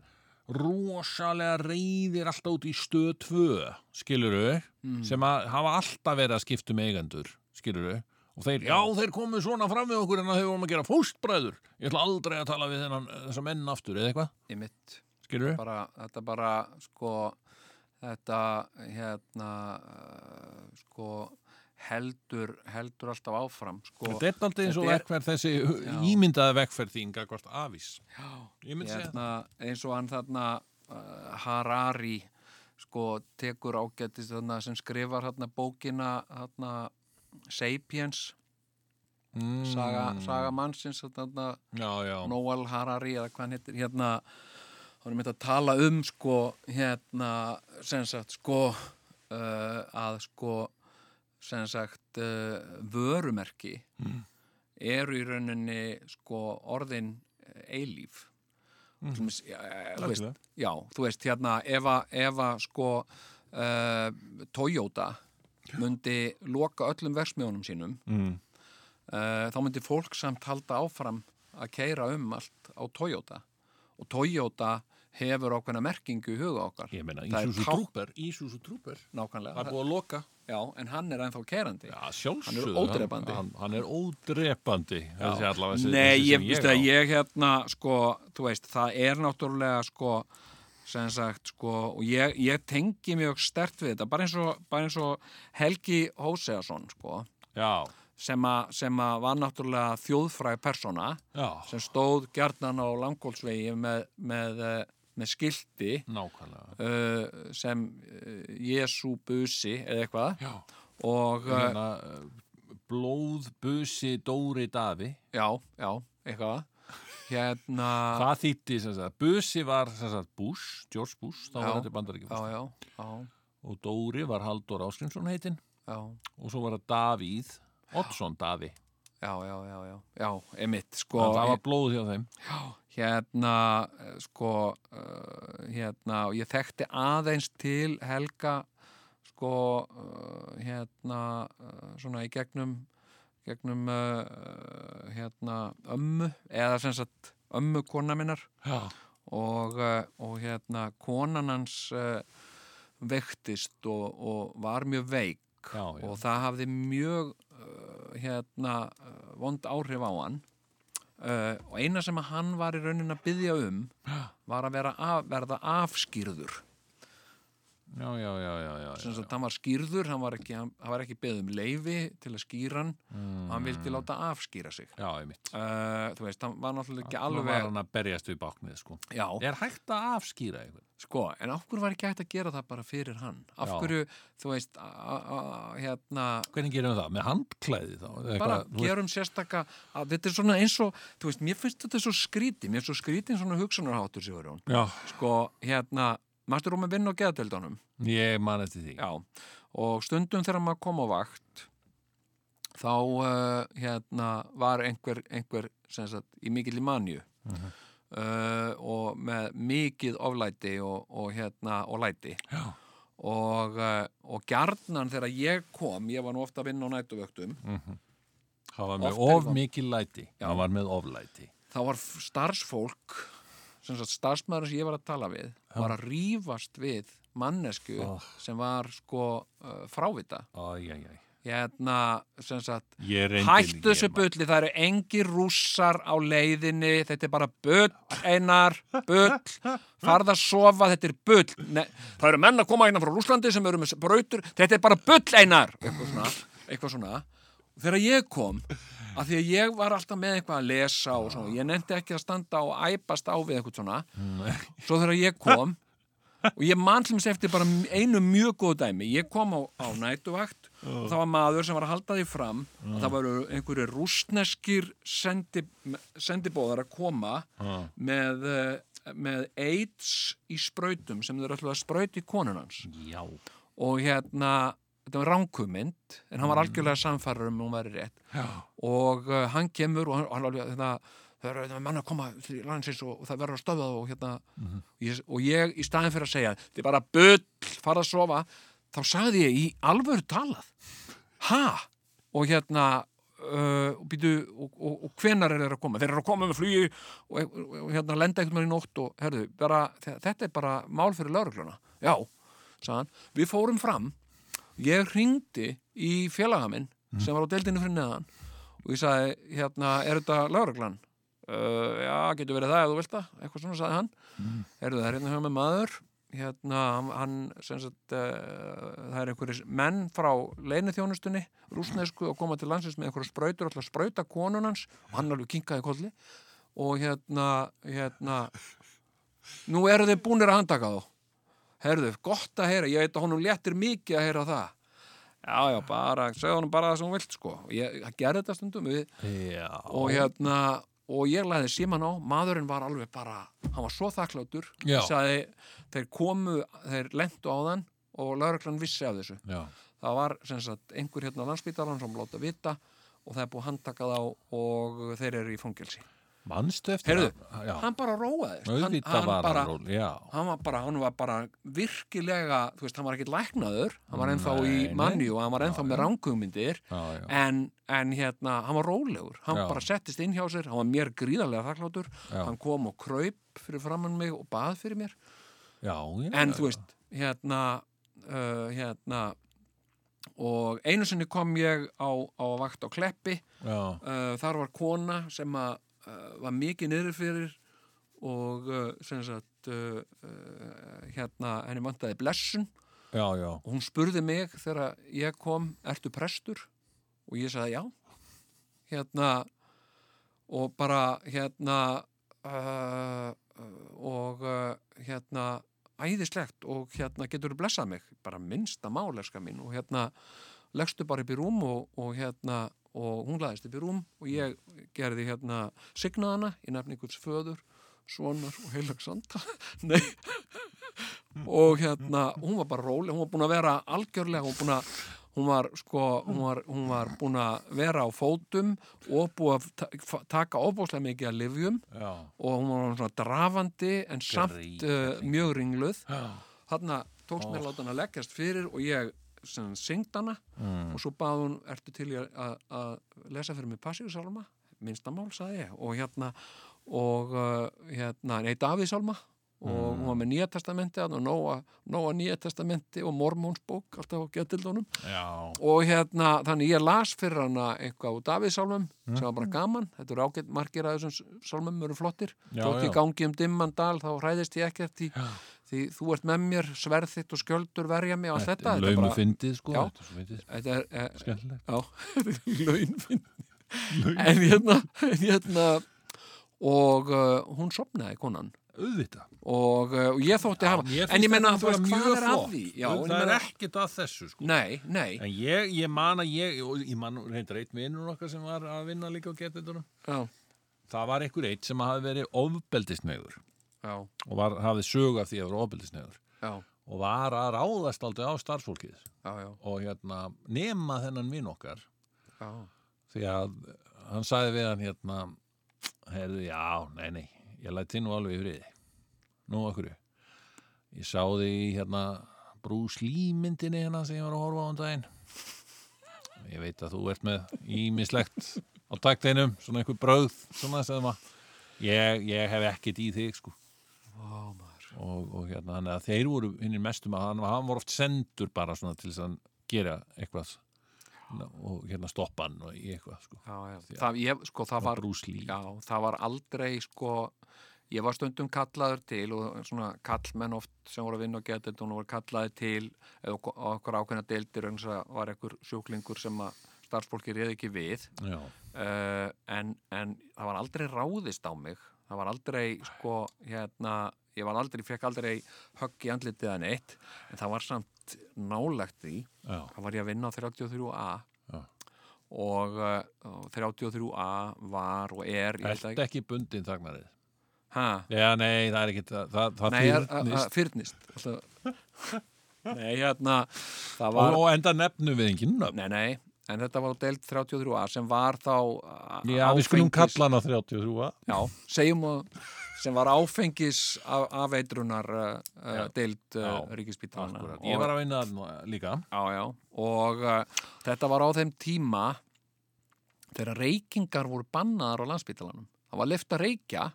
Speaker 4: rosalega reyðir alltaf út í stöð 2, skiluru,
Speaker 3: Mm.
Speaker 4: sem að hafa alltaf verið að skipta um eigendur, skiluru, og þeir, já, þeir komu svona fram við okkur en að þeir vorum að gera fóstbræður, ég ætla aldrei að tala við þennan, eh, þessa menn aftur, eða eitthvað,
Speaker 3: í mitt
Speaker 4: skiluru?
Speaker 3: bara, þetta bara sko þetta hérna uh, sko heldur, heldur alltaf áfram sko,
Speaker 4: Þetta er alltaf eins og
Speaker 3: Þetta er-
Speaker 4: verkferð þessi ímyndaði verkferð þín gagvart afís. Ég myndi segja
Speaker 3: hérna, eins og hann þarna uh, Harari sko tekur ágættist þarna sem skrifar hérna bókina hérna Sapiens
Speaker 4: Mm,
Speaker 3: saga, saga mannsins þarna
Speaker 4: Já, já.
Speaker 3: Noel Harari eða hvað hann heitir hérna hann er myndið að tala um sko hérna sem sagt sko uh, að sko sem sagt uh, vörumerki
Speaker 4: Mm.
Speaker 3: eru í rauninni sko orðin eh, eilíf mm. Sjöms, ja, eh, þú veist,
Speaker 4: Algjörlega.
Speaker 3: já, þú veist hérna ef að- ef að sko uh, Toyota myndi loka öllum versmiðunum sínum
Speaker 4: Mm.
Speaker 3: Eh, þá myndi fólk samt halda áfram að keira um allt á Toyota og Toyota hefur ákveðna merkingu í huga okkar
Speaker 4: Ég meina,
Speaker 3: Það er
Speaker 4: Ísúsu
Speaker 3: tá-
Speaker 4: Trooper, Ísúsu Trooper,
Speaker 3: nákvæmlega,
Speaker 4: það er
Speaker 3: það,
Speaker 4: búið að loka.
Speaker 3: já, en hann er ennþá keirandi
Speaker 4: Já, sjálfsögðu.
Speaker 3: Hann er ódrepandi.
Speaker 4: Hann, hann, hann er ódrepandi. Þessi allavega þessi-
Speaker 3: Nei,
Speaker 4: þessi
Speaker 3: ég,
Speaker 4: sem
Speaker 3: ég,
Speaker 4: á.
Speaker 3: ég hérna sko, þú veist, það er náttúrulega sko, sem sagt sko, og ég, ég tengi mjög stert við þetta, bara eins og, bara eins og Helgi Hóseason sko,
Speaker 4: Já,
Speaker 3: sem, a, sem a var náttúrulega þjóðfræg persóna
Speaker 4: já,
Speaker 3: sem stóð gjarnan á langkólsvegi með, með, eh, með skilti
Speaker 4: Mm. nákvæmlega.
Speaker 3: uh, sem uh, Jésu busi eða eitthvað
Speaker 4: Já.
Speaker 3: og uh,
Speaker 4: Hérna, uh, blóðbusi Dóri Davi.
Speaker 3: eh, já, já, eitthvað hérna,
Speaker 4: Hvað þýtti sem sagt? Busi var sem sagt Bush, George Bush, þá var
Speaker 3: Já.
Speaker 4: þetta bandaríkja.
Speaker 3: já, já, já,
Speaker 4: Og Dóri var Halldór Áskrimsson heitinn
Speaker 3: já
Speaker 4: og svo var það Davíð, Oddsson Davi.
Speaker 3: já, já, já, já, já, emitt sko,
Speaker 4: Og það var blóð hjá þeim.
Speaker 3: hérna eh, sko uh, hérna og ég þekkti aðeins til eh, Helga sko uh, hérna uh, svona í eh, gegnum gegnum uh, hérna ömmu eða sem sagt ömmu kona minnar
Speaker 1: Já.
Speaker 3: og, uh, og hérna konan hans uh, veiktist og, og var mjög veik
Speaker 4: Já, já.
Speaker 3: og það hafði mjög uh, hérna uh, vond áhrif á hann uh, og eina sem að hann var í raunin að byggja um var að vera af, verða afskýrður
Speaker 4: já, já, já, já, já, já.
Speaker 3: sem sagt hann var skýrður, hann var ekki, hann, hann var ekki beðið um leifi til að skýra hann
Speaker 4: Hmm.
Speaker 3: hann vildi láta afskýra sig
Speaker 4: Já, ég mitt.
Speaker 3: uh, þú veist, hann var náttúrulega ekki
Speaker 4: Nú var
Speaker 3: alveg
Speaker 4: hann að berjast við báknið, sko.
Speaker 3: já,
Speaker 4: Er hægt að afskýra einhvern?
Speaker 3: sko, en af hverju var ekki hægt að gera það bara fyrir hann af
Speaker 4: Já.
Speaker 3: hverju, þú veist a, a, a, hérna
Speaker 4: Hvernig gerum við það? Með handklæði þá? Eða
Speaker 3: bara
Speaker 4: hvað, þú veist-
Speaker 3: gerum sérstaka að þetta er svona eins og, þú veist, mér finnst þetta svo skríti mér er svo skrítin svona hugsunarháttur Sigurjón,
Speaker 4: Já,
Speaker 3: sko, hérna maður um að vinna á geðdeldunum
Speaker 4: ég man eftir því.
Speaker 3: Já, og stundum þegar maður kom á vakt þá uh, hérna, var einhver, einhver sem sagt, í mikil í manju
Speaker 4: Mhm.
Speaker 3: og með mikið oflæti og, og, hérna, og læti
Speaker 4: Já.
Speaker 3: og, uh, og gjarnan þegar ég kom, ég var nú ofta að vinna á nætuvöktum
Speaker 4: Það var
Speaker 3: Oft
Speaker 4: með
Speaker 3: er
Speaker 4: of
Speaker 3: það- Mm.
Speaker 4: mikið læti. Það var með oflæti.
Speaker 3: þá var f- starfsfólk sem sagt starfsmaður sem ég var að tala við var að rífast við mannesku
Speaker 4: Oh.
Speaker 3: sem var sko uh, frávita
Speaker 4: Æj, æj, æj.
Speaker 3: hérna sem sagt
Speaker 4: Ég reyndi
Speaker 3: Hættu þessu
Speaker 4: ég man-
Speaker 3: bulli, það eru engi rússar á leiðinni, þetta er bara bull, einar, bull, farð að sofa, þetta er bull. Ne það eru menn að koma einan frá Rúslandi sem eru með brautur, þetta er bara bull, einar, eitthvað svona. Eitthvað svona. Og Þegar ég kom, að því að ég var alltaf með eitthvað að lesa og svona, ég nefndi ekki að standa og æpast á við eitthvað svona, svo þegar ég kom, og ég man til mér eftir bara einu mjög góð dæmi ég kom á, á nætuvakt og það var maður sem var að halda því fram og það var einhverju rústneskir sendi, sendibóðar að koma með, eh, með AIDS í sprautum sem þeir ætlu að sprauti konun hans
Speaker 4: Já.
Speaker 3: og hérna þetta var ránkumynd en hann var algjörlega samfærar um að hún væri rétt Já. og uh, hann kemur og hann, hann alveg hérna, þetta það eru þetta mann að koma til landsins og, og það verður að stöða þá og hérna ég, og ég í staðin fyrir að segja þetta er bara bull, fara að sofa þá sagði ég í alvöru talað ha? og hérna uh, og býtu og, og, og hvenar er þeir að koma? Þeir eru að koma með flugi og, og, og hérna lenda einhvern veginn í nótt og herðu, bara, þe- þetta er bara mál fyrir laurugluna. Já, sagðan, við fórum fram ég ringdi í félaga minn sem var á deildinu fyrir neðan og ég sagði, hérna, er þetta lauruglan? Uh, já, getur verið það ef þú vilt það, eitthvað svona sagði hann mm. Heyrðu, það er hérna hjá með maður hérna, hann- hann, sem sagt uh, það er einhverjir menn frá leinithjónustunni, rúsnesku og koma til landsins með einhverja sprautur, alltaf sprauta konunans og hann alveg kinkaði kolli og hérna, hérna nú eru þið búnir að handtaka þá Herðu, gott að heyra, ég veit að honum léttir mikið að heyra það. Já, já, bara, segja honum bara það sem hún vilt, sko. Ég hann gerði þetta stundum við
Speaker 4: Já.
Speaker 3: og hérna, og ég laði síman á, maðurinn var alveg bara, hann var svo þakkláttur,
Speaker 4: Já.
Speaker 3: sagði, þeir komu, þeir lentu á þann og lauruglan vissi af þessu.
Speaker 4: Já.
Speaker 3: Það var, sem sagt, einhver hérna á landspítalan sem láta vita og það er búið að handtaka þá og þeir eru í fangelsi.
Speaker 4: Manstu eftir
Speaker 3: Heyrðu,
Speaker 4: það? Já.
Speaker 3: hann bara róaðist. Hann-
Speaker 4: Auðvitað
Speaker 3: hann
Speaker 4: var
Speaker 3: bara-
Speaker 4: hann ról. Já.
Speaker 3: hann var bara, hann var bara virkilega, þú veist, hann var ekkert læknaður hann var ennþá í
Speaker 4: Nei, nei.
Speaker 3: manju og hann var ennþá með rángugmyndir
Speaker 4: Já, já.
Speaker 3: en, en hérna, hann var rólegur hann
Speaker 4: Já.
Speaker 3: bara settist inn hjá sér, hann var mér gríðarlega þakkláttur,
Speaker 4: Já.
Speaker 3: hann kom og kraup fyrir framann mig og bað fyrir mér
Speaker 4: Já, já.
Speaker 3: en þú veist, hérna uh, hérna og einu sinni kom ég á, á vakt á Kleppi
Speaker 4: Já.
Speaker 3: uh, þar var kona sem að uh, var mikið niður fyrir og uh, sem sagt uh, uh, hérna henni vantaði blessun
Speaker 4: Já, já.
Speaker 3: og hún spurði mig þegar ég kom ertu prestur? og ég sagði já hérna og bara hérna uh, uh, og uh, hérna æðislegt og hérna getur þú blessað mig bara minnsta máleska mín og hérna leggstu bara upp í rúm og, og hérna og hún laðist upp í rúm og ég gerði hérna signaðana í nefni einhvers föður, sonar og heilagsanda nei og hérna, hún var bara róleg hún var búin að vera algjörlega hún, var búin að, hún var sko hún var, hún var búin að vera á fótum og búin að ta- fa- taka ofbúslega mikið að lifjum
Speaker 4: Já.
Speaker 3: og hún var svona drafandi en samt
Speaker 4: Grýt,
Speaker 3: uh, mjög ringluð
Speaker 4: Já.
Speaker 3: þarna tókst mér að láta hann að leggjast fyrir og ég sem syngdana mm. og svo bað hún, ertu til í að- að að lesa fyrir mig passíusálma minnstamál, sagði ég og hérna, og uh, hérna, nei, Davíðsálma og hún var með nýja testamenti þarna og nóga, nóga nýja testamenti og mormónsbók alltaf á getildunum
Speaker 4: já,
Speaker 3: og hérna, þannig ég las fyrir hana eitthvað á Davíðsálmum
Speaker 4: Mm.
Speaker 3: sem var bara gaman, þetta eru ágætt margir að þessum s- sálmum eru flottir,
Speaker 4: Já,
Speaker 3: þótt ég
Speaker 4: já.
Speaker 3: gangi um dimman dal þá hræðist ég ekkert því, því þú ert með mér, sverð þitt og skjöldur verja mig og allt þetta, þetta er
Speaker 4: laumu
Speaker 3: bara
Speaker 4: fyndið sko
Speaker 3: Já.
Speaker 4: þetta er svo fyndið,
Speaker 3: þetta er, eh,
Speaker 4: skemmtilegt
Speaker 3: já, launfinn en hérna, en hérna og uh, hún sopnaði konan
Speaker 4: auðvitað
Speaker 3: og, uh, og ég þótti hafa
Speaker 4: Mér
Speaker 3: en
Speaker 4: finnst
Speaker 3: ég meina,
Speaker 4: þetta
Speaker 3: þú veist,
Speaker 4: bara
Speaker 3: hvað
Speaker 4: mjög
Speaker 3: er að
Speaker 4: flott.
Speaker 3: því? Já, en ég
Speaker 4: það er
Speaker 3: meina-
Speaker 4: ekkert að þessu sko
Speaker 3: Nei, nei,
Speaker 4: En ég, ég man að ég, og ég man reyndar eitt vinnur okkar sem var að vinna líka á getindunum.
Speaker 3: já,
Speaker 4: Það var einhver eitt sem hafði verið ofbeldisneiður
Speaker 3: já,
Speaker 4: og var, hafði sög af því að vera ofbeldisneiður
Speaker 3: já,
Speaker 4: og var að ráðast aldrei á starfsfólkið
Speaker 3: já, já,
Speaker 4: og hérna nema þennan vinn okkar
Speaker 3: já.
Speaker 4: því að hann sagði við hann hérna, heyrðu, já, nei, nei, ég læti nú alveg í friði. Nú okkur. Ég sá því hérna Bruce Lee myndinni hérna sem ég var að horfa á um daginn. Ég veit að þú ert með ímislegt á takteinum, svona einhver bröð, svona sem að ég, ég hef ekkert í þig, sko.
Speaker 3: Ó, maður.
Speaker 4: Og, og hérna, þannig að þeir voru hinnir mestum að hann, hann voru oft sendur bara svona til þess að gera eitthvað og hérna stoppa hann og í eitthvað, sko.
Speaker 3: Já, já. Það, ég, sko, það var,
Speaker 4: Bruce Lee.
Speaker 3: já, það var aldrei sko, ég var stundum kallaður til og svona kallmenn oft sem voru að vinna og geta þetta og voru kallaði til eða ok- á okkur ákveðna deildir eins og það var einhver sjúklingur sem að starfsfólki reyði ekki við
Speaker 4: Já,
Speaker 3: uh, en, en það var aldrei ráðist á mig það var aldrei sko hérna, ég var aldrei, fekk aldrei högg í andlitið en eitt en það var samt nálægt því
Speaker 4: já,
Speaker 3: það var ég að vinna á 33A
Speaker 4: Já.
Speaker 3: og, uh, og 33A var og er ég held
Speaker 4: Ertu
Speaker 3: að-
Speaker 4: ekki bundin þagnarið?
Speaker 3: Ha?
Speaker 4: Já, nei, það er ekki, það, það, það
Speaker 3: Nei, er- a- a-
Speaker 4: fyrnist.
Speaker 3: fyrnist Alltaf- Nei, hérna það
Speaker 4: Var...
Speaker 3: var,
Speaker 4: Og enda nefnum við enginn nöfn.
Speaker 3: nei, nei en þetta var á deild 33A sem var þá uh,
Speaker 4: Já, við skulum
Speaker 3: áfengis-
Speaker 4: kalla hann á 33.
Speaker 3: Já, segjum að sem var áfengis af, afeitrunar uh, deild uh,
Speaker 4: já,
Speaker 3: Ríkispítalana
Speaker 4: Akkurat. Ég var að vinna þarna líka.
Speaker 3: Já, já, og uh, þetta var á þeim tíma þegar reykingar voru bannaðar á landsbítalanum. Það var leift að reykja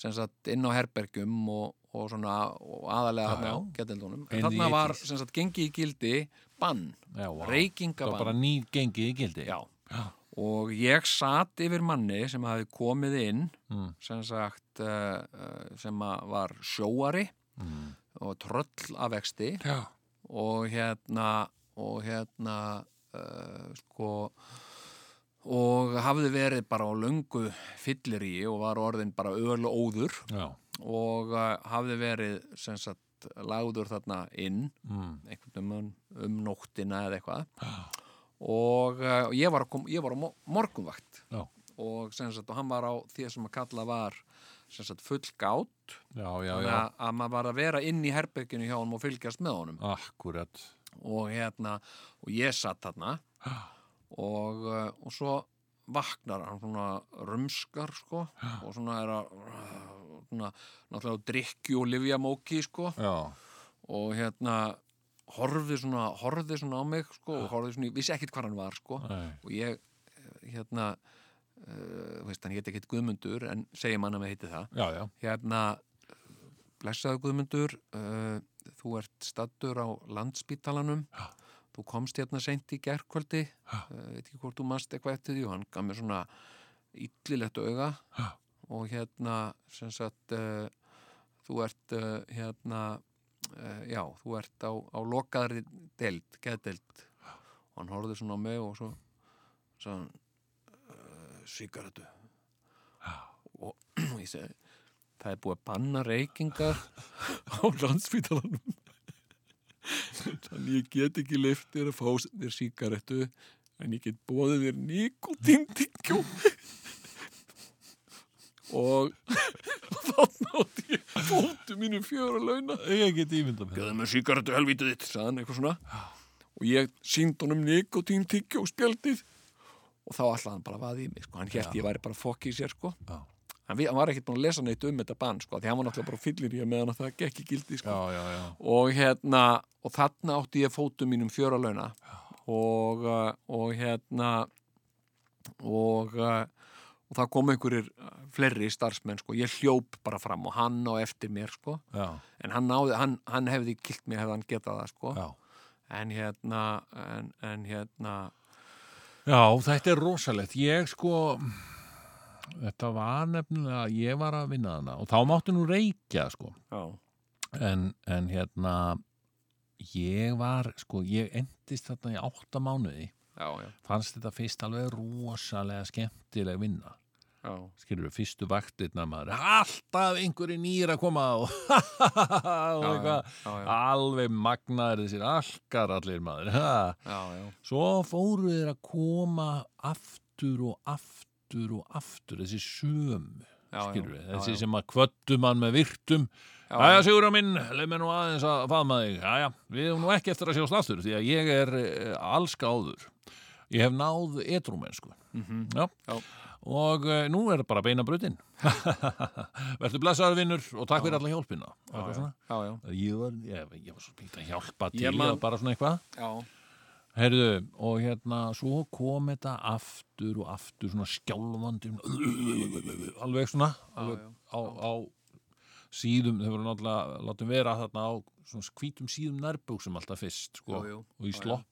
Speaker 3: sem sagt inn á herbergjum og, og svona og aðalega
Speaker 4: Já,
Speaker 3: þarna á
Speaker 4: já.
Speaker 3: getildunum.
Speaker 4: In the
Speaker 3: En þarna var
Speaker 4: 80s.
Speaker 3: sem sagt gengið í gildi bann,
Speaker 4: Já, vá. Það var bara
Speaker 3: reykingabann.
Speaker 4: ný gengið í gildi.
Speaker 3: Já. Og ég satt yfir manni sem hafi komið inn
Speaker 4: Mm.
Speaker 3: sem sagt uh, uh, sem að var sjóari
Speaker 4: Mm.
Speaker 3: og tröll af vexti
Speaker 4: Já.
Speaker 3: og hérna og hérna uh, sko og hafði verið bara á löngu fyllir í og var orðin bara öl og óður
Speaker 4: Já.
Speaker 3: og uh, hafði verið sem sagt lagður þarna inn
Speaker 4: Mm.
Speaker 3: einhvern um, um nóttina eða eitthvað og uh, og ég var, kom, ég var á mo- morgunvakt
Speaker 4: Já.
Speaker 3: og sem sagt og hann var á því sem að kalla var sem sagt full gát
Speaker 4: Já, já, já.
Speaker 3: að, að maður var að vera inn í herberginu hjá honum og fylgjast með honum
Speaker 4: Akkurat.
Speaker 3: og hérna og ég satt þarna og, uh, og svo vaknar hann svona rumskar sko og svona er að svona, náttúrulega á drikju og livjamóki sko
Speaker 4: Já.
Speaker 3: og hérna horfði svona, horfði svona á mig sko og horfði svona, ég vissi ekkit hvað hann var sko
Speaker 4: Nei.
Speaker 3: og ég eh, hérna uh, veist hann hétt ekkit Guðmundur en segjum hann að með heiti það
Speaker 4: Já, já.
Speaker 3: hérna blessaðu Guðmundur uh, þú ert stattur á landspítalanum þú komst hérna seint í gerkvöldi uh, veit ekki hvort þú manst eitthvað eftir því og hann gaf mér svona illilegt auga
Speaker 4: Já.
Speaker 3: og hérna sem sagt uh, þú ert uh, hérna uh, já, þú ert á, á lokaðri deild, geðdeild og hann horfði svona á mig og svo sagði hann uh, sigaretu og ég segi það er búið að banna reykingar á landsfítalanum þannig ég get ekki leift þér að fá þér síkarettu en ég get bóðið þér nikotintingjó og þá nátti ég fóttu mínu fjöra launa
Speaker 4: Ég get ímynda með
Speaker 3: Gjöðu með síkaretu helvítið þitt, sagðan eitthvað svona og ég sínd honum nikotintingjó spjaldið og þá ætlaði hann bara að vaða í mig, sko, hann hélt ég væri bara fokk í sér, sko
Speaker 4: Já.
Speaker 3: hann vi- hann var ekkert búin að lesa neitt um þetta bann sko, því hann var náttúrulega bara fyllir í að meðan að það gekk í gildi sko.
Speaker 4: já, já.
Speaker 3: og hérna og þarna átti ég fótum mínum fjöralauna og, uh, og hérna og uh, og það kom einhverjir uh, fleiri starfsmenn sko, ég hljóp bara fram og hann á eftir mér sko,
Speaker 4: Já,
Speaker 3: en hann, náði, hann, hann hefði kilt mig hefði hann getað það sko
Speaker 4: já.
Speaker 3: en hérna en, en hérna
Speaker 4: já, þetta er rosalegt. Ég sko, þetta var nefnilega, ég var að vinna þarna og þá máttu nú reykja sko.
Speaker 3: já,
Speaker 4: En, en hérna, ég var, sko, ég endist þarna í átta mánuði.
Speaker 3: já, já,
Speaker 4: Fannst þetta fyrst alveg rosalega skemmtileg vinna.
Speaker 3: já.
Speaker 4: skilur við fyrstu vaktirna maður alltaf einhverju nýr að koma og, og
Speaker 3: Já,
Speaker 4: eitthvað
Speaker 3: já, já, já,
Speaker 4: alveg magnaður þessir alkar allir maður ha.
Speaker 3: já, já.
Speaker 4: svo fóru þeir að koma aftur og aftur og aftur þessi sömu
Speaker 3: já,
Speaker 4: skilur við,
Speaker 3: já,
Speaker 4: þessi
Speaker 3: já.
Speaker 4: sem að kvöttu mann með virtum
Speaker 3: Já,
Speaker 4: Jæja,
Speaker 3: já.
Speaker 4: Sigurður minn, leið mér nú aðeins að faðma þig. Jæja, við hefum nú ekki eftir að sjást aftur því að ég er eh, allskáður. Ég hef náð etrúmennsku. Mm -hmm. Já.
Speaker 3: Mhm. Já.
Speaker 4: Og uh, nú er bara beina brutinn. Vertu blessaður vinnur og takk fyrir alla hjálpina. og eitthvað svona.
Speaker 3: já, já,
Speaker 4: Ég var, ég, ég var svo pínt að hjálpa
Speaker 3: Ég
Speaker 4: til
Speaker 3: man-
Speaker 4: og bara svona eitthvað.
Speaker 3: já,
Speaker 4: Herðu, og hérna, svo kom þetta aftur og aftur svona skjálfandi, svona, alveg svona, alveg
Speaker 3: já,
Speaker 4: á, á síðum, þau voru náttúrulega, látum vera þarna á svona hvítum síðum nærbúksum alltaf fyrst, sko,
Speaker 3: Já, já,
Speaker 4: og í
Speaker 3: já, já.
Speaker 4: slopp.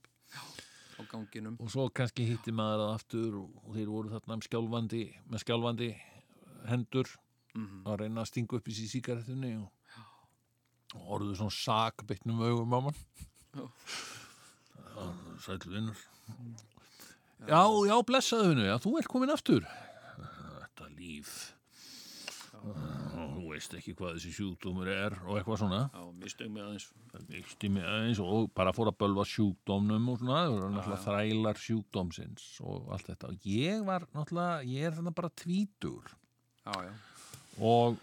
Speaker 3: á ganginum
Speaker 4: Og svo kannski hitti maður að aftur og, og þeir voru þarna um skjálfandi, með skjálfandi hendur að reyna að stinga upp í sér síkaretunni og, og orðuðu svona sakbytnum augum á mann. Sæll vinnur. Já, já, blessaðu vinnu, já, þú ert komin aftur. Þetta líf. Þú veist ekki hvað þessi sjúkdómur er og eitthvað svona.
Speaker 3: já, mistöng með aðeins
Speaker 4: Vilti mig aðeins og bara fór að bölva sjúkdómnum og svona. Það voru náttúrulega þrælar sjúkdómsins og allt þetta. Og ég var náttúrulega, ég er þarna bara tvítur.
Speaker 3: já, já,
Speaker 4: Og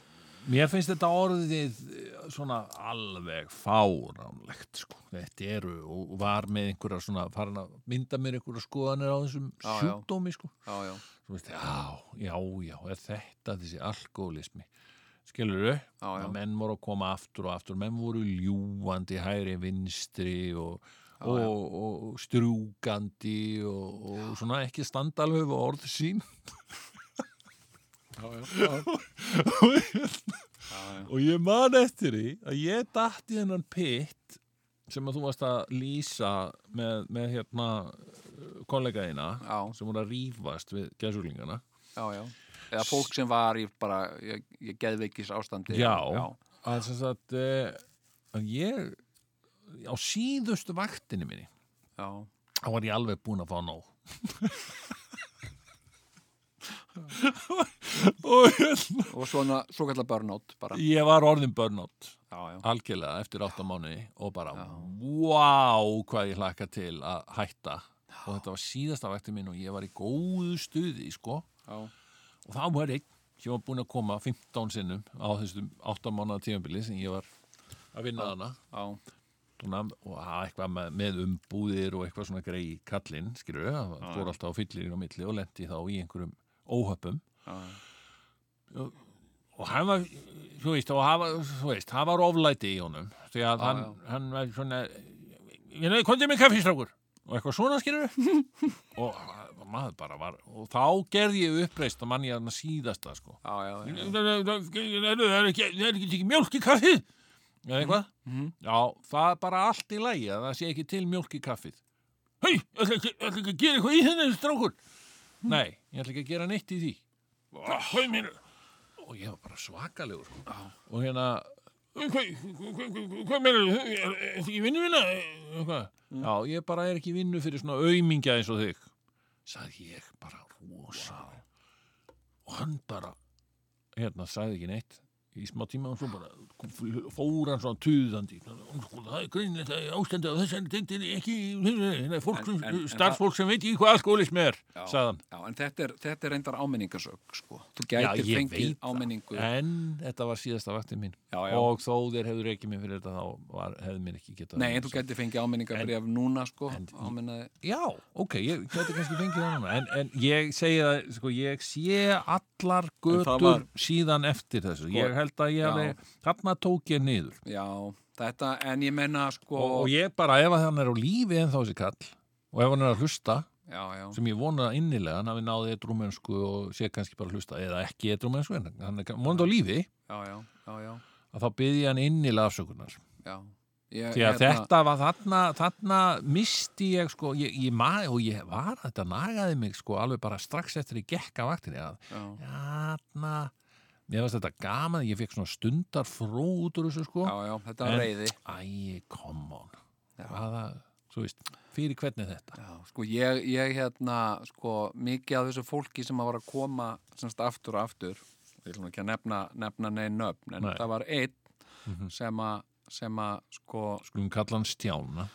Speaker 4: mér finnst þetta orðið eh, svona alveg fáránlegt, sko. Þetta eru og var með einhverja svona, farin að mynda mér einhverja skoðanir á þessum
Speaker 3: Já, já.
Speaker 4: sjúkdómi, sko.
Speaker 3: já, já,
Speaker 4: Svo veist, já, já, já, er þetta þessi alkoholismi? Skilur þau?
Speaker 3: já, já.
Speaker 4: að menn voru að koma aftur og aftur menn voru ljúandi hægri vinstri og, og, og, og strjúkandi og, og svona ekki standa alveg við orð sín og, hérna, og ég man eftir því að ég datt í þennan pitt sem að þú varst að lýsa með, með hérna kollegaðina
Speaker 3: Já.
Speaker 4: sem voru að rífast við gæsuglingarna
Speaker 3: já, já. Eða fólk sem var í bara, ég, ég geðveikis ástandi.
Speaker 4: Já,
Speaker 3: já,
Speaker 4: að sem sagt eh, að ég á síðustu vaktinni minni
Speaker 3: já,
Speaker 4: þá var ég alveg búin að fá nóg og hérna,
Speaker 3: og svona, svo kallar burnout bara.
Speaker 4: ég var orðin burnout
Speaker 3: Já, já,
Speaker 4: algjörlega eftir átta mánuði og bara, wow, hvað ég hlakka til að hætta og þetta var síðasta vaktin minn og ég var í góðu stuði, sko
Speaker 3: já,
Speaker 4: og þá var einn sem var búin að koma 15 sinnum á þessum átta mánuða tímabili sem ég var að vinna hana
Speaker 3: já,
Speaker 4: svona, og það var eitthvað með, með umbúðir og eitthvað svona grei kallinn, skilur við, það fór alltaf á fyllir á milli og lendi þá í einhverjum óhöppum
Speaker 3: já,
Speaker 4: og, og hann var þú veist, og hann var, þú veist, hann var oflæti í honum, því að hann, hann var svona ég nefnir, komdu mér kaffistrákur og eitthvað svona skilur við og maður bara var og þá gerði ég uppreist að mann ég hann síðasta sko
Speaker 3: já, já, já, já,
Speaker 4: það er ekki, það er ekki tekið mjólk í kaffið eða eitthvað já, það er bara allt í lagi að það sé ekki til mjólk í kaffið hei, ég ætla ekki, ætla ekki að gera eitthvað í þenni strákur nei, ég ætla ekki að gera neitt í því hvað minn og ég var bara svakalegur sko. og hérna hvað, hvað meina, er þetta ekki vinnu vinna eitthvað,
Speaker 3: Mm.
Speaker 4: já, ég bara er ekki í vinnu fyrir svona aumingja eins og þig sagði ég bara rosa og hann bara hérna sagði ekki neitt í smá tíma og svo bara fór hann svona tuðandi sko, það er greinilegt að ástandi á þessari tegndin ekki, hérna, fólk,
Speaker 3: En- en- en
Speaker 4: starfsfólk sem veit ekki hvað alkoholismi er, sagðan.
Speaker 3: Já, en þetta er, þetta er reyndar áminningasög, sko. Þú
Speaker 4: Já,
Speaker 3: gætir
Speaker 4: ég
Speaker 3: fengið
Speaker 4: veit það.
Speaker 3: áminningu.
Speaker 4: En þetta var síðasta vaktin mín.
Speaker 3: Já, já.
Speaker 4: Og þó þér hefur ekki minn fyrir þetta, þá var, hefði minn ekki getað.
Speaker 3: Nei, en þú gætir fengið áminningabrif núna, sko. Áminnaði.
Speaker 4: Já, ok, ég gæti kannski fengið það núna. En, en ég segi það, sko, ég sé allar götur
Speaker 3: var- Sko,
Speaker 4: síðan eftir þessu. Ég held að
Speaker 3: Já.
Speaker 4: ég hefði, þarna tók ég niður.
Speaker 3: Já, þetta, en ég menna, sko.
Speaker 4: Og, og ég bara, ef að hann er á lífi en þá þessi kall, og ef hann er að hlusta,
Speaker 3: já, já.
Speaker 4: sem ég vona innilega, hann hafi náði drúmensku og sé kannski bara að hlusta, eða ekki drúmensku, en hann er vonandi á lífi,
Speaker 3: já, já, já, já,
Speaker 4: að þá byði ég hann innilega afsökunar.
Speaker 3: já. Ég, hérna-
Speaker 4: Því að þetta var þarna, þarna misti ég sko, ég, ég maður, og ég var, þetta nagaði mig sko alveg bara strax eftir ég gekk af vaktinni að
Speaker 3: Já,
Speaker 4: þarna, mér fannst þetta gaman, ég fekk svona stundar fró út úr þessu sko.
Speaker 3: já, já, þetta var
Speaker 4: En-
Speaker 3: reyði.
Speaker 4: Æ, come on, hvaða, svo víst, fyrir hvernig er þetta?
Speaker 3: Já, sko, ég, ég hérna, sko, mikið af þessu fólki sem að var að koma semst aftur og aftur, ég ætlum ekki að nefna, nefna neinn nöfn, en
Speaker 4: Nei. Mhm.
Speaker 3: það var einn sem að, sem að, sko,
Speaker 4: Skulum kalla hann Stjána.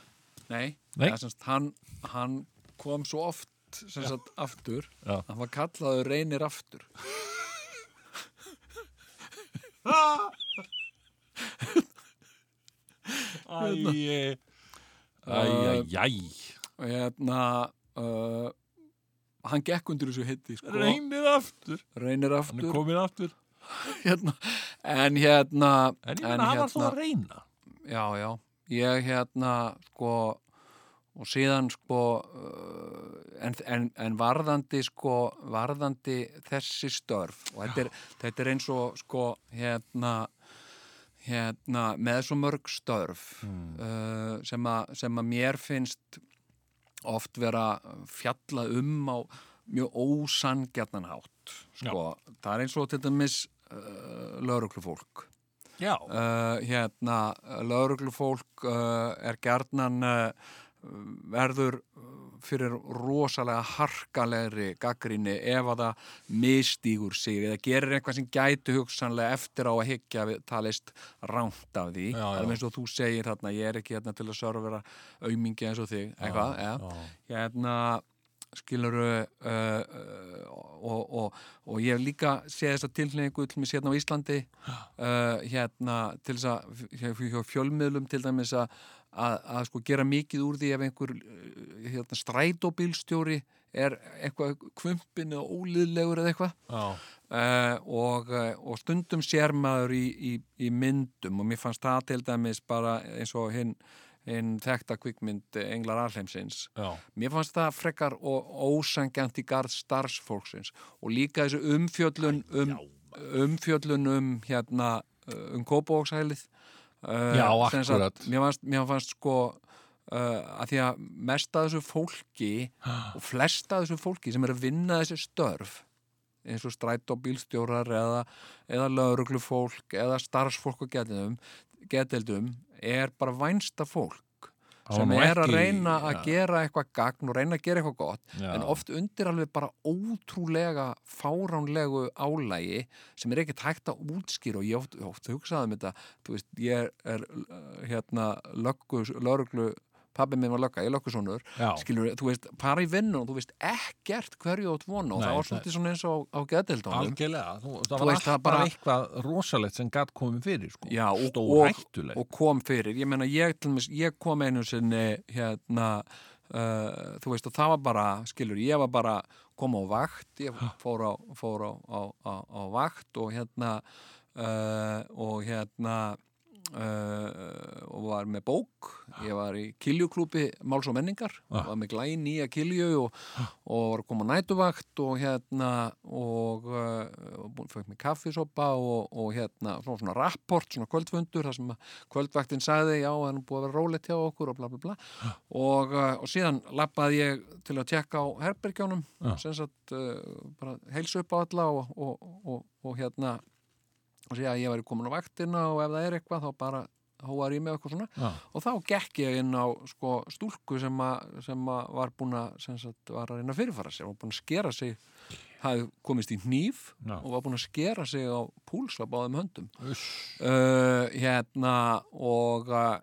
Speaker 3: nei,
Speaker 4: Nei.
Speaker 3: eða semst, hann, hann kom svo oft, sem sagt, aftur,
Speaker 4: Já.
Speaker 3: hann var kallaður reynir aftur.
Speaker 4: Æ, æ, æ, æ,
Speaker 3: Og hérna, uh, hann gekk undir þessu hitti, sko,
Speaker 4: reynir aftur, hann
Speaker 3: reynir
Speaker 4: er
Speaker 3: aftur,
Speaker 4: komin aftur.
Speaker 3: hérna, en hérna,
Speaker 4: En hérna- ég menna, hann var þó að reyna.
Speaker 3: Já, já, ég hérna sko og síðan sko uh, en, en, en varðandi sko varðandi þessi störf og þetta er, þetta er eins og sko hérna hérna með svo mörg störf uh, sem, að, sem að mér finnst oft vera fjalla um á mjög ósangjarnan hátt sko, það er eins og til dæmis uh, lauruglufólk
Speaker 4: Já,
Speaker 3: uh, hérna, lauruglufólk uh, er gjarnan uh, verður uh, fyrir rosalega harkalegri gaggrinni ef að það misstígur sig eða gerir eitthvað sem gæti hugsanlega eftir á að higgja við talist rámt af því,
Speaker 4: Já, já.
Speaker 3: alveg eins og þú segir þarna, ég er ekki hérna til að sörfera aumingi eins og þig, eitthvað, já, hérna skiluru uh, uh, og, og, og ég hef líka séð þessa tilhengu til mér sérna á Íslandi uh, hérna til þess að hjá- hjá fjölmiðlum til dæmis að að að sko gera mikið úr því ef einhver uh, hérna, strætóbílstjóri er eitthvað kvumpin eða óliðlegur eða eitthvað
Speaker 4: já.
Speaker 3: uh, og, eh, og stundum sér maður í, í, í myndum og mér fannst það til dæmis bara eins og hinn hinn þekta kvikmynd eh, Englar Alheimsins
Speaker 4: Já.
Speaker 3: mér fannst það frekar og ósangjant í garð starfsfólksins og líka þessu umfjöllun um, umfjöllun um hérna uh, um kópavókshælið uh,
Speaker 4: Já,
Speaker 3: sem sagt,
Speaker 4: akkurat.
Speaker 3: mér fannst, mér fannst sko uh, að því að mest að þessu fólki
Speaker 4: Ah.
Speaker 3: og flest að þessu fólki sem er að vinna þessi störf eins og strætóbílstjórar eða, eða lögreglufólk eða starfsfólk og geteldum, geteldum er bara vænsta fólk
Speaker 4: Það var
Speaker 3: sem
Speaker 4: nú
Speaker 3: er að
Speaker 4: ekki-
Speaker 3: reyna að
Speaker 4: já.
Speaker 3: gera eitthvað gagn og reyna að gera eitthvað gott
Speaker 4: Já.
Speaker 3: en oft undir alveg bara ótrúlega fáránlegu álægi sem er ekkert hægt að útskýra og ég oft, oft hugsaði um þetta þú veist, ég er uh, hérna löggu, lögreglu pabbi minn var lögga, ég er löggusonur
Speaker 4: Já.
Speaker 3: skilur, þú veist, bara í vinnun og þú veist ekkert hverju átt vona og
Speaker 4: Nei,
Speaker 3: það var
Speaker 4: það-
Speaker 3: svolítið svona eins og á geðdeildónum
Speaker 4: Algjörlega, þú, það var
Speaker 3: Þú veist, það
Speaker 4: alltaf
Speaker 3: bara-
Speaker 4: eitthvað rosalegt sem gatt komið fyrir sko.
Speaker 3: Já, og,
Speaker 4: stór
Speaker 3: og,
Speaker 4: hættulegt
Speaker 3: og kom fyrir ég meina, ég, til dæmis, ég kom einu sinni hérna uh, þú veist, og það var bara, skilur ég var bara, kom á vakt ég fór á, fór á, á, á, á vakt og hérna uh, og hérna uh, og var með bók ég var í kiljuklúpi Máls og menningar
Speaker 4: Ah.
Speaker 3: var með glæn nýja kilju og, og var að koma á nætuvakt og hérna og, uh, og búin- fekk mér kaffisopa og, og hérna svona, svona rapport, svona kvöldfundur þar sem að kvöldvaktin sagði já, hann er búið að vera rólegt hjá okkur og bla bla bla og, uh, og síðan lappaði ég til að tjekka á herbergjónum
Speaker 4: Já.
Speaker 3: sem sagt uh, bara heilsu upp á alla og, og, og, og hérna og segja að ég væri komin á vaktina og ef það er eitthvað þá bara hóar í mig og eitthvað svona
Speaker 4: Já,
Speaker 3: og þá gekk ég inn á sko, stúlku sem, a, sem a var búin að sem sagt, var að reyna að fyrirfara sig og búin að skera sig hafði komist í hníf
Speaker 4: Já.
Speaker 3: og var búin að skera sig á púls á báðum höndum
Speaker 4: uss,
Speaker 3: uh, hérna Eh, og uh,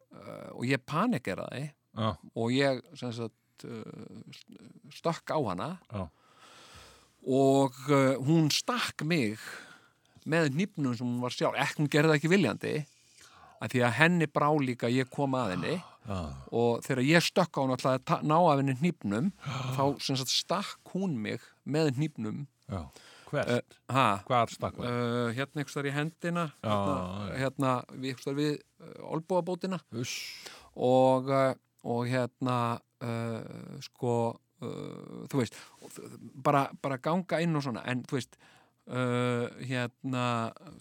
Speaker 3: og ég panikeraði
Speaker 4: já,
Speaker 3: og ég sem sagt uh, stökk á hana
Speaker 4: já,
Speaker 3: og uh, hún stakk mig með nýpnum sem hún var sjálf ekki hún gerði það ekki viljandi að því að henni brá líka að ég kom að henni
Speaker 4: já,
Speaker 3: og þegar ég stökk á hún alltaf að ta- ná af henni nýpnum þá sem sagt stakk hún mig með nýpnum
Speaker 4: já.
Speaker 3: Eh,
Speaker 4: Hvert?
Speaker 3: ha,
Speaker 4: Hvar stakk það?
Speaker 3: uh, hérna ykkur þar í hendina
Speaker 4: Já,
Speaker 3: hérna,
Speaker 4: já.
Speaker 3: hérna við ykkur þar við uh, olbúabótina
Speaker 4: Uss.
Speaker 3: og, uh, og hérna uh, sko uh, þú veist og þ- bara, bara ganga inn og svona en þú veist uh, hérna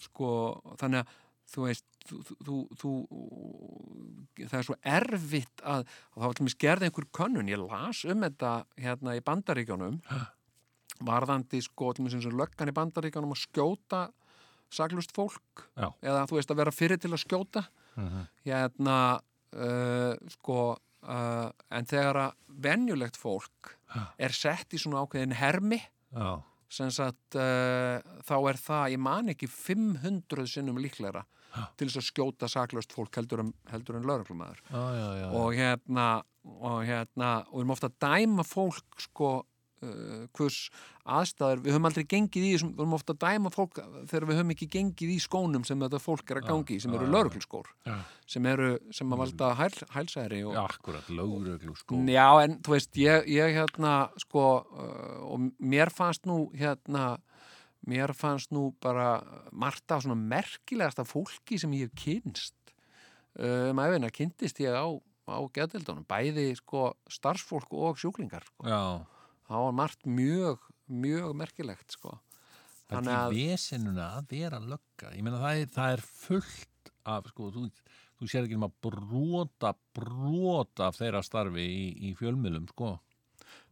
Speaker 3: sko þannig að þú veist þú, þú, þú- þú, það er svo erfitt að og það var til mér skerði einhver könnun ég las um þetta hérna í bandaríkjónum varðandi sko til mér sem löggan í bandaríkjónum að skjóta saklust fólk
Speaker 4: Já.
Speaker 3: eða þú veist að vera fyrir til að skjóta
Speaker 4: Mhm.
Speaker 3: hérna uh, sko uh, en þegar að venjulegt fólk er sett í svona ákveðin hermi
Speaker 4: Já,
Speaker 3: sem sagt uh, þá er það, ég man ekki 500 sinnum líklegra til þess að skjóta saklaust fólk heldur en, heldur en lögreglumæður
Speaker 4: já, já, já.
Speaker 3: og hérna og hérna, og við erum ofta að dæma fólk sko uh, hvers aðstæður, við höfum aldrei gengið í þessum, við höfum ofta að dæma fólk þegar við höfum ekki gengið í skónum sem þetta fólk er að gangi í, sem eru lögreglskór
Speaker 4: Já. Mm.
Speaker 3: sem eru, sem að valda hæl, hælsæri og,
Speaker 4: Já, akkurat, lögreglu sko.
Speaker 3: Já, en þú veist, ég, ég hérna, sko, uh, og mér fannst nú, hérna, mér fannst nú bara margt af svona merkilegasta fólki sem ég hef kynst. Uh, maður veina, kynntist ég á, á geðdeldunum, bæði, sko, starfsfólk og sjúklingar, sko.
Speaker 4: Já,
Speaker 3: Það var margt mjög, mjög merkilegt, sko.
Speaker 4: Þannig
Speaker 3: Þannig
Speaker 4: að
Speaker 3: að-
Speaker 4: vesenuna að vera lögga ég meina það er, það er fullt af sko, þú, þú sér ekki um að brota brota af þeirra starfi í, í fjölmiðlum sko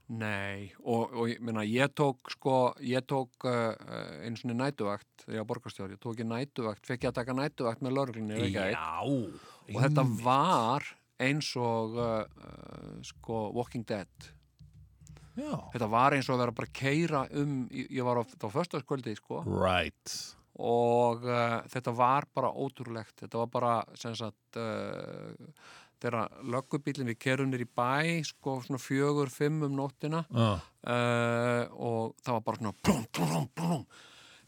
Speaker 3: Nei, og, og ég, meina, ég tók sko, ég tók uh, uh, einu svona nætuvakt, þegar ég var borgarstjóri, ég tók ég nætuvakt, fekk ég að taka nætuvakt með lörglunni og þetta
Speaker 4: einmitt.
Speaker 3: var eins og uh, uh, sko Walking Dead
Speaker 4: já.
Speaker 3: þetta var eins og að vera bara að keira um ég ég var á, á föstaskvöldi sko
Speaker 4: Right
Speaker 3: og uh, þetta var bara ótrúlegt þetta var bara sem sagt uh, þegar löggubílinn við kerum nýr í bæ sko svona fjögur, fimm um nóttina
Speaker 4: Já,
Speaker 3: uh, og það var bara svona blum, blum, blum,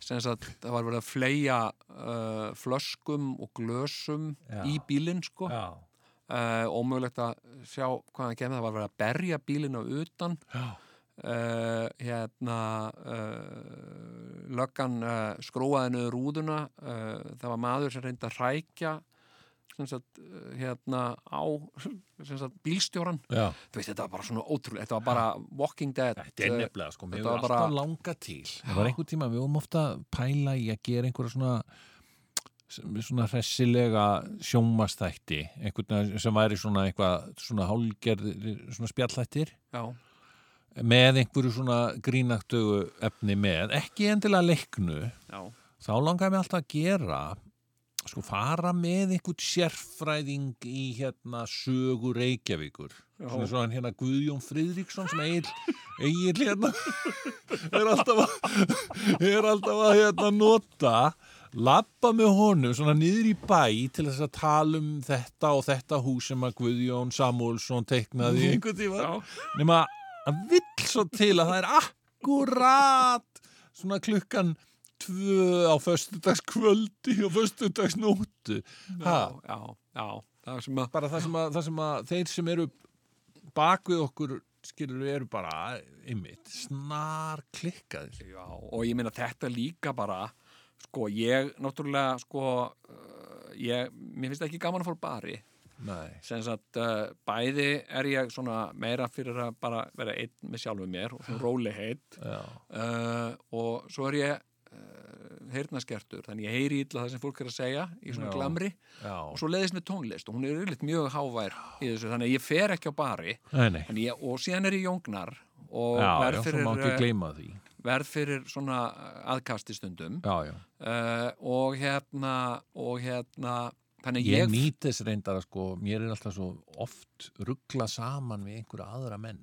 Speaker 3: sem sagt það var verið að fleia uh, flöskum og glösum
Speaker 4: Já.
Speaker 3: í bílinn sko
Speaker 4: já,
Speaker 3: uh, ómögulegt að sjá hvaðan kemur, það var verið að berja bílinn á utan
Speaker 4: já.
Speaker 3: uh, hérna uh, löggan uh, skróaði niður rúðuna uh, það var maður sem reyndi að rækja sem sagt, uh, hérna á sem sagt, bílstjóran
Speaker 4: já.
Speaker 3: Þú veist, þetta var bara svona ótrúlega, þetta var bara Walking Dead Eh,
Speaker 4: Þetta er nefnilega, sko, mér
Speaker 3: þetta
Speaker 4: hefur
Speaker 3: var bara-
Speaker 4: alltaf langa til. Það var einhver tíma, við vorum ofta að pæla í að gera einhverja svona sem- svona hressilega sjómastætti, einhvern veginn sem væri svona eitthvað, svona hálgerð svona spjallhættir,
Speaker 3: já,
Speaker 4: með einhverju svona grínaktögu efni með, ekki endilega leiknu,
Speaker 3: já,
Speaker 4: þá langaði mig alltaf að gera sko fara með einhvern sérfræðing í hérna sögu Reykjavíkur svona svo hann hérna Guðjón Friðriksson sem eigin, eigin hérna er alltaf að er alltaf að hérna nota labba með honum svona niður í bæ til þess að tala um þetta og þetta hús sem að Guðjón Samúlsson teiknaði einhvern tíma nema að vill svo til að það er akkurat svona klukkan tvö á föstudagskvöldi og föstudagsnóttu ha,
Speaker 3: já, já, já það sem að,
Speaker 4: bara það sem, að, það sem að þeir sem eru bak við okkur skilur við eru bara ymmit, snar klikkaðir
Speaker 3: Já, og ég meina þetta líka bara sko, ég náttúrulega sko, uh, ég, mér finnst ekki gaman að fór bari
Speaker 4: Nei.
Speaker 3: sem sagt, uh, bæði er ég svona meira fyrir að bara vera einn með sjálfu mér og svona róli heitt
Speaker 4: Já.
Speaker 3: uh, og svo er ég uh, heyrnaskertur, þannig ég heyri illa það sem fólk er að segja í svona
Speaker 4: Já.
Speaker 3: glamri
Speaker 4: Já.
Speaker 3: og svo leiðist með tónlist og hún er yfirleitt mjög hávær í þessu, þannig að ég fer ekki á bari
Speaker 4: Nei, nei.
Speaker 3: Þannig ég, og síðan er ég jóngnar og
Speaker 4: Já, já,
Speaker 3: verð
Speaker 4: svo
Speaker 3: fyrir,
Speaker 4: má ekki
Speaker 3: eh,
Speaker 4: gleyma því
Speaker 3: verð fyrir svona eh, aðkasti stundum
Speaker 4: Já, já.
Speaker 3: uh, og hérna og hérna þannig
Speaker 4: Ég,
Speaker 3: að ég,
Speaker 4: nýt þess reyndar að sko, mér er alltaf svo oft ruggla saman við einhverja aðra menn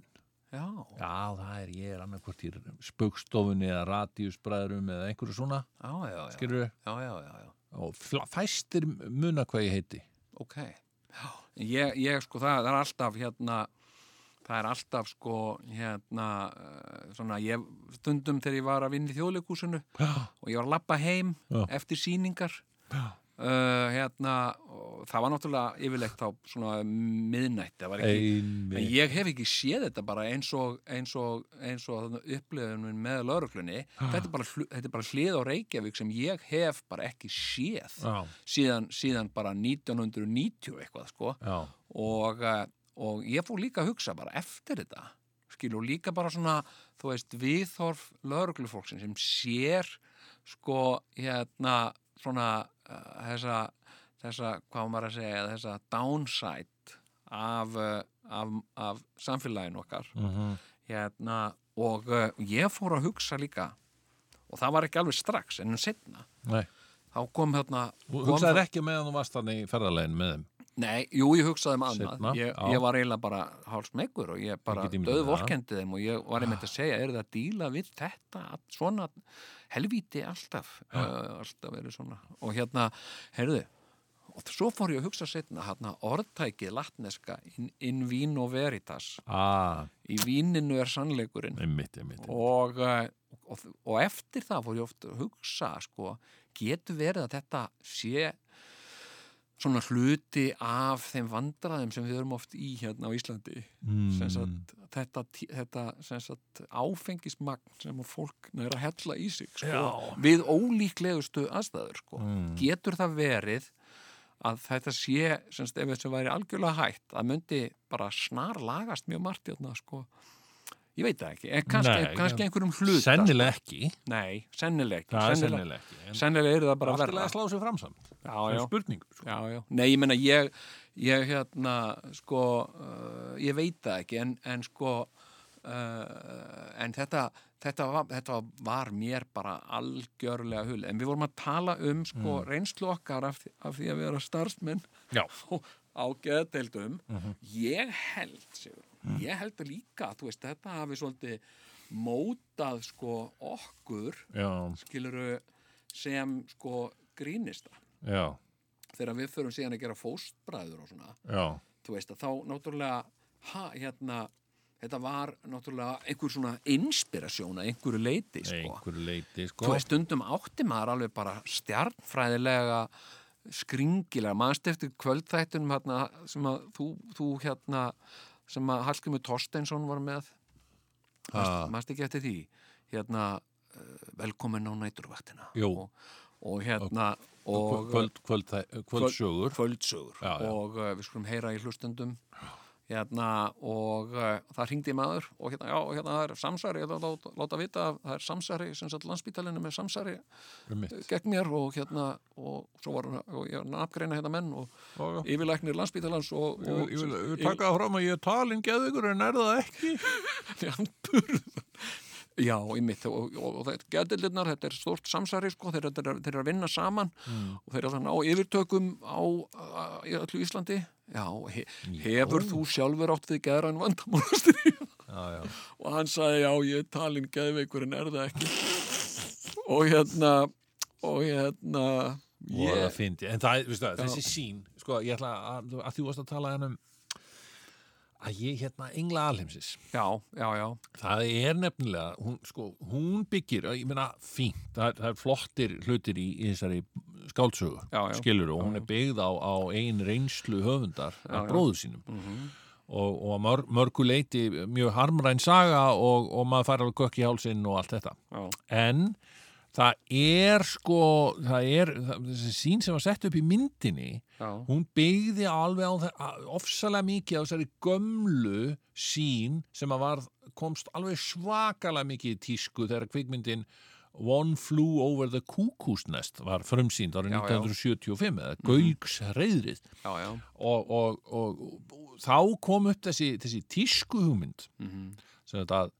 Speaker 3: já,
Speaker 4: Já, það er, ég er annarkvort í spaukstofunni eða radíusbræðurum eða einhverju svona,
Speaker 3: já, já, já,
Speaker 4: skilur
Speaker 3: já, já, já, já.
Speaker 4: og fla- fæstir muna hvað ég heiti
Speaker 3: ok já, En ég, ég sko, það, það er alltaf hérna, það er alltaf sko, hérna, eh, svona, ég, stundum þegar ég var að vinna í þjóðleikúsinu og ég var að labba heim
Speaker 4: Já.
Speaker 3: eftir sýningar, uh, hérna, og það var náttúrulega yfirleitt þá svona miðnætt, það var ekki, en
Speaker 4: Einmitt.
Speaker 3: ég hef ekki séð þetta bara eins og, eins og, eins og upplöðunum með lauruglunni, þetta er bara, hlu- þetta er bara hlið á Reykjavík sem ég hef bara ekki séð
Speaker 4: Já,
Speaker 3: síðan, síðan bara 1990 eitthvað sko
Speaker 4: já,
Speaker 3: og, eh, og ég fór líka að hugsa bara eftir þetta skilu og líka bara svona þú veist viðhorf lögreglufólksin sem sér sko hérna svona uh, þessa, þessa hvað á maður að segja þessa downside af, uh, af, af samfélaginu okkar
Speaker 4: mhm,
Speaker 3: hérna og uh, ég fór að hugsa líka og það var ekki alveg strax en um setna
Speaker 4: nei.
Speaker 3: þá kom hérna
Speaker 4: Þú
Speaker 3: kom
Speaker 4: hugsaðir
Speaker 3: það-
Speaker 4: ekki meðan þú varst þannig í ferðarlegin með þeim.
Speaker 3: Nei, jú, ég hugsaði um annað
Speaker 4: Seinna,
Speaker 3: ég,
Speaker 4: já.
Speaker 3: ég var eiginlega bara hálsmeggur og ég bara
Speaker 4: Ég get ímyndað mér Ah.
Speaker 3: döðvorkendi þeim og ég var einmitt að segja, er það að díla við þetta, allt svona helvíti alltaf
Speaker 4: Ah.
Speaker 3: uh, alltaf verið svona og hérna, heyrðu og svo fór ég að hugsa setna hérna, orðtækið latneska in, in vino veritas
Speaker 4: Ah,
Speaker 3: í víninu er sannleikurinn
Speaker 4: einmitt, einmitt.
Speaker 3: og, eh, og, og eftir það fór ég oft að hugsa sko, getur verið að þetta sé svona hluti af þeim vandræðum sem við erum oft í hérna á Íslandi sem
Speaker 4: Mm.
Speaker 3: sagt, þetta, tí- þetta sem sagt, áfengismagn sem að fólk næra að hella í sig sko,
Speaker 4: Já.
Speaker 3: við ólíklegustu aðstæður sko.
Speaker 4: Mm.
Speaker 3: getur það verið að þetta sé, sem sagt, ef þessi væri algjörlega hægt, að myndi bara snar lagast mjög margt hérna, sko ég veit það ekki, en kannski,
Speaker 4: Nei,
Speaker 3: kannski
Speaker 4: ja.
Speaker 3: einhverjum hluta
Speaker 4: Sennilega ekki.
Speaker 3: sko. nei, sennilega ekki
Speaker 4: Það er
Speaker 3: sennilega,
Speaker 4: sennilega ekki. en
Speaker 3: sennilega eru það bara
Speaker 4: allt í lagi
Speaker 3: verða
Speaker 4: að slá sig fram samt.
Speaker 3: já, já,
Speaker 4: Spurning. Sko.
Speaker 3: já, já. Nei, ég meina, ég, ég hérna, sko, uh, ég veit það ekki, en, en sko, uh, en þetta, þetta, var, þetta var mér bara algjörlega hul. En við vorum að tala um, sko, reynslu okkar af, því- af því að vera starfsmenn
Speaker 4: Mm. Já. Mhm.
Speaker 3: og á geðdeildum. Ég held, sigur,
Speaker 4: Mm.
Speaker 3: ég held að líka, þú veist, þetta hafi svolítið mótað, sko, okkur,
Speaker 4: Já,
Speaker 3: skiluru, sem, sko, grínista
Speaker 4: já,
Speaker 3: þegar við förum síðan að gera fóstbræður og svona,
Speaker 4: já.
Speaker 3: þú veist að þá náttúrulega, ha, hérna þetta var náttúrulega einhver svona inspirasjón að einhverju leiti sko.
Speaker 4: Einhver leiti, sko.
Speaker 3: þú veist stundum átti maður alveg bara stjarnfræðilega skringilega, mannst eftir kvöldþættunum hérna, sem að þú, þú hérna, sem að Hallgrimur Torsteinsson var með
Speaker 4: Ah.
Speaker 3: mannst ekki eftir því hérna, eh, velkomin á næturvaktina
Speaker 4: Jú.
Speaker 3: og, og hérna og,
Speaker 4: sko, kvöld, kvöld, kvöldsögur.
Speaker 3: kvöldsögur
Speaker 4: Já, já.
Speaker 3: og uh, við skulum heyra í hlustendum hérna og uh, það ringdi maður og hérna, já, og hérna það er samsæri ég ætla að láta, láta vita að það er samsæri sem sagt landsbítalinu með samsæri
Speaker 4: Einmitt.
Speaker 3: gegn mér og hérna og svo var hann og ég var að afgreina hérna menn og
Speaker 4: Já, já.
Speaker 3: yfirlæknir landsbítalans og,
Speaker 4: Ég
Speaker 3: og
Speaker 4: vil- ég vil ég vil taka það fram að ég er talin geðugur en er það ekki.
Speaker 3: Já, í mitt og, og, og þetta geðdildirnar, þetta er stort samsæri sko, þeir, þeir, þeir eru að vinna saman
Speaker 4: Mm.
Speaker 3: og þeir eru að ná yfirtökum á uh, í öllu Íslandi Já, he, hefur þú sjálfur átt við geðran vandamálastri
Speaker 4: Já, já.
Speaker 3: og hann sagði, já, ég er talin geðveikur en er það ekki og hérna og hérna
Speaker 4: Og það
Speaker 3: ég,
Speaker 4: fyndi. En það, veistu það, þessi sín, sko, ég ætla að, að þú varst að tala hann um að ég hérna engla alheimsins.
Speaker 3: Já, já, já
Speaker 4: Það er nefnilega, hún, sko, hún byggir, ég meina, fínt, það, er- það er flottir hlutir í, í þessari skáldsögu,
Speaker 3: Já, já.
Speaker 4: skilur, og hún er byggð á, á ein reynslu höfundar af bróðu sínum.
Speaker 3: Mhm.
Speaker 4: Og, og að mör, mörgu leiti mjög harmræn saga og, og maður fær alveg kökk í hálsinn og allt þetta.
Speaker 3: Já,
Speaker 4: en það er sko það er, það, þessi sín sem var sett upp í myndinni
Speaker 3: já,
Speaker 4: hún byggði alveg á það að- ofsalega mikið á þessari gömlu sín sem að var, komst alveg svakalega mikið í tísku þegar kvikmyndin One Flew Over the Cuckoo's Nest var frumsýnd árið
Speaker 3: Já, Mhm. já.
Speaker 4: 1975 eða Gauks reyðrið
Speaker 3: já, já
Speaker 4: og, og, og, og þá kom upp þessi, þessi tísku hugmynd
Speaker 3: Mhm.
Speaker 4: sem þetta að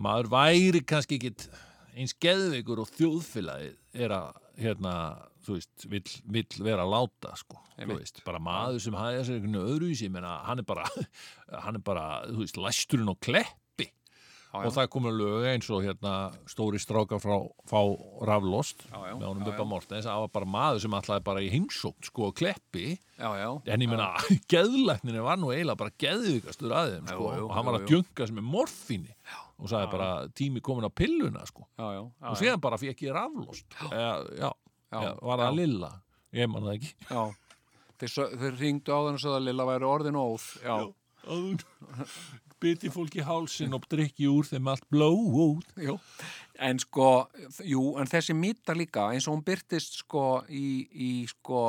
Speaker 4: maður væri kannski ekki eins geðveikur og þjóðfélagið er að hérna, þú veist, vill, vill vera að láta sko, þú
Speaker 3: Einmitt.
Speaker 4: veist, bara maður sem hæði þessi einhvern öðru í sig, menna hann er bara hann er bara, þú veist, læsturinn og kleppi
Speaker 3: já.
Speaker 4: og það komur lög eins og hérna stóri stráka frá fá raflost
Speaker 3: Já, já,
Speaker 4: með honum
Speaker 3: já,
Speaker 4: Bubba
Speaker 3: já.
Speaker 4: Mortens það var bara maður sem alltaf bara í heimsókn sko og kleppi
Speaker 3: já, já,
Speaker 4: en ég meina, geðlækninu var nú eiginlega bara geðvíkastur að þeim sko,
Speaker 3: Jú, jú,
Speaker 4: og hann var
Speaker 3: jú,
Speaker 4: að
Speaker 3: jú.
Speaker 4: djunga sem er morfíni og sagði bara tími komin á pilluna sko.
Speaker 3: já, já, já,
Speaker 4: og síðan bara fekk ég raflost já, já, já,
Speaker 3: Já,
Speaker 4: var það lilla ég man það ekki
Speaker 3: já. Þeir, sö- þeir ringdu á þannig að sögða Lilla væri orðin óð já,
Speaker 4: áður biti fólki hálsin og drikki úr þeim allt blóð
Speaker 3: jú en sko, þ- jú, en þessi mýta líka eins og hún byrtist sko í, í sko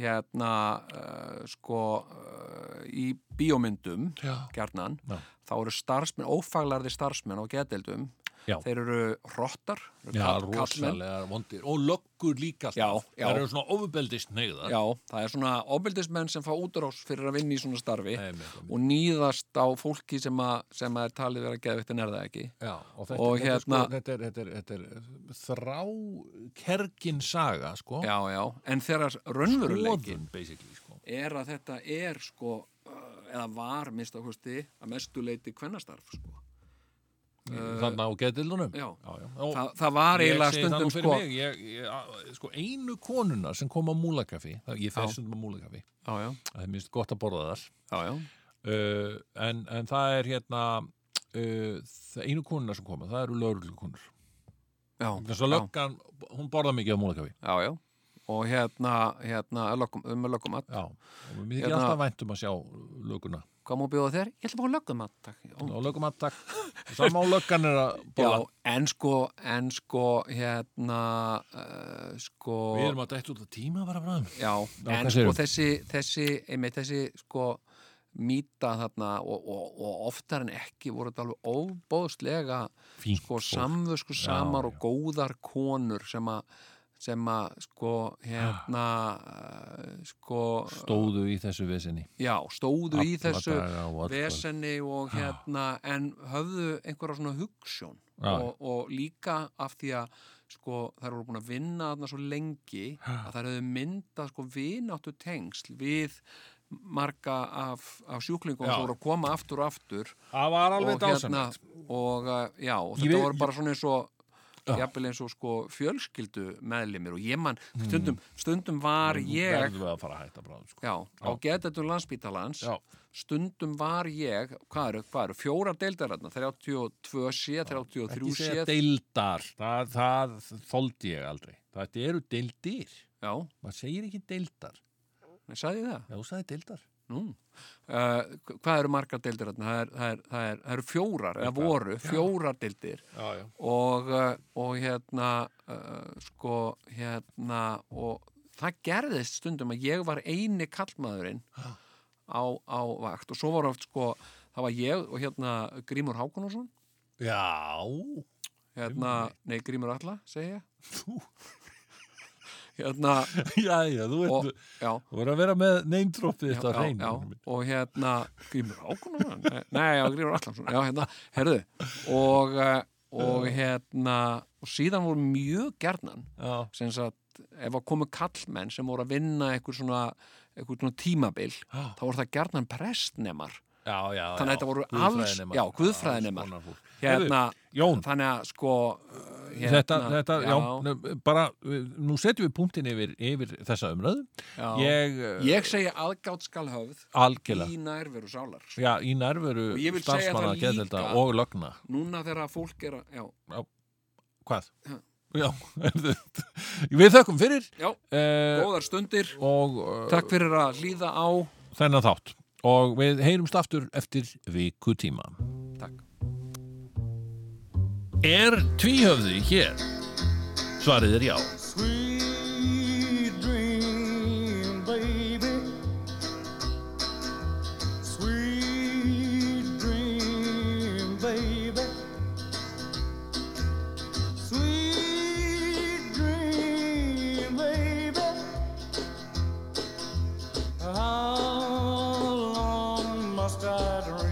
Speaker 3: hérna, uh, sko uh, í bíómyndum
Speaker 4: Já.
Speaker 3: kjarnan,
Speaker 4: Já.
Speaker 3: þá eru starfsmenn ófaglarði starfsmenn á geðdeldum
Speaker 4: Já.
Speaker 3: þeir eru hrottar eru
Speaker 4: Já,
Speaker 3: kall- kallmenn.
Speaker 4: rosalega vondir og löggur líka
Speaker 3: Já,
Speaker 4: alltaf.
Speaker 3: já.
Speaker 4: það eru svona ofubeldist neyðar
Speaker 3: Já, það er svona ofbeldismenn sem fá útrás fyrir að vinna í svona starfi
Speaker 4: Nei, með-
Speaker 3: og nýðast á fólki sem, að, sem að er talið vera geðvikt en er það ekki.
Speaker 4: Já, og þetta,
Speaker 3: Og
Speaker 4: þetta,
Speaker 3: hérna-
Speaker 4: sko, þetta, er, þetta, er, þetta er þrá kergin saga sko.
Speaker 3: Já, já, en þeirra raunveruleiki
Speaker 4: Skoðun, basically sko.
Speaker 3: er að þetta er sko, uh, eða var minnst að kosti að mestu leiti kvennastarf sko.
Speaker 4: þannig á geðdilunum
Speaker 3: já.
Speaker 4: já.
Speaker 3: Þa, það var eiginlega
Speaker 4: Ég segi það
Speaker 3: stundum
Speaker 4: nú fyrir
Speaker 3: sko,
Speaker 4: mig, ég, ég, a- sko, einu konuna sem kom á múlakafi, ég fer stundum á múlakafi,
Speaker 3: já, já,
Speaker 4: það er minnst gott að borða þar,
Speaker 3: já, já,
Speaker 4: uh, en, en það er hérna, uh, það- einu konuna sem koma, það eru lögreglukonur.
Speaker 3: já,
Speaker 4: Þess að
Speaker 3: já,
Speaker 4: löggan, hún borða mikið á múlakafi.
Speaker 3: já, já. og hérna, hérna, lökum, um lögum að,
Speaker 4: Já, og mér þykir
Speaker 3: Hérna-
Speaker 4: alltaf vænt um að sjá löguna.
Speaker 3: hvað má bjóða þér? Ég ætla að fá lögum að, takk. Já,
Speaker 4: Og lögum að takk, sama á löggan er að borða.
Speaker 3: Já, en sko, en sko, hérna, uh, sko,
Speaker 4: Við erum að dætt út að tíma bara bráðum.
Speaker 3: já,
Speaker 4: Já, hvað
Speaker 3: en sko
Speaker 4: segirðu?
Speaker 3: þessi, þessi, einmitt þessi, sko, mýta þarna og, og, og oftar en ekki voru þetta alveg óbóðslega,
Speaker 4: Fínt
Speaker 3: sko,
Speaker 4: fólk.
Speaker 3: samvösku samar
Speaker 4: Já,
Speaker 3: og góðar konur sem að, sem að, sko, hérna, uh, sko,
Speaker 4: Stóðu í þessu vesinni.
Speaker 3: já, stóðu
Speaker 4: Alla
Speaker 3: í þessu
Speaker 4: daga og öll kvöld.
Speaker 3: vesenni og hérna en höfðu einhverja svona hugssjón
Speaker 4: Já.
Speaker 3: og, og líka af því að sko þær voru búin að vinna þarna svo lengi að þær höfðu myndað sko vináttu tengsl við marga af, af sjúklingum
Speaker 4: Já.
Speaker 3: sem voru að koma aftur og aftur
Speaker 4: Það var alveg
Speaker 3: og hérna
Speaker 4: dásamlegt.
Speaker 3: og uh, já, og
Speaker 4: Ég
Speaker 3: þetta
Speaker 4: veit-
Speaker 3: voru bara svona eins og jafnvel eins og sko fjölskyldu meðlimir og ég man
Speaker 4: Mm.
Speaker 3: stundum, stundum var ég
Speaker 4: Verðum við að fara að hætta bráðum, sko.
Speaker 3: Já, á getetum landsbítalans
Speaker 4: Já.
Speaker 3: stundum var ég hvað eru, hvað eru, fjórar deildaranna 32 sé, 33
Speaker 4: Ekki segja
Speaker 3: sé
Speaker 4: deildar, það, það þóldi ég aldrei. Þetta eru deildir.
Speaker 3: Já,
Speaker 4: Maður segir ekki deildar.
Speaker 3: ég sagði ég það
Speaker 4: Já, þú sagði deildar.
Speaker 3: Nú. Uh, hvað eru margar deildir þarna? Það, er, það, er, það, er, það eru fjórar, eða voru fjórar deildir
Speaker 4: Já, já.
Speaker 3: og, uh, og hérna uh, sko hérna og það gerðist stundum að ég var eini kallmaðurinn á, á vakt og svo var oft sko það var ég og hérna Grímur Hákonússon
Speaker 4: Já.
Speaker 3: hérna, nei, Grímur Alla, segi ég hérna
Speaker 4: Já, já, þú veit,
Speaker 3: og, já,
Speaker 4: þú voru að vera með neymtroppið
Speaker 3: já,
Speaker 4: þetta
Speaker 3: já,
Speaker 4: hrein.
Speaker 3: já, og hérna Grímur Ákunar nei, já, Grímur Allansson, já, hérna herðu, og eh, og hérna, og síðan voru mjög gerðnan,
Speaker 4: já.
Speaker 3: sem sagt ef að komu kallmenn sem voru að vinna eitthvað svona, eitthvað svona tímabil
Speaker 4: Já.
Speaker 3: þá voru það gerðnan prestnemar
Speaker 4: Já, já, já.
Speaker 3: Þannig að þetta voru alls-
Speaker 4: Guðfræðinemar.
Speaker 3: já, guðfræðinemar.
Speaker 4: Alls konar fólk.
Speaker 3: hérna,
Speaker 4: Heyrðu, Jón,
Speaker 3: þannig að sko hérna,
Speaker 4: þetta, þetta, já, nö, bara, við- nú setjum við punktin yfir, yfir þessa umröðu.
Speaker 3: já.
Speaker 4: Ég, eh,
Speaker 3: Ég segi aðgátt skal höfð
Speaker 4: algjörlega,
Speaker 3: í nærveru sálar.
Speaker 4: já, í nærveru
Speaker 3: Og ég vil segja
Speaker 4: starfsmanna,
Speaker 3: það
Speaker 4: geðdelda
Speaker 3: líka-
Speaker 4: og lögna.
Speaker 3: Núna þegar fólk er að, já,
Speaker 4: Hvað?
Speaker 3: Já.
Speaker 4: Já, við þökkum fyrir
Speaker 3: já,
Speaker 4: uh,
Speaker 3: góðar stundir,
Speaker 4: og uh,
Speaker 3: takk fyrir að hlýða á,
Speaker 4: þennan þátt og við heyrumst aftur eftir viku tíma.
Speaker 3: takk.
Speaker 4: Er tvíhöfði hér? Svarið er já.
Speaker 5: Sweet dream, baby. Sweet dream, baby. Sweet dream, baby. How long must I dream?